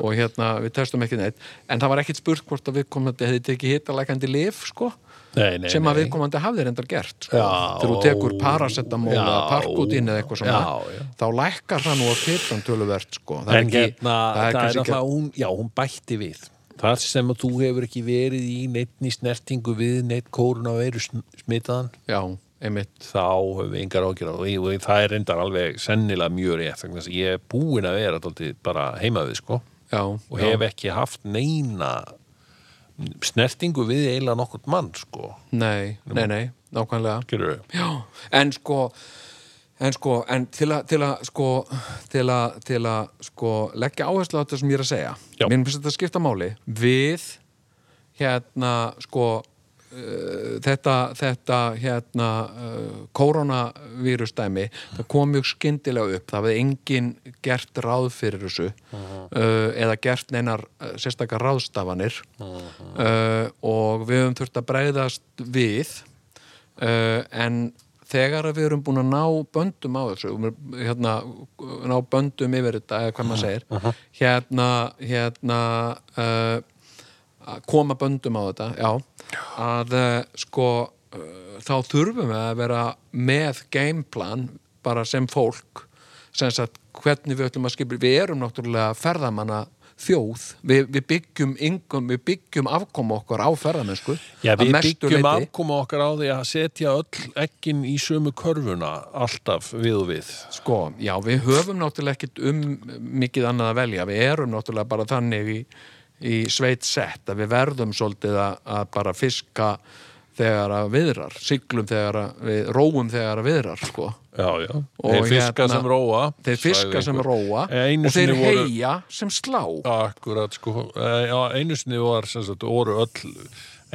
[SPEAKER 3] og hérna, við testum ekki neitt en það var ekkit spurt hvort að viðkomandi hefði tekið hittalækandi lif, sko
[SPEAKER 1] Nei, nei,
[SPEAKER 3] sem að
[SPEAKER 1] nei.
[SPEAKER 3] viðkomandi hafði reyndar gert sko.
[SPEAKER 1] Já.
[SPEAKER 3] þegar þú tekur paracetamol
[SPEAKER 1] Já.
[SPEAKER 3] eða parkutin eða eitthvað svona
[SPEAKER 1] Já, já.
[SPEAKER 3] þá lækkar það nú að hittan töluvert sko. það er
[SPEAKER 1] En
[SPEAKER 3] ekki-
[SPEAKER 1] hérna,
[SPEAKER 3] það er kannski ekki-
[SPEAKER 1] náttúrulega, hún, já, hún bætti við. Þar sem að þú hefur ekki verið í neittni snertingu við neitt koronavirus smitaðan,
[SPEAKER 3] já, einmitt
[SPEAKER 1] þá höfum við engar ágjur á því og það er reyndar alveg sennilega mjög rétt þannig að ég er búin að vera tóldi, bara heima við sko
[SPEAKER 3] já,
[SPEAKER 1] og
[SPEAKER 3] já,
[SPEAKER 1] hef ekki haft neina snertingu við eiginlega nokkurt mann sko
[SPEAKER 3] nei, nei, nei, nákvæmlega
[SPEAKER 1] Gerðu?
[SPEAKER 3] Já, en sko en sko, en til að til að sko, til að til að sko, leggja áherslu á þetta sem ég er að segja
[SPEAKER 1] Já.
[SPEAKER 3] mér finnst þetta skipta máli við hérna sko uh, þetta, þetta hérna uh, koronavírusdæmi það kom mjög skyndilega upp það hefði enginn gert ráð fyrir þessu uh, eða gert neinar uh, sérstakar ráðstafanir uh, og við höfum þurft að bregðast við uh, en þegar að við erum búin að ná böndum á þessu um, hérna, ná böndum yfir þetta eða hvað maður segir hérna, hérna uh, að koma böndum á þetta já, að uh, sko uh, þá þurfum við að vera með gameplan bara sem fólk sem sagt hvernig við ætlum að skipla við erum náttúrulega ferðamanna þjóð, við, við byggjum yngum, við byggjum afkomu okkar á ferðamennsku
[SPEAKER 1] Já,
[SPEAKER 3] að
[SPEAKER 1] við
[SPEAKER 3] mestu
[SPEAKER 1] byggjum
[SPEAKER 3] leyti.
[SPEAKER 1] afkoma okkar á því að setja öll ekkin í sömu körfuna alltaf við og við
[SPEAKER 3] Sko, já, við höfum náttúrulega ekkit um mikið annað að velja. Við erum náttúrulega bara þannig í, í sveit sett að við verðum svolítið að, að bara fiska þegar að viðrar, siglum þegar að við, róum þegar að viðrar, sko.
[SPEAKER 1] Já, já,
[SPEAKER 3] Og
[SPEAKER 1] þeir fiska
[SPEAKER 3] hérna-
[SPEAKER 1] sem róa
[SPEAKER 3] Þeir fiska
[SPEAKER 1] sagði
[SPEAKER 3] sem
[SPEAKER 1] einhver.
[SPEAKER 3] róa
[SPEAKER 1] Einu
[SPEAKER 3] og þeir
[SPEAKER 1] sinni voru-
[SPEAKER 3] heia sem slá.
[SPEAKER 1] Akkurat sko, Eh, já, einu sinni var sem sagt, voru öll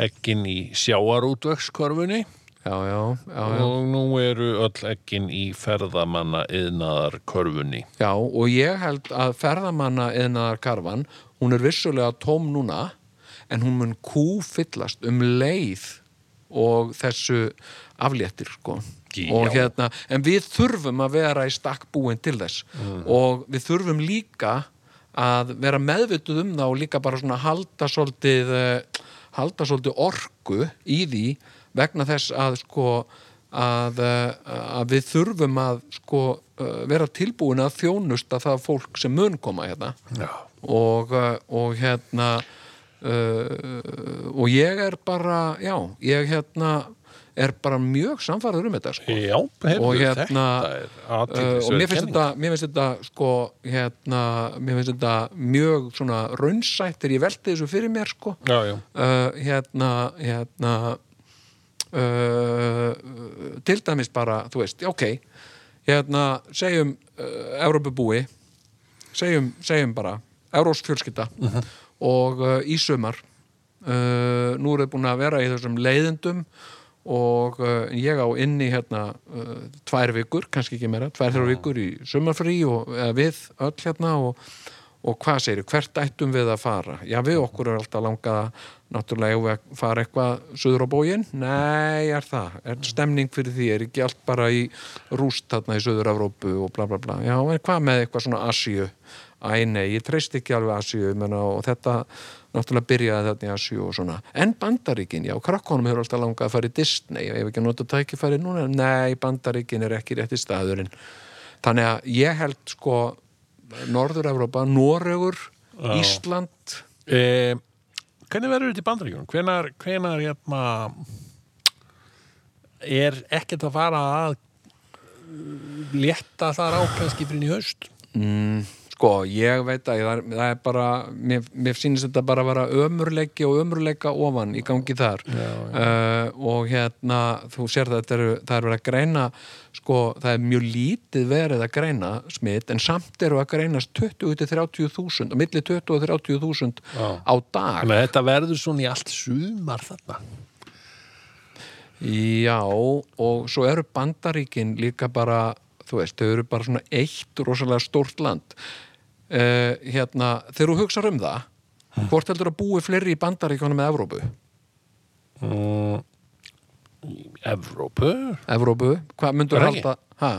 [SPEAKER 1] ekkin í sjáarútvöxkörfunni
[SPEAKER 3] Já, já, já, já.
[SPEAKER 1] og nú eru öll ekkin í ferðamanna yðnaðarkörfunni.
[SPEAKER 3] Já, og ég held að ferðamanna eðnaðar karfan, hún er vissulega tóm núna, en hún mun kúfyllast um leið og þessu afléttir, sko.
[SPEAKER 1] Já.
[SPEAKER 3] Og hérna, en við þurfum að vera í stakk búin til þess og við þurfum líka að vera meðvituð um það og líka bara svona halda svolítið, eh, halda svolítið orku í því vegna þess að sko að, eh, að við þurfum að sko eh, vera tilbúin að þjónusta það fólk sem mun koma hérna
[SPEAKER 1] Já.
[SPEAKER 3] og, eh, og hérna uh, og ég er bara já, ég hérna er bara mjög samfæður um þetta sko
[SPEAKER 1] Já, heyrðu,
[SPEAKER 3] og hérna
[SPEAKER 1] þetta er
[SPEAKER 3] uh, og mér finnst
[SPEAKER 1] athyglisverð kenning.
[SPEAKER 3] þetta, mér finnst þetta sko, hérna, mér finnst þetta mjög svona raunsætt þegar ég velti þessu fyrir mér sko
[SPEAKER 1] Já, já,
[SPEAKER 3] uh, hérna, hérna uh, til dæmis bara, þú veist, ok hérna, segjum uh, Evrópubúi segjum, segjum bara, Evrósk fjölskylda og uh, í sumar uh, nú eru þið búin að vera í þessum leiðindum og uh, ég á inni hérna uh, tvær vikur, kannski ekki meira tvær þrjá vikur í sumarfrí og eða við öll hérna og, og hvað segir, hvert ættum við að fara já við okkur er alltaf langað að náttúrulega eigum við að fara eitthvað suður á bógin, nei er það er stemning fyrir því, er ekki allt bara í rúst þarna í suður Evrópu og bla bla bla, já en hvað með eitthvað svona Asíu Æ, nei, ég treyst ekki alveg Asíu menna, og þetta náttúrulega byrjaði þarna í Asíu og svona. En Bandaríkin, já, krakkonum hefur alltaf langað að fara í Disney ef ekki að nota tækifæri núna. Nei, Bandaríkin er ekki rétti staðurinn. Þannig að ég held sko Norður-Európa, Noregur, Ísland,
[SPEAKER 1] Eh, hvernig verður þetta í bandaríkjunum? Hvenar, hvenar hérna, er ekkert að fara að eh, létta þar á kannski fyrir í haust?
[SPEAKER 3] sko, ég veit að það, er- það er bara, mér, mér sýnist þetta bara að vera ömurleiki og ömurleika ofan í gangi þar já, já. og hérna, þú sér það þetta eru, það er verið að greina sko, það er mjög lítið verið að greina smitt, en samt eru að greinast 20-30.000, á milli 20-30.000 á dag
[SPEAKER 1] Þannig að þetta verður svona í allt sumar þarna.
[SPEAKER 3] Já, og svo eru bandaríkin líka bara, þú veist, þau eru bara svona eitt rosalega stórt land. Uh, hérna, þegar þú hugsar um það, hvort heldur að búi fleiri í bandaríkunum með Evrópu?
[SPEAKER 1] Evrópu?
[SPEAKER 3] Evrópu, hvað myndur
[SPEAKER 1] Er
[SPEAKER 3] þú
[SPEAKER 1] það ekki?
[SPEAKER 3] halda, ha,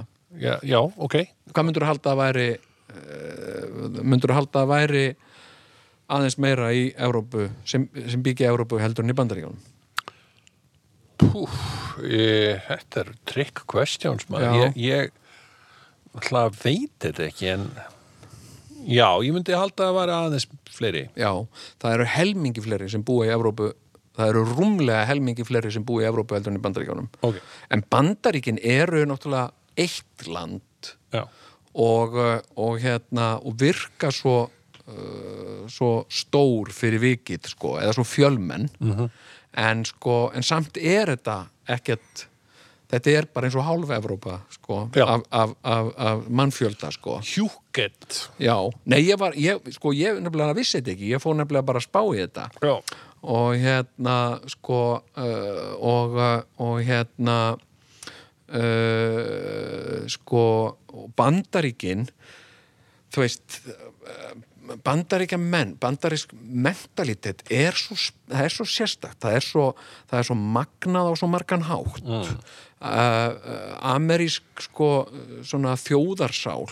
[SPEAKER 1] Já, já ok.
[SPEAKER 3] hvað myndur halda að væri, uh, myndur þú halda að væri aðeins meira í Evrópu, sem, sem byggja Evrópu heldur en í bandaríkunum?
[SPEAKER 1] Eh, Þetta eru trick questions
[SPEAKER 3] Já.
[SPEAKER 1] maður. Ég, ég ætla að veit þetta ekki en já, ég myndi halda að vera aðeins fleiri.
[SPEAKER 3] Já, það eru helmingi fleiri sem búa í Evrópu það eru rúmlega helmingi fleiri sem búa í Evrópu heldur en í bandaríkjánum
[SPEAKER 1] Ok.
[SPEAKER 3] en bandaríkin eru náttúrulega eitt land
[SPEAKER 1] Já.
[SPEAKER 3] og, uh, og hérna og virka svo uh, svo stór fyrir vikið sko, eða svo fjölmenn
[SPEAKER 1] Mhm.
[SPEAKER 3] en sko, en samt er þetta ekkert þetta er bara eins og hálf Evrópa sko,
[SPEAKER 1] Já.
[SPEAKER 3] af, af, af, af mannfjölda sko.
[SPEAKER 1] Hjúkett.
[SPEAKER 3] Já, nei, ég var, ég, sko, ég nefnilega vissi þetta ekki, ég fór nefnilega bara að spá í þetta
[SPEAKER 1] Já.
[SPEAKER 3] og hérna, sko, uh, og, uh, og hérna, uh, sko, og bandaríkin, þú veist, uh, bandaríkja menn, bandarísk mentalitet er svo, það er svo sérstakt, það er svo, það er svo magnað á svo margan hátt. Mm. amerísk, sko, svona þjóðarsál,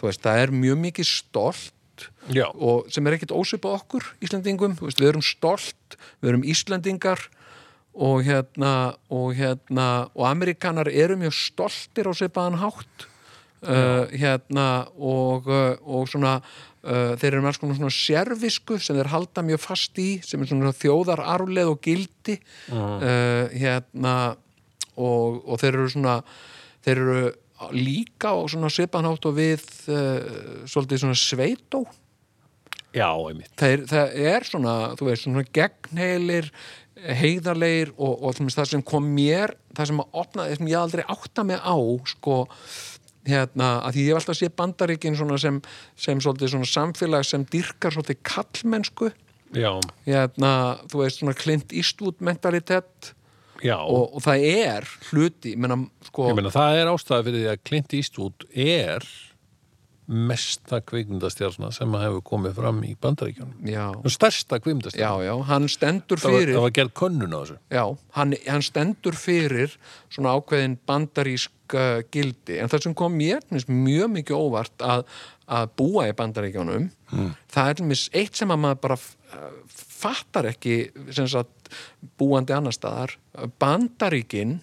[SPEAKER 3] þú veist, það er mjög mikið stolt
[SPEAKER 1] Já.
[SPEAKER 3] og sem er ekkert ósvipað okkur Íslandingum, þú veist, við erum stolt við erum Íslandingar og hérna og, hérna, og Amerikanar eru mjög stoltir á svipaðan hátt uh, hérna og, uh, og svona uh, þeir eru með alls konar svona sérvisku sem þeir halda mjög fast í sem er svona þjóðararleð og gildi uh, hérna og, og þeir eru svona þeir eru líka og svona svipaðan hátt og við uh, svolítið svona sveitó
[SPEAKER 1] Já, einmitt.
[SPEAKER 3] þeir, það er svona, þú veist, svona gegnheilir heiðarleir og, og þú veist, það sem kom mér það sem að opna, það sem ég aldrei átta mig á sko, hérna að því ég hef alltaf sé bandaríkin svona sem, sem svolítið svona samfélag sem dyrkar svolítið kallmennsku
[SPEAKER 1] Já,
[SPEAKER 3] hérna, þú veist, svona klint ístút mentalitet
[SPEAKER 1] já.
[SPEAKER 3] og, og það er hluti, ég menna, sko
[SPEAKER 1] ég meina, það er ástæða fyrir því að Clint Eastwood er mesta kvikmyndastjarna sem að hefur komið fram í bandaríkjunum.
[SPEAKER 3] já,
[SPEAKER 1] Stærsta
[SPEAKER 3] já,
[SPEAKER 1] kvikmyndastjarna.
[SPEAKER 3] já, hann stendur
[SPEAKER 1] það, var,
[SPEAKER 3] fyrir
[SPEAKER 1] það var gerð könnun á þessu.
[SPEAKER 3] Já, hann, hann stendur fyrir svona ákveðin bandarísk uh, gildi, en það sem kom mér finnst mjög mikið óvart að, að búa í bandaríkjánum það er til dæmis eitt sem að maður bara uh, fattar ekki sem sagt, búandi annar staðar bandaríkin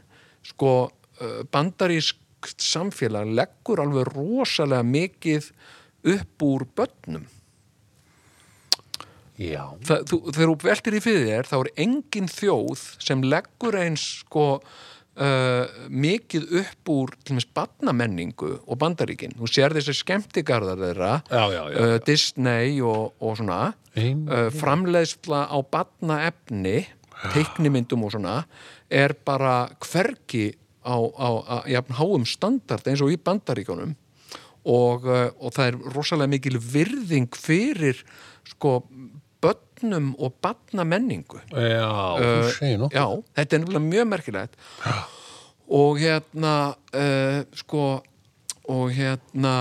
[SPEAKER 3] sko, uh, bandarísk samfélag leggur alveg rosalega mikið upp úr börnum
[SPEAKER 1] Já.
[SPEAKER 3] það, þú, þegar þú veltir í fyrir þér þá er engin þjóð sem leggur eins sko uh, mikið upp úr til dæmis barnamenningu og bandaríkin þú sér þessi skemmtigarðar þeirra
[SPEAKER 1] Já, já, já,
[SPEAKER 3] Uh, Disney og, og svona
[SPEAKER 1] Ein-
[SPEAKER 3] uh, framleiðsla á barnaefni teiknimyndum og svona er bara hvergi á, á, á jafn háum standard eins og í bandaríkunum og, eh, og það er rosalega mikil virðing fyrir sko börnum og barnamenningu
[SPEAKER 1] Já, þú segir nú
[SPEAKER 3] Eh, Já, þetta er nefnilega mjög merkilegt og hérna uh, sko og hérna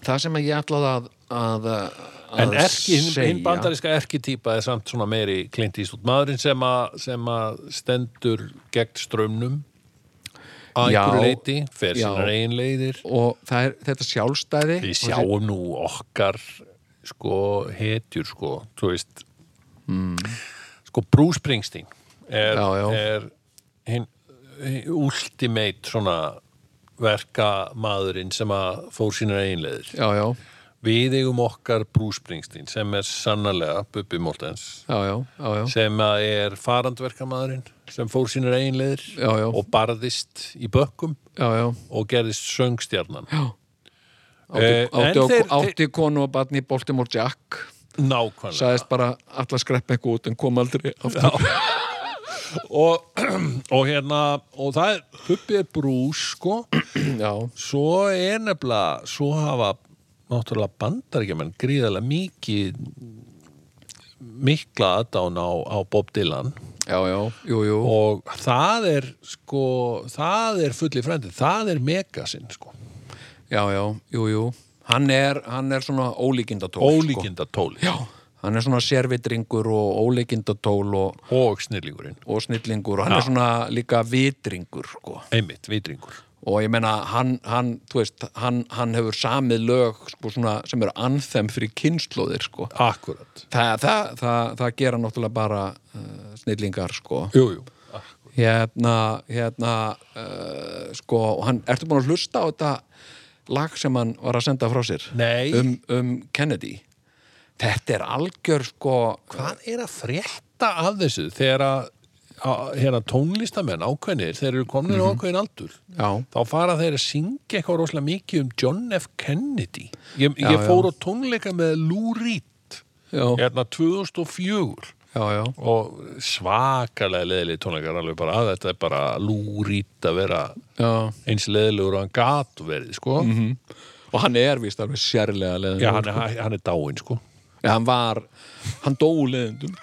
[SPEAKER 3] það sem ég ætlaði að, að, að
[SPEAKER 1] En erki, hinn- hinn
[SPEAKER 3] segja-
[SPEAKER 1] bandaríska erkitýpa er samt svona meiri Clint Eastwood maðurinn sem að, sem að stendur gegn strömmnum að
[SPEAKER 3] Já.
[SPEAKER 1] einhverju leiti fer
[SPEAKER 3] Já.
[SPEAKER 1] sínar eigin leiðir
[SPEAKER 3] og það er þetta sjálfstæði
[SPEAKER 1] Við
[SPEAKER 3] og þessi-
[SPEAKER 1] sjáum nú okkar sko hetjur sko, þú veist sko Bruce Springsteen er,
[SPEAKER 3] Mm. Já, já.
[SPEAKER 1] er hinn hinn ultimate svona verka maðurinn sem að fór sínar eigin leiðir
[SPEAKER 3] já, já,
[SPEAKER 1] Við eigum okkar Bruce Springsteen sem er sannarlega Bubbi Mortens
[SPEAKER 3] já, já, já, já.
[SPEAKER 1] sem að er farandverkamaðurinn sem fór sínur eiginleðir
[SPEAKER 3] Já, já.
[SPEAKER 1] og barðist í bökkum
[SPEAKER 3] Já, já,
[SPEAKER 1] og gerðist söngstjarnan
[SPEAKER 3] átti,
[SPEAKER 1] Eh,
[SPEAKER 3] átti,
[SPEAKER 1] en
[SPEAKER 3] okkur,
[SPEAKER 1] þeir-
[SPEAKER 3] átti konu og barni í Baltimore Jack
[SPEAKER 1] nákvæmlega
[SPEAKER 3] sagðist bara alla skreppa eitthvað út en kom aldrei aftur
[SPEAKER 1] og, [CLEARS THROAT] og hérna og það er, Bubbi er Bruce sko
[SPEAKER 3] Já,
[SPEAKER 1] svo er nefnilega svo hafa náttúrulega bandaríkjumenn gríðarlega mikið mikla aðdán á, á Bob Dylan
[SPEAKER 3] já, já, jú, jú
[SPEAKER 1] og það er sko, það er fulli frændi það er megasinn sko
[SPEAKER 3] Já, já, jú, jú Hann er, hann er svona ólíkindatól sko.
[SPEAKER 1] ólíkindatóli
[SPEAKER 3] Já, hann er svona sérvitringur og óleikindatól og,
[SPEAKER 1] og snillingurinn,
[SPEAKER 3] og snillingur og hann er svona líka vitringur sko.
[SPEAKER 1] einmitt, vitringur
[SPEAKER 3] og ég meina hann, hann, þú veist, hann, hann hefur samið lög sko, svona, sem eru anþem fyrir kynnslóðir sko.
[SPEAKER 1] akkurat,
[SPEAKER 3] Þa, það, það, það gera náttúrulega bara uh, snillingar sko.
[SPEAKER 1] jú, jú
[SPEAKER 3] hérna, hérna uh, sko, og hann, ertu búin að hlusta á þetta lag sem hann var að senda frá sér
[SPEAKER 1] Nei.
[SPEAKER 3] um, um Kennedy þetta er algjör sko
[SPEAKER 1] hvað er að frétta af þessu þegar að að- hérna tónlistamenn ákveðnir, þeir eru komnir mm ákveðin aldur
[SPEAKER 3] Mhm. Já.
[SPEAKER 1] þá fara þeir að syngja eitthvað rosalega mikið um John F. Kennedy ég,
[SPEAKER 3] Já,
[SPEAKER 1] ég
[SPEAKER 3] já.
[SPEAKER 1] fór á tónleika með Lou Reed
[SPEAKER 3] já,
[SPEAKER 1] hérna 2004
[SPEAKER 3] já, já,
[SPEAKER 1] og svakalega leðileg tónleikar alveg bara að þetta er bara Lou Reed að vera
[SPEAKER 3] já. Mhm.
[SPEAKER 1] eins leðilegur og hann gat verið sko
[SPEAKER 3] og hann er vist alveg sérlega leðin
[SPEAKER 1] Já, hann er, hann er dáinn, sko.
[SPEAKER 3] hann var, hann dó leðindum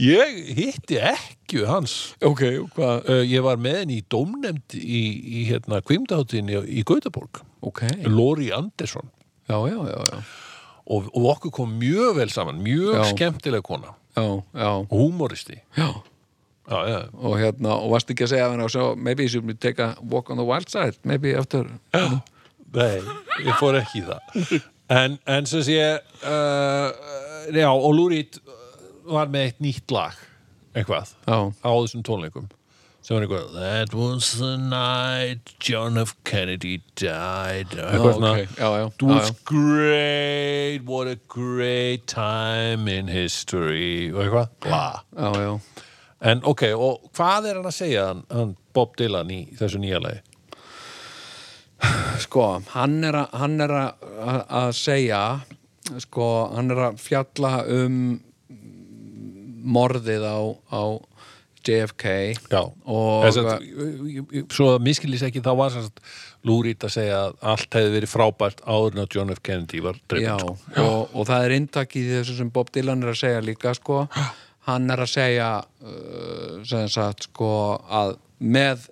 [SPEAKER 1] Ég hitti ekki hans.
[SPEAKER 3] ok, og hvað
[SPEAKER 1] Uh, ég var með henni í dómnefnd í, í hérna, kvimdaháttinni í Gautaborg.
[SPEAKER 3] ok,
[SPEAKER 1] Lori Andersson.
[SPEAKER 3] já, já, já, já
[SPEAKER 1] Og, og okkur kom mjög vel saman, mjög
[SPEAKER 3] Já.
[SPEAKER 1] skemmtileg kona.
[SPEAKER 3] já, já,
[SPEAKER 1] Húmoristi.
[SPEAKER 3] já
[SPEAKER 1] Já, já.
[SPEAKER 3] og hérna, og varst ekki að segja hann so, maybe you should take a walk on the wild side maybe after
[SPEAKER 1] Nei, ég fór ekki í það. En, en sem sé, uh, já, og Lúrít var með eitt nýtt lag, eitthvað,
[SPEAKER 3] Já.
[SPEAKER 1] á þessum tónleikum. Sem var eitthvað, that was the night John F. Kennedy died. Eitthvað svona,
[SPEAKER 3] ok, já, já,
[SPEAKER 1] It
[SPEAKER 3] já,
[SPEAKER 1] was
[SPEAKER 3] já.
[SPEAKER 1] great, what a great time in history. Og eitthvað, bla.
[SPEAKER 3] já, já,
[SPEAKER 1] En ok, og hvað er hann að segja, hann, hann Bob Dylan í þessu nýja lagi?
[SPEAKER 3] sko, hann er að hann er að- að að segja sko, hann er að fjalla um morðið á, á JFK
[SPEAKER 1] Já,
[SPEAKER 3] og
[SPEAKER 1] Þess að, svo að miskilís ekki þá var sannst lúrít að segja að allt hefði verið frábært áður en að John F. Kennedy var
[SPEAKER 3] Já,
[SPEAKER 1] dreifn sko.
[SPEAKER 3] og, og það er inntak í þessu sem Bob Dylan er að segja líka sko. hann er að segja uh, sem sagt sko að með,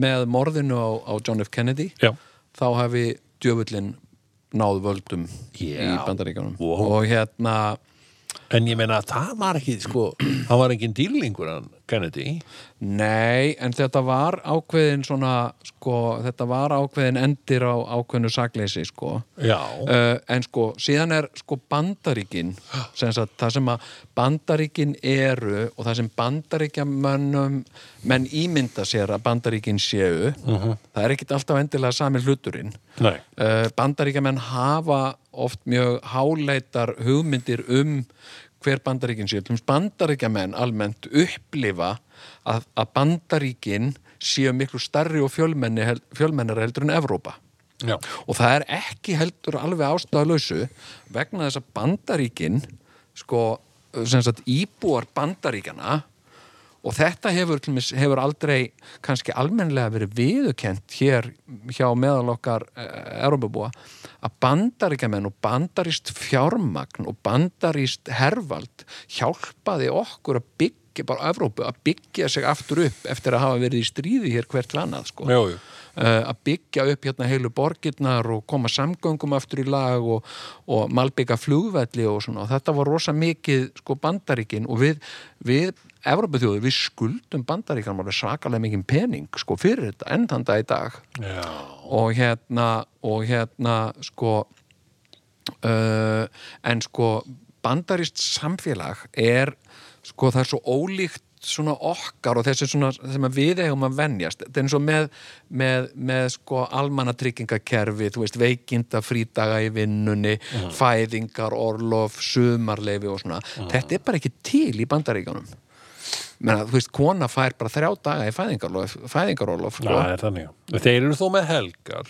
[SPEAKER 3] með morðinu á, á John F. Kennedy
[SPEAKER 1] Já.
[SPEAKER 3] þá hafi djöfullin náð völdum í
[SPEAKER 1] Já.
[SPEAKER 3] bandaríkjanum
[SPEAKER 1] Wow.
[SPEAKER 3] og hérna
[SPEAKER 1] En ég meina að það var ekki sko, [CLEARS THROAT] það var engin dýlingur hann Kennedy
[SPEAKER 3] Nei, en þetta var ákveðin svona, sko, þetta var ákveðin endir á ákveðinu sakleysi, sko.
[SPEAKER 1] Já,
[SPEAKER 3] Uh, en sko, síðan er sko bandaríkin, sem sagt, það sem að bandaríkin eru og það sem bandaríkjamönnum menn ímynda sér að bandaríkin séu, það er ekkit alltaf endilega sami hluturinn.
[SPEAKER 1] nei
[SPEAKER 3] Uh, bandaríkjamenn hafa oft mjög háleitar hugmyndir um hver bandaríkin séu. Tlum bandaríkjamenn almennt upplifa að, að bandaríkin séu miklu starri og fjölmenni, hel- fjölmennari heldur en Evrópa.
[SPEAKER 1] Já,
[SPEAKER 3] Og það er ekki heldur alveg ástæðalausu vegna þess að bandaríkin, sko, sem sagt íbúar bandaríkjana og þetta hefur, til dæmis- hefur aldrei kannski almennlega verið viðukent hér hjá meðal okkar erobubúa að bandaríkjamenn og bandaríst fjármagn og bandaríst hervald hjálpaði okkur að byggja bara Evrópu að byggja sig aftur upp eftir að hafa verið í stríði hér hvert við annað sko
[SPEAKER 1] Jú, jú.
[SPEAKER 3] uh, að byggja upp hérna heilu borgirnar og koma samgöngum aftur í lag og, og malbyggja flugvelli og svona og þetta var rosa mikið sko bandaríkin og við, við Evropaþjóður, við skuldum bandaríkanum alveg svakalega mikið pening sko fyrir þetta enn þann dag í dag og hérna og hérna sko uh, en sko bandarist samfélag er sko það er svo ólíkt svona okkar og þessi svona sem að við eigum að venjast, þetta er eins og með með, með sko almannatryggingakerfi þú veist veikinda frídaga í vinnunni, fæðingar orlof, sumarleifi og svona þetta er bara ekki til í bandaríkanum menna þú veist, kona fær bara þrjá daga í fæðingarorlof, fæðingarorlof sko.
[SPEAKER 1] það er þannig. Þeir eru þó með helgar.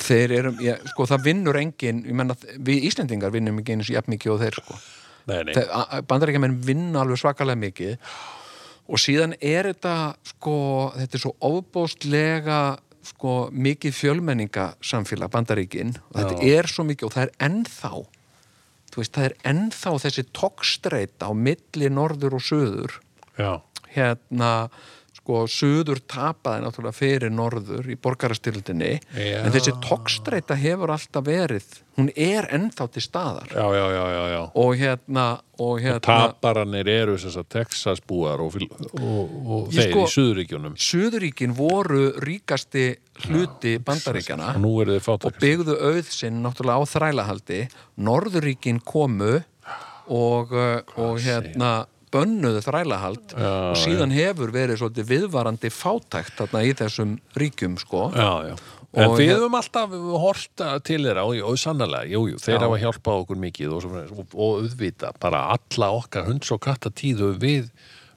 [SPEAKER 3] þeir eru, já, sko það vinnur engin, ég menna við Íslendingar vinnum ekki eins og jafn mikið og þeir sko
[SPEAKER 1] Nei, nei.
[SPEAKER 3] Þe- a- a- bandaríkjamenn vinna alveg svakalega mikið og síðan er þetta sko, þetta er svo ofbóstlega sko mikið fjölmenningasamfélag bandaríkin og þetta er svo mikið og það er ennþá þú veist, það er ennþá þessi togstreita á milli norður og söður
[SPEAKER 1] Já.
[SPEAKER 3] hérna sko, suður tapaði náttúrulega fyrir norður í borgarastyrldinni
[SPEAKER 1] Já.
[SPEAKER 3] en þessi togstreita hefur alltaf verið hún er ennþá til staðar
[SPEAKER 1] Já, já, já, já, já.
[SPEAKER 3] og hérna, og hérna
[SPEAKER 1] Taparanir eru þess að Texas búar og, fíl- og, og
[SPEAKER 3] Ég
[SPEAKER 1] þeir
[SPEAKER 3] sko-
[SPEAKER 1] í Suðuríkjunum.
[SPEAKER 3] Suðuríkin voru ríkasti hluti bandaríkjana
[SPEAKER 1] Og nú eru þeir
[SPEAKER 3] og
[SPEAKER 1] fátakast.
[SPEAKER 3] byggðu auð sinn náttúrulega á þrælahaldi Norðuríkin komu og, uh, og hérna bönnuðu þrælahald og síðan hefur verið svolítið viðvarandi fátækt þarna í þessum ríkjum sko
[SPEAKER 1] Já, já. En
[SPEAKER 3] Og hérna-
[SPEAKER 1] við
[SPEAKER 3] hér-
[SPEAKER 1] höfum alltaf horta til þeirra og, og sannlega, jú, jú, þeir
[SPEAKER 3] Já.
[SPEAKER 1] hafa hjálpað okkur mikið og, svo framvegis. og, og auðvita bara alla okkar hunds og katta tíð og við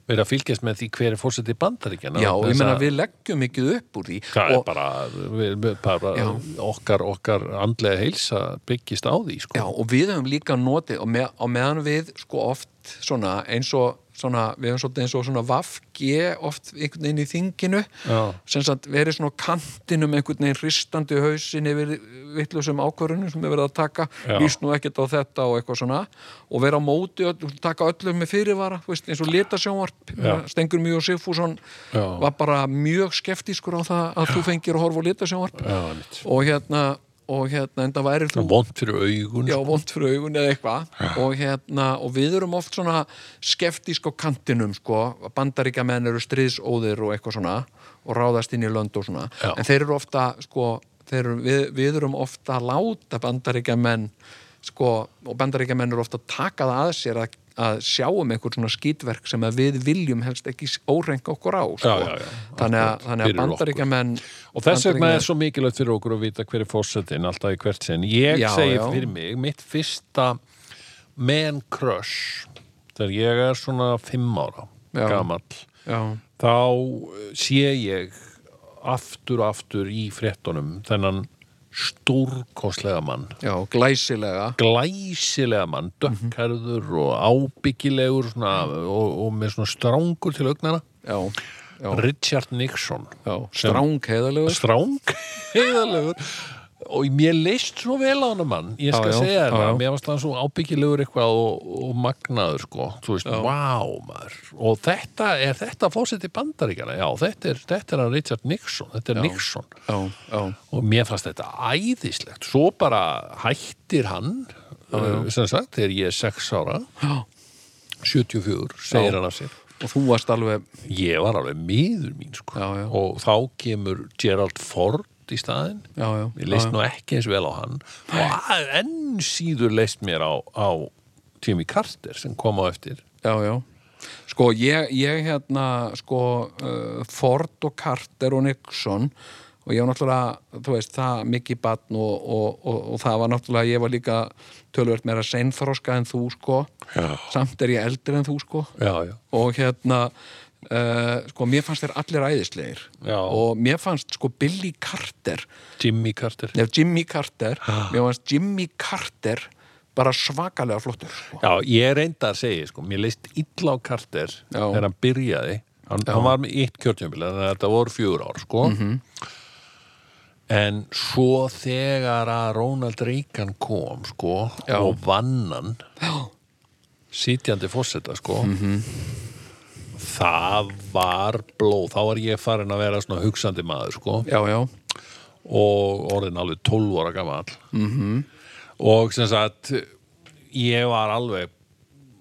[SPEAKER 1] verið að fylgjast með því hver er fórsetið bandaríkjana.
[SPEAKER 3] Já,
[SPEAKER 1] Vegna
[SPEAKER 3] ég
[SPEAKER 1] þess
[SPEAKER 3] meina
[SPEAKER 1] að
[SPEAKER 3] við leggjum mikið upp úr því
[SPEAKER 1] hérna Það er
[SPEAKER 3] og,
[SPEAKER 1] bara, við, við, bara
[SPEAKER 3] Já.
[SPEAKER 1] okkar, okkar andlega heilsa byggist á því, sko.
[SPEAKER 3] já, og við höfum líka notið og með, á meðan við sko oft svona eins og svona, við höfum svolítið eins og svona vafgi oft einhvern veginn í þinginu
[SPEAKER 1] Já.
[SPEAKER 3] sem sagt verið svona á kantinum einhvern veginn hristandi hausin yfir vittlusum ákvörunum sem er verið að taka
[SPEAKER 1] Já.
[SPEAKER 3] víst nú ekkert á þetta og eitthvað svona og vera á móti, öll, taka öllum með fyrirvara þú veist, eins og litasjónvarp
[SPEAKER 1] Já.
[SPEAKER 3] Stengur Mjög Sigfússon
[SPEAKER 1] Já.
[SPEAKER 3] var bara mjög skeftískur á það að þú fengir að horfa á litasjónvarp
[SPEAKER 1] Já, einmitt.
[SPEAKER 3] og hérna og hérna, en það væri þú
[SPEAKER 1] Það er vond fyrir augun. sko.
[SPEAKER 3] já, vond fyrir augun eða eitthvað og hérna, og við erum oft svona skeftísk á kantinum, sko bandaríkjamenn eru stríðsóðir og eitthvað svona og ráðast inn í lönd og svona
[SPEAKER 1] Já.
[SPEAKER 3] en þeir eru ofta, sko þeir, eru- við, við erum ofta að láta bandaríkjamenn sko, og bandaríkjamenn eru ofta að taka það að sér að, að sjá um einhver svona skítverk sem að við viljum helst ekki órenga okkur á, sko
[SPEAKER 1] Já, já, já,
[SPEAKER 3] þannig að,
[SPEAKER 1] akkurat, fyrir
[SPEAKER 3] þannig að
[SPEAKER 1] okkur.
[SPEAKER 3] bandaríkjamenn
[SPEAKER 1] Og þess vegna
[SPEAKER 3] Bandaríkjamenn-
[SPEAKER 1] er svo mikilvægt fyrir okkur að vita hver er fórsetin alltaf í hvert sinn. Ég
[SPEAKER 3] Já,
[SPEAKER 1] segi
[SPEAKER 3] já.
[SPEAKER 1] fyrir mig, mitt fyrsta man crush, þegar ég er svona fimm ára,
[SPEAKER 3] Já.
[SPEAKER 1] gamall,
[SPEAKER 3] já,
[SPEAKER 1] þá eh, sé ég aftur og aftur í fréttunum þennan stórkoslega mann
[SPEAKER 3] já, glæsilega
[SPEAKER 1] glæsilega mann,
[SPEAKER 3] Mhm.
[SPEAKER 1] dökkarður og ábyggilegur svona, og, og með svona strángur til augnana
[SPEAKER 3] já, já,
[SPEAKER 1] Richard Nixon
[SPEAKER 3] já.
[SPEAKER 1] sem-
[SPEAKER 3] stráng heiðalegur
[SPEAKER 1] stráng [LAUGHS] heiðalegur og mér leist svo vel á hann mann ég skal
[SPEAKER 3] Já, já,
[SPEAKER 1] segja
[SPEAKER 3] já,
[SPEAKER 1] þér
[SPEAKER 3] já.
[SPEAKER 1] að mér varst hann svo ábyggilegur eitthvað og, og magnaður sko, þú veist, vá maður og þetta, er þetta fórseti bandaríkjana já, þetta er, þetta er hann Richard Nixon þetta er Nixon
[SPEAKER 3] já, já,
[SPEAKER 1] og mér fannst þetta æðislegt svo bara hættir hann uh, sem sagt, þegar ég er sex ára
[SPEAKER 3] já.
[SPEAKER 1] 74, segir
[SPEAKER 3] Já.
[SPEAKER 1] hann af sér
[SPEAKER 3] og þú varst alveg
[SPEAKER 1] ég var alveg miður mín sko.
[SPEAKER 3] Já, já.
[SPEAKER 1] og þá kemur Gerald Ford í staðinn
[SPEAKER 3] já, já,
[SPEAKER 1] ég leist nú ekki eins vel á hann og að- enn síður leist mér á, á Jimmy Carter sem kom á eftir
[SPEAKER 3] já, já. sko ég, ég hérna sko uh, Ford og Carter og Nixon og ég var náttúrulega, þú veist, það mikið batn og, og, og, og það var náttúrulega ég var líka tölvöld meira seinþroska en þú sko, já. samt er ég eldri en þú sko
[SPEAKER 1] já, já,
[SPEAKER 3] og hérna Uh, sko, mér fannst þér allir æðislegir
[SPEAKER 1] Já.
[SPEAKER 3] og mér fannst sko Billy Carter
[SPEAKER 1] Jimmy Carter
[SPEAKER 3] Nei, Jimmy Carter, mér fannst Jimmy Carter bara svakalega flottur sko.
[SPEAKER 1] Já, ég reynda að segja, sko, mér leist illa á Carter
[SPEAKER 3] Já.
[SPEAKER 1] þegar hann byrjaði hann, hann var með eitt kjörtjömbil þannig að þetta voru fjögur ár, sko
[SPEAKER 3] Mhm.
[SPEAKER 1] en svo þegar að Ronald Reagan kom, sko,
[SPEAKER 3] Já.
[SPEAKER 1] og vannan Já. sitjandi fórseta, sko
[SPEAKER 3] Mhm.
[SPEAKER 1] það var blóð, þá var ég farin að vera svona hugsandi maður, sko
[SPEAKER 3] já, já,
[SPEAKER 1] og orðin alveg 12 ára gamall -hmm. og sem sagt ég var alveg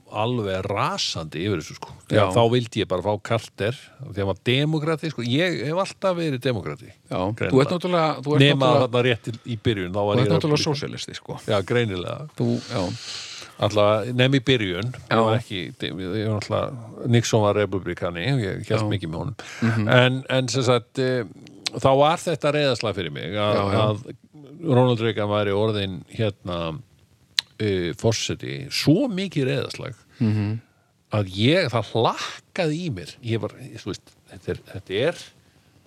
[SPEAKER 1] alveg rasandi yfir þessu sko
[SPEAKER 3] Já.
[SPEAKER 1] Þegar þá vildi ég bara fá karter því að maður demokrati sko ég hef alltaf verið demokrati
[SPEAKER 3] já. þú ert náttúrulega þú ert
[SPEAKER 1] nema
[SPEAKER 3] náttúrulega,
[SPEAKER 1] þarna rétt í- í byrjun þá var
[SPEAKER 3] þú
[SPEAKER 1] ég
[SPEAKER 3] ert náttúrulega
[SPEAKER 1] republikan.
[SPEAKER 3] sósialisti sko.
[SPEAKER 1] já greinilega
[SPEAKER 3] þú, já,
[SPEAKER 1] alltaf nefn í byrjun
[SPEAKER 3] Já.
[SPEAKER 1] ég var ekki, ég var alltaf Nixon var republikani, ég held mikið með honum
[SPEAKER 3] Mhm.
[SPEAKER 1] en, en sem sagt eh, þá var þetta reyðaslega fyrir mig að,
[SPEAKER 3] Já, já.
[SPEAKER 1] að Ronald Reagan væri orðin hérna uh, forseti, svo mikið reyðaslag
[SPEAKER 3] Mhm.
[SPEAKER 1] -hmm. að ég, það hlakkaði í mér ég var, þú veist, þetta er, þetta er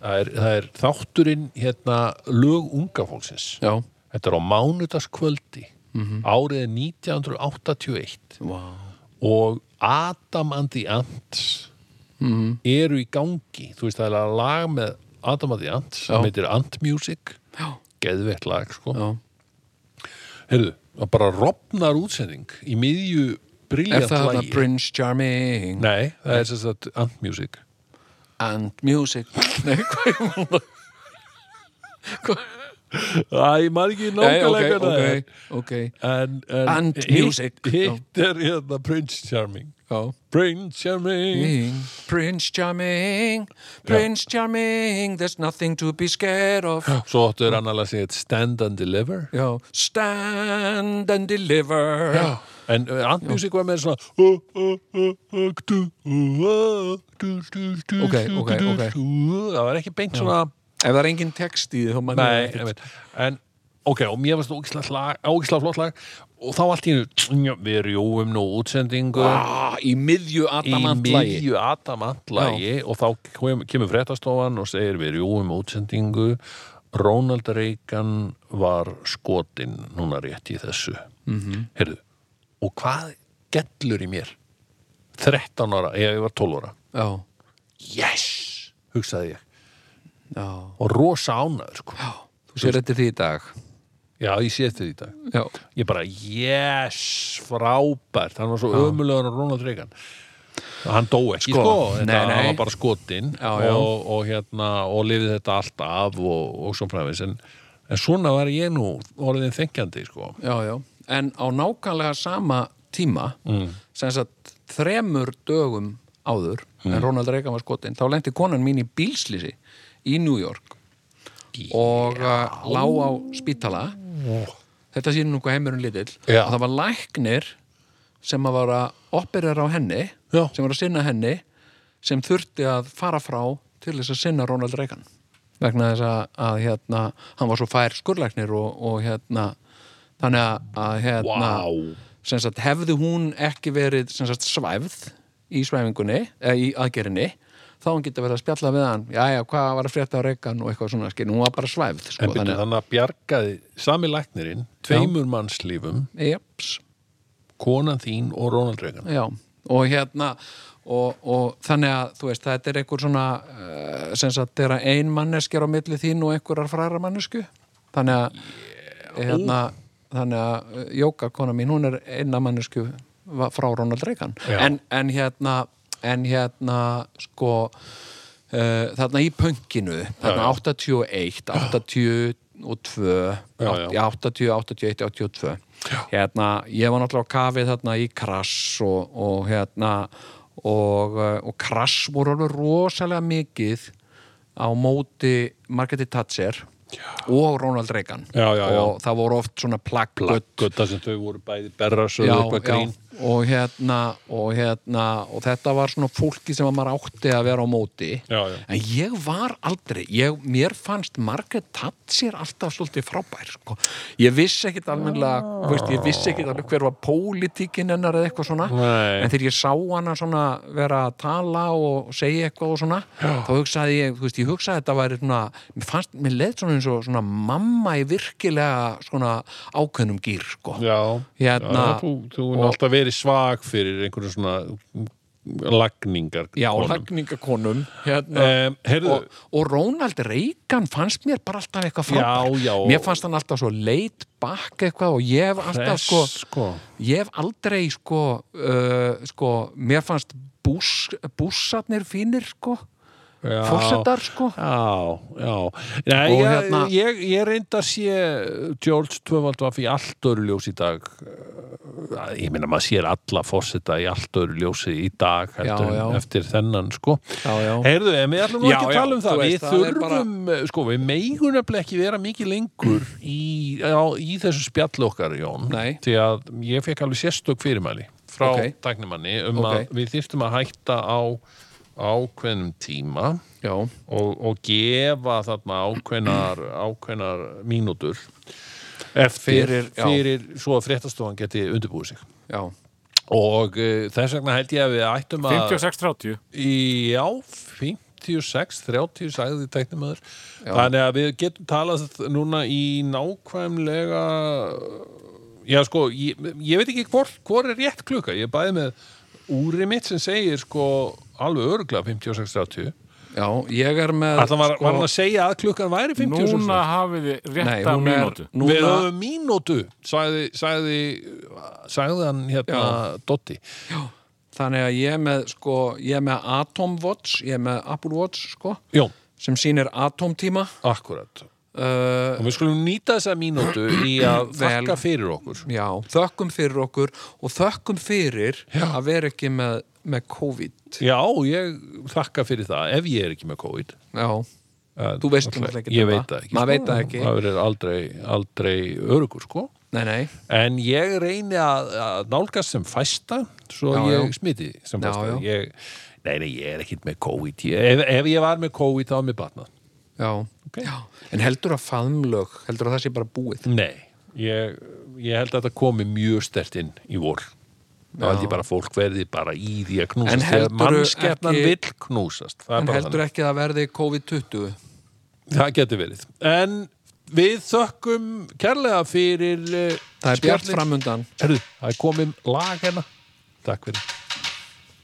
[SPEAKER 1] það er, það er þátturinn hérna lög unga fólksins
[SPEAKER 3] já
[SPEAKER 1] Þetta er á mánudagskvöldi
[SPEAKER 3] Mhm.
[SPEAKER 1] árið 1981
[SPEAKER 3] wow.
[SPEAKER 1] og Adam and the Ants
[SPEAKER 3] Mhm.
[SPEAKER 1] eru í gangi þú veist það er lag með Adam and the Ants sem heitir Ant Music
[SPEAKER 3] Já.
[SPEAKER 1] geðveitt lag sko
[SPEAKER 3] Já.
[SPEAKER 1] Heyrðu, það bara rofnar útsending í miðju
[SPEAKER 3] er
[SPEAKER 1] briljant
[SPEAKER 3] það þarna
[SPEAKER 1] lagi
[SPEAKER 3] Prince Charming
[SPEAKER 1] Nei, það er sem sagt Ant Music
[SPEAKER 3] and Music Nei, hvað er hún?
[SPEAKER 1] Æ, maður ekki
[SPEAKER 3] Nei, ok,
[SPEAKER 1] nákvæmlega hvernig
[SPEAKER 3] ok,
[SPEAKER 1] það er.
[SPEAKER 3] ok
[SPEAKER 1] En, en
[SPEAKER 3] And
[SPEAKER 1] hitt-
[SPEAKER 3] music.
[SPEAKER 1] Hitt er hérna Prince Charming
[SPEAKER 3] já
[SPEAKER 1] Prince Charming
[SPEAKER 3] Prince Charming Prince Charming There's nothing to be scared of
[SPEAKER 1] Svo áttu er annarlega að segja Stand and Deliver
[SPEAKER 3] Já, stand and deliver Já,
[SPEAKER 1] En uh, Ant Music var með svona Ok,
[SPEAKER 3] Ok, ok, ok.
[SPEAKER 1] Það var ekki beint svona
[SPEAKER 3] ef það er engin text í því þá mann
[SPEAKER 1] Nei, ég veit En, ok, og mér varst ógislega lag, ógislega flott lag Og þá allt í hennu Við rjóum nú útsendingu
[SPEAKER 3] ah, Í miðju
[SPEAKER 1] Í
[SPEAKER 3] adamantlægi
[SPEAKER 1] miðju Adamantlagi og þá kem- kemur fréttastofan og segir við rjúum útsendingu Ronald Reagan var skotinn núna rétt í þessu -hmm. Heyrðu, og hvað gellur í mér? 13 ára, ég, ég var 12 ára
[SPEAKER 3] Já,
[SPEAKER 1] Yes, hugsaði ég
[SPEAKER 3] já
[SPEAKER 1] og rosa ánaður sko
[SPEAKER 3] Þú sér þetta því í dag
[SPEAKER 1] Já, ég sé þetta í dag
[SPEAKER 3] Já,
[SPEAKER 1] Ég bara, yes, frábært Hann var svo ömulegur að Ronald Reagan Hann dó ekki,
[SPEAKER 3] Sko,
[SPEAKER 1] sko, þetta,
[SPEAKER 3] nei, nei.
[SPEAKER 1] Hann var bara skotinn
[SPEAKER 3] Já, já.
[SPEAKER 1] Og, og hérna, og lifið þetta allt af og, og svo fræmis en, en svona var ég nú orðin þengjandi, sko
[SPEAKER 3] já, já En á nákvæmlega sama tíma mm. sem sagt þremur dögum áður en Ronald Reagan var skotinn þá lendi konan mín í bílslýsi í New York og yeah. lá á spítala þetta sýnir nú hvað heimurinn lítill
[SPEAKER 1] Já.
[SPEAKER 3] og það var læknir sem að var að operera á henni
[SPEAKER 1] Já.
[SPEAKER 3] sem var að sinna henni sem þurfti að fara frá til þess að sinna Ronald Reagan vegna þess að, að hérna, hann var svo fær skurlæknir og, og hérna þannig að, að hérna
[SPEAKER 1] Vá.
[SPEAKER 3] sem sagt, hefði hún ekki verið sem sagt, svæfð í svæfingunni eða í aðgerinni þá hann getur verið að spjalla við hann jæja, hvað var að frétta á Reagan og eitthvað svona skil hún var bara svæfð
[SPEAKER 1] En
[SPEAKER 3] sko,
[SPEAKER 1] byrju,
[SPEAKER 3] þannig að,
[SPEAKER 1] þannig að bjargaði sami læknirinn, tveimur mannslífum
[SPEAKER 3] jeps
[SPEAKER 1] konan þín og Ronald Reagan
[SPEAKER 3] Já, og hérna og, og þannig að þú veist þetta er einhver svona uh, sem sagt þeirra ein manneskjar á milli þín og einhverjar fræra mannesku þannig að hérna, þannig að uh, Jóka kona mín hún er einna mannesku va- frá Ronald Reagan
[SPEAKER 1] Já.
[SPEAKER 3] en, en hérna en hérna sko uh, þarna í pönkinu þarna 81, 82
[SPEAKER 1] Já,
[SPEAKER 3] 80,
[SPEAKER 1] já.
[SPEAKER 3] 80, 81, 82 hérna, ég var náttúrulega á kafið þarna í krass og, og hérna og, eh, og krass voru alveg rosalega mikið á móti Margeti Thatcher og Ronald Reagan
[SPEAKER 1] Já, já, já.
[SPEAKER 3] og það voru oft svona plaggöt
[SPEAKER 1] Gutta sem þau voru bæði berra svo
[SPEAKER 3] já,
[SPEAKER 1] upp að
[SPEAKER 3] já,
[SPEAKER 1] grín
[SPEAKER 3] og hérna, og hérna og þetta var svona fólki sem að maður átti að vera á móti
[SPEAKER 1] Já, já.
[SPEAKER 3] en ég var aldrei, ég, mér fannst Margaret Thatcher alltaf svolítið frábær sko. ég vissi ekkit almenlega þú veist, ég vissi ekkit alveg hver var pólitíkin hennar eða eitthvað svona
[SPEAKER 1] Nei.
[SPEAKER 3] en þegar ég sá hana svona vera að tala og segja eitthvað og svona þá hugsaði ég, þú veist, ég hugsaði að þetta væri svona, mér fannst, mér leið svona eins og svona mamma í virkilega svona ákveðnum gýr sko.
[SPEAKER 1] Já,
[SPEAKER 3] Hérna,
[SPEAKER 1] já þú, þú er
[SPEAKER 3] og-
[SPEAKER 1] alltaf verið svag fyrir einhverjum svona lagningar
[SPEAKER 3] Já, lagningakonum hérna.
[SPEAKER 1] um, Herðu,
[SPEAKER 3] og, og Ronald Reagan fannst mér bara alltaf eitthvað frábær
[SPEAKER 1] Já, já.
[SPEAKER 3] Mér fannst hann alltaf svo leit bakk eitthvað og ég hef alltaf
[SPEAKER 1] Hress,
[SPEAKER 3] sko,
[SPEAKER 1] sko.
[SPEAKER 3] ég hef aldrei sko, uh, sko mér fannst bús, bússatnir fínir sko,
[SPEAKER 1] já,
[SPEAKER 3] fórsetar sko
[SPEAKER 1] Já, já Nei,
[SPEAKER 3] Og
[SPEAKER 1] ég,
[SPEAKER 3] hérna-
[SPEAKER 1] ég, ég reynda að sé George Tvöfald var fyrir allt öru ljós í dag Uh, ég meina maður sér alla fórseta í allt öru ljósi í dag heldur,
[SPEAKER 3] Já,
[SPEAKER 1] en
[SPEAKER 3] já.
[SPEAKER 1] eftir þennan sko
[SPEAKER 3] Já, já.
[SPEAKER 1] Heyrðu, en við ætlum nú
[SPEAKER 3] Já,
[SPEAKER 1] ekki að
[SPEAKER 3] já,
[SPEAKER 1] tala um
[SPEAKER 3] þú
[SPEAKER 1] það
[SPEAKER 3] veist,
[SPEAKER 1] við
[SPEAKER 3] það er
[SPEAKER 1] þurfum, sko, við megun nefnilega ekki vera mikið lengur í, á, í þessu spjalli okkar, Jón
[SPEAKER 3] Nei.
[SPEAKER 1] því að ég fekk alveg sérstök fyrirmæli frá
[SPEAKER 3] Ok.
[SPEAKER 1] tæknimanni um
[SPEAKER 3] Ok.
[SPEAKER 1] að við þyrftum að hætta á ákveðnum tíma
[SPEAKER 3] Já,
[SPEAKER 1] og, og gefa þarna ákveðnar, ákveðnar mínútur eftir,
[SPEAKER 3] Fyrir- já.
[SPEAKER 1] fyrir svo að fréttastofan geti undirbúið sig
[SPEAKER 3] já,
[SPEAKER 1] og uh, þess vegna held ég að við ættum að
[SPEAKER 5] 56-30
[SPEAKER 1] Í- Já, 56, 30 sagði tæknumöður Þannig að við getum talað núna í nákvæmlega Já, sko, ég, ég veit ekki hvor, hvor er rétt klukka Ég er bæði með úrið mitt sem segir sko alveg örgla 56-30
[SPEAKER 3] já, ég er með sko-
[SPEAKER 1] Alltaf var, var hann að segja að klukkan væri 56
[SPEAKER 5] Núna hafið þið
[SPEAKER 3] Nei,
[SPEAKER 5] rétta
[SPEAKER 3] hún er
[SPEAKER 5] mínútu
[SPEAKER 3] núna,
[SPEAKER 1] Við höfum mínútu, sagði, sagði, sagði hann hérna Dotti.
[SPEAKER 3] Þannig að ég er með sko, ég er með Atom Watch ég er með Apple Watch sko
[SPEAKER 1] Jón,
[SPEAKER 3] sem sýnir atomtíma
[SPEAKER 1] akkurat.
[SPEAKER 3] uh,
[SPEAKER 1] Og við skulum nýta þessa mínútu í að
[SPEAKER 3] Vel.
[SPEAKER 1] þakka fyrir okkur.
[SPEAKER 3] Já, þökkum fyrir okkur og þökkum fyrir að vera ekki með, með COVID.
[SPEAKER 1] Já, ég þakka fyrir það ef ég er ekki með COVID.
[SPEAKER 3] Já,
[SPEAKER 1] Eh,
[SPEAKER 3] Þú veist
[SPEAKER 1] náttúrulega,
[SPEAKER 3] náttúrulega ekki
[SPEAKER 1] Ég
[SPEAKER 3] þetta.
[SPEAKER 1] veit það ekki.
[SPEAKER 3] Maður Uh, veit það ekki.
[SPEAKER 1] Maður er aldrei, aldrei örugur, sko.
[SPEAKER 3] nei, nei,
[SPEAKER 1] En ég reyni að, að nálgast sem fæsta, svo
[SPEAKER 3] Já,
[SPEAKER 1] ég
[SPEAKER 3] já.
[SPEAKER 1] smiti sem
[SPEAKER 3] Já,
[SPEAKER 1] fæsta.
[SPEAKER 3] já.
[SPEAKER 1] Ég, nei, nei, ég er ekkit með COVID. Ég, ef, ef ég var með COVID, þá var mér batnað.
[SPEAKER 3] já.
[SPEAKER 1] Ok.
[SPEAKER 3] já. En heldur að faðmlög, heldur að það sé bara búið?
[SPEAKER 1] Nei, ég, ég held að þetta komi mjög stert inn í vor þá held ég bara að fólk verði bara í því að
[SPEAKER 3] En
[SPEAKER 1] knúsast því að
[SPEAKER 3] heldurðu
[SPEAKER 1] mannskjarnan
[SPEAKER 3] ekki-
[SPEAKER 1] vill knúsast það, er
[SPEAKER 3] En
[SPEAKER 1] bara
[SPEAKER 3] heldur
[SPEAKER 1] þannig.
[SPEAKER 3] ekki að það verði COVID-20?
[SPEAKER 1] það getur verið en við þökkum kærlega fyrir eh,
[SPEAKER 3] Það er bjart
[SPEAKER 1] spjallið.
[SPEAKER 3] framundan.
[SPEAKER 1] Herðu, það er komin lag hérna takk fyrir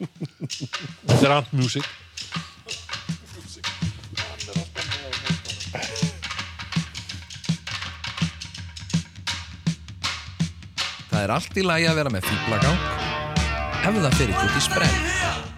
[SPEAKER 1] [LAUGHS] þetta er Ant Music
[SPEAKER 3] Það er allt í lagi að vera með fýblagang ef það fyrir ekki sprell.